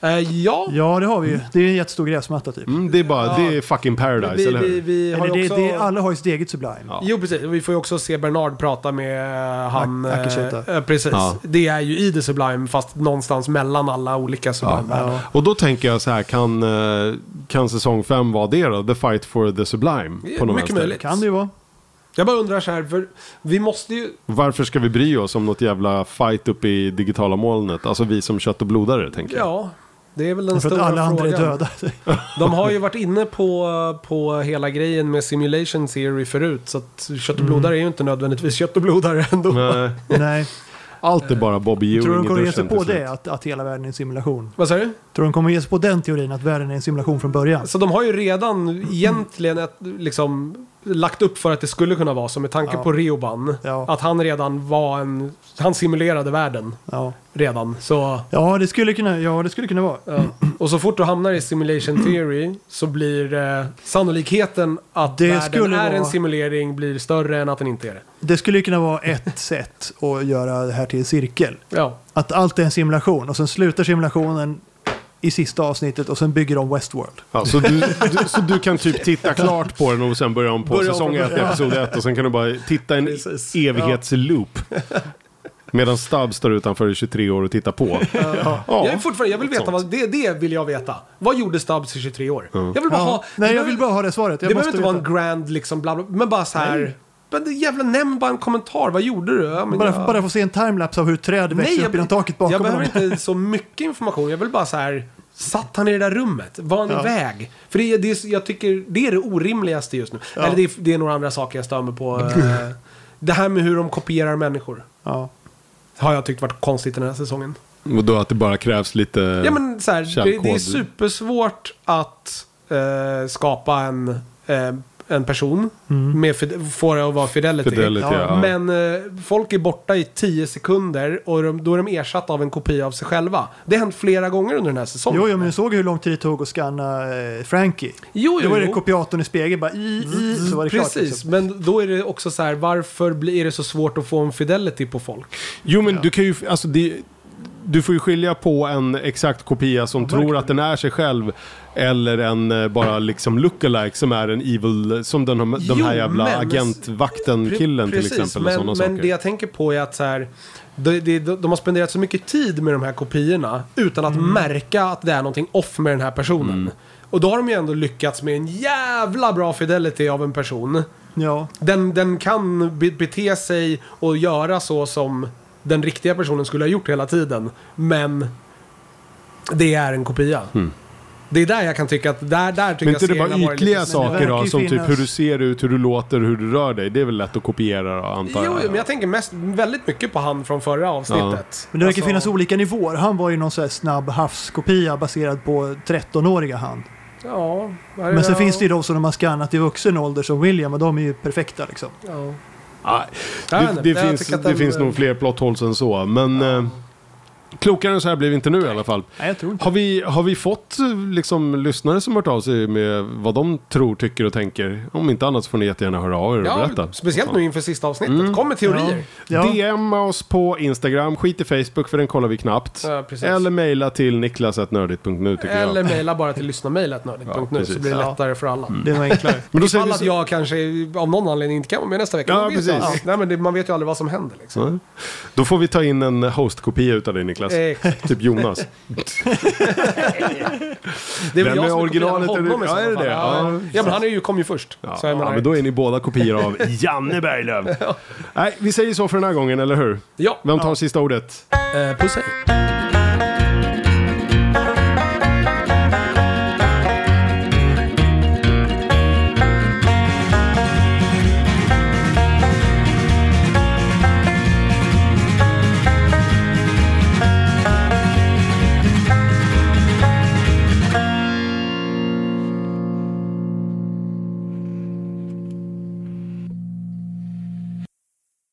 Speaker 3: Eh, ja,
Speaker 2: Ja, det har vi ju. Det är en jättestor gräsmatta typ.
Speaker 1: Mm, det är bara,
Speaker 3: Ja.
Speaker 1: det är fucking paradise,
Speaker 3: vi,
Speaker 1: eller hur?
Speaker 3: vi, vi har
Speaker 2: Eller det,
Speaker 3: ju också...
Speaker 2: det, alla har ju sitt eget Sublime.
Speaker 1: Ja.
Speaker 3: Jo, precis. Vi får ju också se Bernard prata med eh, han...
Speaker 2: Ak- Akishita.
Speaker 3: eh, precis.
Speaker 1: Ja.
Speaker 3: Det är ju i The Sublime, fast någonstans mellan alla olika
Speaker 1: Ja.
Speaker 3: Sublime.
Speaker 2: Ja.
Speaker 1: Och då tänker jag så här, kan, eh, kan säsong fem vara det då? The Fight for the Sublime?
Speaker 3: Det är
Speaker 1: På något
Speaker 3: mycket
Speaker 1: vänster.
Speaker 3: möjligt.
Speaker 2: Kan det ju vara.
Speaker 3: Jag bara undrar så här, för vi måste ju...
Speaker 1: Varför ska vi bry oss om något jävla fight uppe i digitala molnet? Alltså vi som kött och blodare tänker jag.
Speaker 3: Ja, det är väl den
Speaker 2: För att
Speaker 3: stora
Speaker 2: alla andra
Speaker 3: frågan.
Speaker 2: är döda.
Speaker 3: De har ju varit inne på, på hela grejen med simulation theory förut. Så att kött och blodare är ju inte nödvändigtvis kött och blodare ändå.
Speaker 1: Nej,
Speaker 2: Nej.
Speaker 1: allt är bara Bobby Ewing
Speaker 2: Tror du de kommer
Speaker 1: i
Speaker 2: ge sig
Speaker 1: duschen
Speaker 2: på
Speaker 1: till slut.
Speaker 2: det? Att, att hela världen är en simulation?
Speaker 3: Vad säger du?
Speaker 2: Tror du de kommer ge sig på den teorin? Att världen är en simulation från början?
Speaker 3: Så de har ju redan egentligen ett, liksom, lagt upp för att det skulle kunna vara så med tanke
Speaker 2: Ja.
Speaker 3: på Rioban.
Speaker 2: Ja.
Speaker 3: Att han redan var en... Han simulerade världen
Speaker 2: Ja,
Speaker 3: redan. Så,
Speaker 2: ja, det, skulle kunna, ja det skulle kunna vara.
Speaker 3: ja. Och så fort du hamnar i simulation theory så blir eh, sannolikheten att
Speaker 2: Det
Speaker 3: världen
Speaker 2: skulle
Speaker 3: är en
Speaker 2: vara-
Speaker 3: simulering blir större än att den inte är det.
Speaker 2: Det skulle kunna vara ett sätt att göra det här till en cirkel.
Speaker 3: Ja.
Speaker 2: Att allt är en simulation och sen slutar simulationen i sista avsnittet och sen bygger de Westworld.
Speaker 1: Ja, så, du, du, så du kan typ titta klart på den och sen börja om på
Speaker 3: Börja om
Speaker 1: säsong 1,
Speaker 3: från
Speaker 1: episod 1 och sen kan du bara titta en
Speaker 3: Precis.
Speaker 1: evighetsloop. Medan Stubb står utanför i 23 år och tittar på. Ja.
Speaker 3: Jag, är fortfarande, jag vill veta,
Speaker 1: sånt.
Speaker 3: vad, det, det vill jag veta. Vad gjorde Stubbs i 23 år? Jag vill bara ha...
Speaker 2: Ja. Nej, jag vill bara ha det svaret. Jag
Speaker 3: det behöver
Speaker 2: måste
Speaker 3: inte vara en grand liksom, bla bla, men bara så här... Men det jävla nämn bara en kommentar, vad gjorde du? Ja, men
Speaker 2: bara,
Speaker 3: jag,
Speaker 2: bara få se en timelapse av hur träd växer upp genom taket bakom
Speaker 3: jag
Speaker 2: honom.
Speaker 3: behöver inte så mycket information, jag vill bara så här... Satt han i det där rummet? Var han
Speaker 2: Ja.
Speaker 3: iväg? För det, är- det, är- jag tycker det är det orimligaste just nu.
Speaker 2: Ja.
Speaker 3: Eller det är, det är några andra saker jag stör mig på. eh, det här med hur de kopierar människor.
Speaker 2: Ja.
Speaker 3: Har jag tyckt varit konstigt den här säsongen.
Speaker 1: Och då att det bara krävs lite...
Speaker 3: Ja men så här, det, det är
Speaker 1: källkod.
Speaker 3: supersvårt att eh, skapa en eh, en person.
Speaker 2: Mm.
Speaker 3: Med fid- får det att vara fidelity.
Speaker 1: Fidelity, ja.
Speaker 2: Ja,
Speaker 3: Men eh, folk är borta i 10 sekunder och de, då är de ersatta av en kopia av sig själva. Det har hänt flera gånger under den här säsongen.
Speaker 2: Jo, jo, men du såg hur lång tid det tog att scanna eh, Frankie.
Speaker 3: jo,
Speaker 2: Då var det
Speaker 3: jo. Mm,
Speaker 2: kopiatorn i spegeln bara i, i, så var det klart.
Speaker 3: Precis,
Speaker 2: liksom.
Speaker 3: men då är det också så här, varför blir det så svårt att få en fidelity på folk?
Speaker 1: Jo men
Speaker 2: Ja.
Speaker 1: du kan ju, alltså det, du får ju skilja på en exakt kopia som tror att den är sig själv eller en eh, bara liksom lookalike som är en evil, som den, de
Speaker 3: Jo,
Speaker 1: här jävla
Speaker 3: men- Pre-
Speaker 1: agentvakten-killen till
Speaker 3: precis,
Speaker 1: exempel. och
Speaker 3: Men,
Speaker 1: sådana
Speaker 3: men
Speaker 1: saker.
Speaker 3: det jag tänker på är att så här, de, de, de har spenderat så mycket tid med de här kopiorna utan att
Speaker 1: Mm.
Speaker 3: märka att det är någonting off med den här personen. Och då har de ju ändå lyckats med en jävla bra fidelity av en person.
Speaker 2: Ja.
Speaker 3: Den, den kan be- bete sig och göra så som den riktiga personen skulle ha gjort hela tiden. Men det är en kopia. Det är där jag kan tycka att, där, där tycker
Speaker 1: Mm. Men
Speaker 3: jag
Speaker 1: inte det
Speaker 3: serien har
Speaker 1: bara
Speaker 3: varit lite
Speaker 1: ytliga
Speaker 3: snäll.
Speaker 1: saker
Speaker 2: verkar
Speaker 1: då?
Speaker 2: ju
Speaker 1: Som typ
Speaker 2: finnas-
Speaker 1: hur du ser ut, hur du låter, hur du rör dig. Det är väl lätt att kopiera antar
Speaker 3: Jo, jo, men jag tänker mest, väldigt mycket på han från förra avsnittet.
Speaker 2: Men det verkar
Speaker 3: Alltså,
Speaker 2: finnas olika nivåer. Han var ju någon så här snabb havskopia baserad på 13-åriga han.
Speaker 3: Ja, här är
Speaker 2: Men sen finns det ju de som de har skannat i vuxen ålder som William och de är ju perfekta liksom.
Speaker 3: Ja.
Speaker 1: Nej,
Speaker 3: Jag vet
Speaker 1: det
Speaker 3: inte,
Speaker 1: det,
Speaker 3: jag
Speaker 1: finns,
Speaker 3: tycker att
Speaker 1: det
Speaker 3: den-
Speaker 1: finns nog fler plot holes än så. Men eh, klokare än så här blir vi inte nu i alla fall.
Speaker 2: Nej, jag tror inte.
Speaker 1: Har vi, har vi fått eh, liksom, lyssnare som hört av sig med vad de tror, tycker och tänker? Om inte annat så får ni jättegärna höra av er och
Speaker 3: Ja,
Speaker 1: berätta. Mm.
Speaker 3: speciellt nu inför sista avsnittet. Kom med teorier.
Speaker 2: Ja. Ja.
Speaker 1: DMa oss på Instagram, skit i Facebook för den kollar vi knappt.
Speaker 3: Ja, precis.
Speaker 1: Eller mejla till niklas.nördigt.nu tycker
Speaker 3: Eller
Speaker 1: jag.
Speaker 3: mejla bara till lyssnamejlatnördigt.nu
Speaker 1: precis. Mm.
Speaker 3: så blir det
Speaker 2: Ja.
Speaker 3: lättare för alla.
Speaker 2: Det var enklare.
Speaker 1: Men då
Speaker 3: Ifall
Speaker 1: vi
Speaker 3: att
Speaker 1: så-
Speaker 3: jag kanske av någon anledning inte kan vara med nästa vecka.
Speaker 1: Ja,
Speaker 3: Man vet ju
Speaker 1: precis.
Speaker 3: aldrig. Nej, men det, man vet ju aldrig vad som händer. Liksom.
Speaker 1: Nej. Då får vi ta in en hostkopia utav dig Niklas.
Speaker 3: Exakt.
Speaker 1: Typ Jonas.
Speaker 3: Det är väl
Speaker 1: Mm. Vem är
Speaker 3: jag som
Speaker 1: originalet?
Speaker 3: originalet
Speaker 1: Är det-
Speaker 3: honom i
Speaker 1: ja,
Speaker 3: så
Speaker 1: är det
Speaker 3: fall.
Speaker 1: det? Ja,
Speaker 3: Ja, men han är ju, kom ju först.
Speaker 1: Ja,
Speaker 3: så jag
Speaker 1: ja,
Speaker 3: menar,
Speaker 1: men då är ni båda kopior av Janne Berglöf. Nej, vi säger så för den här gången, eller hur?
Speaker 3: ja.
Speaker 1: Vem tar sista ordet?
Speaker 3: Eh, puss hej.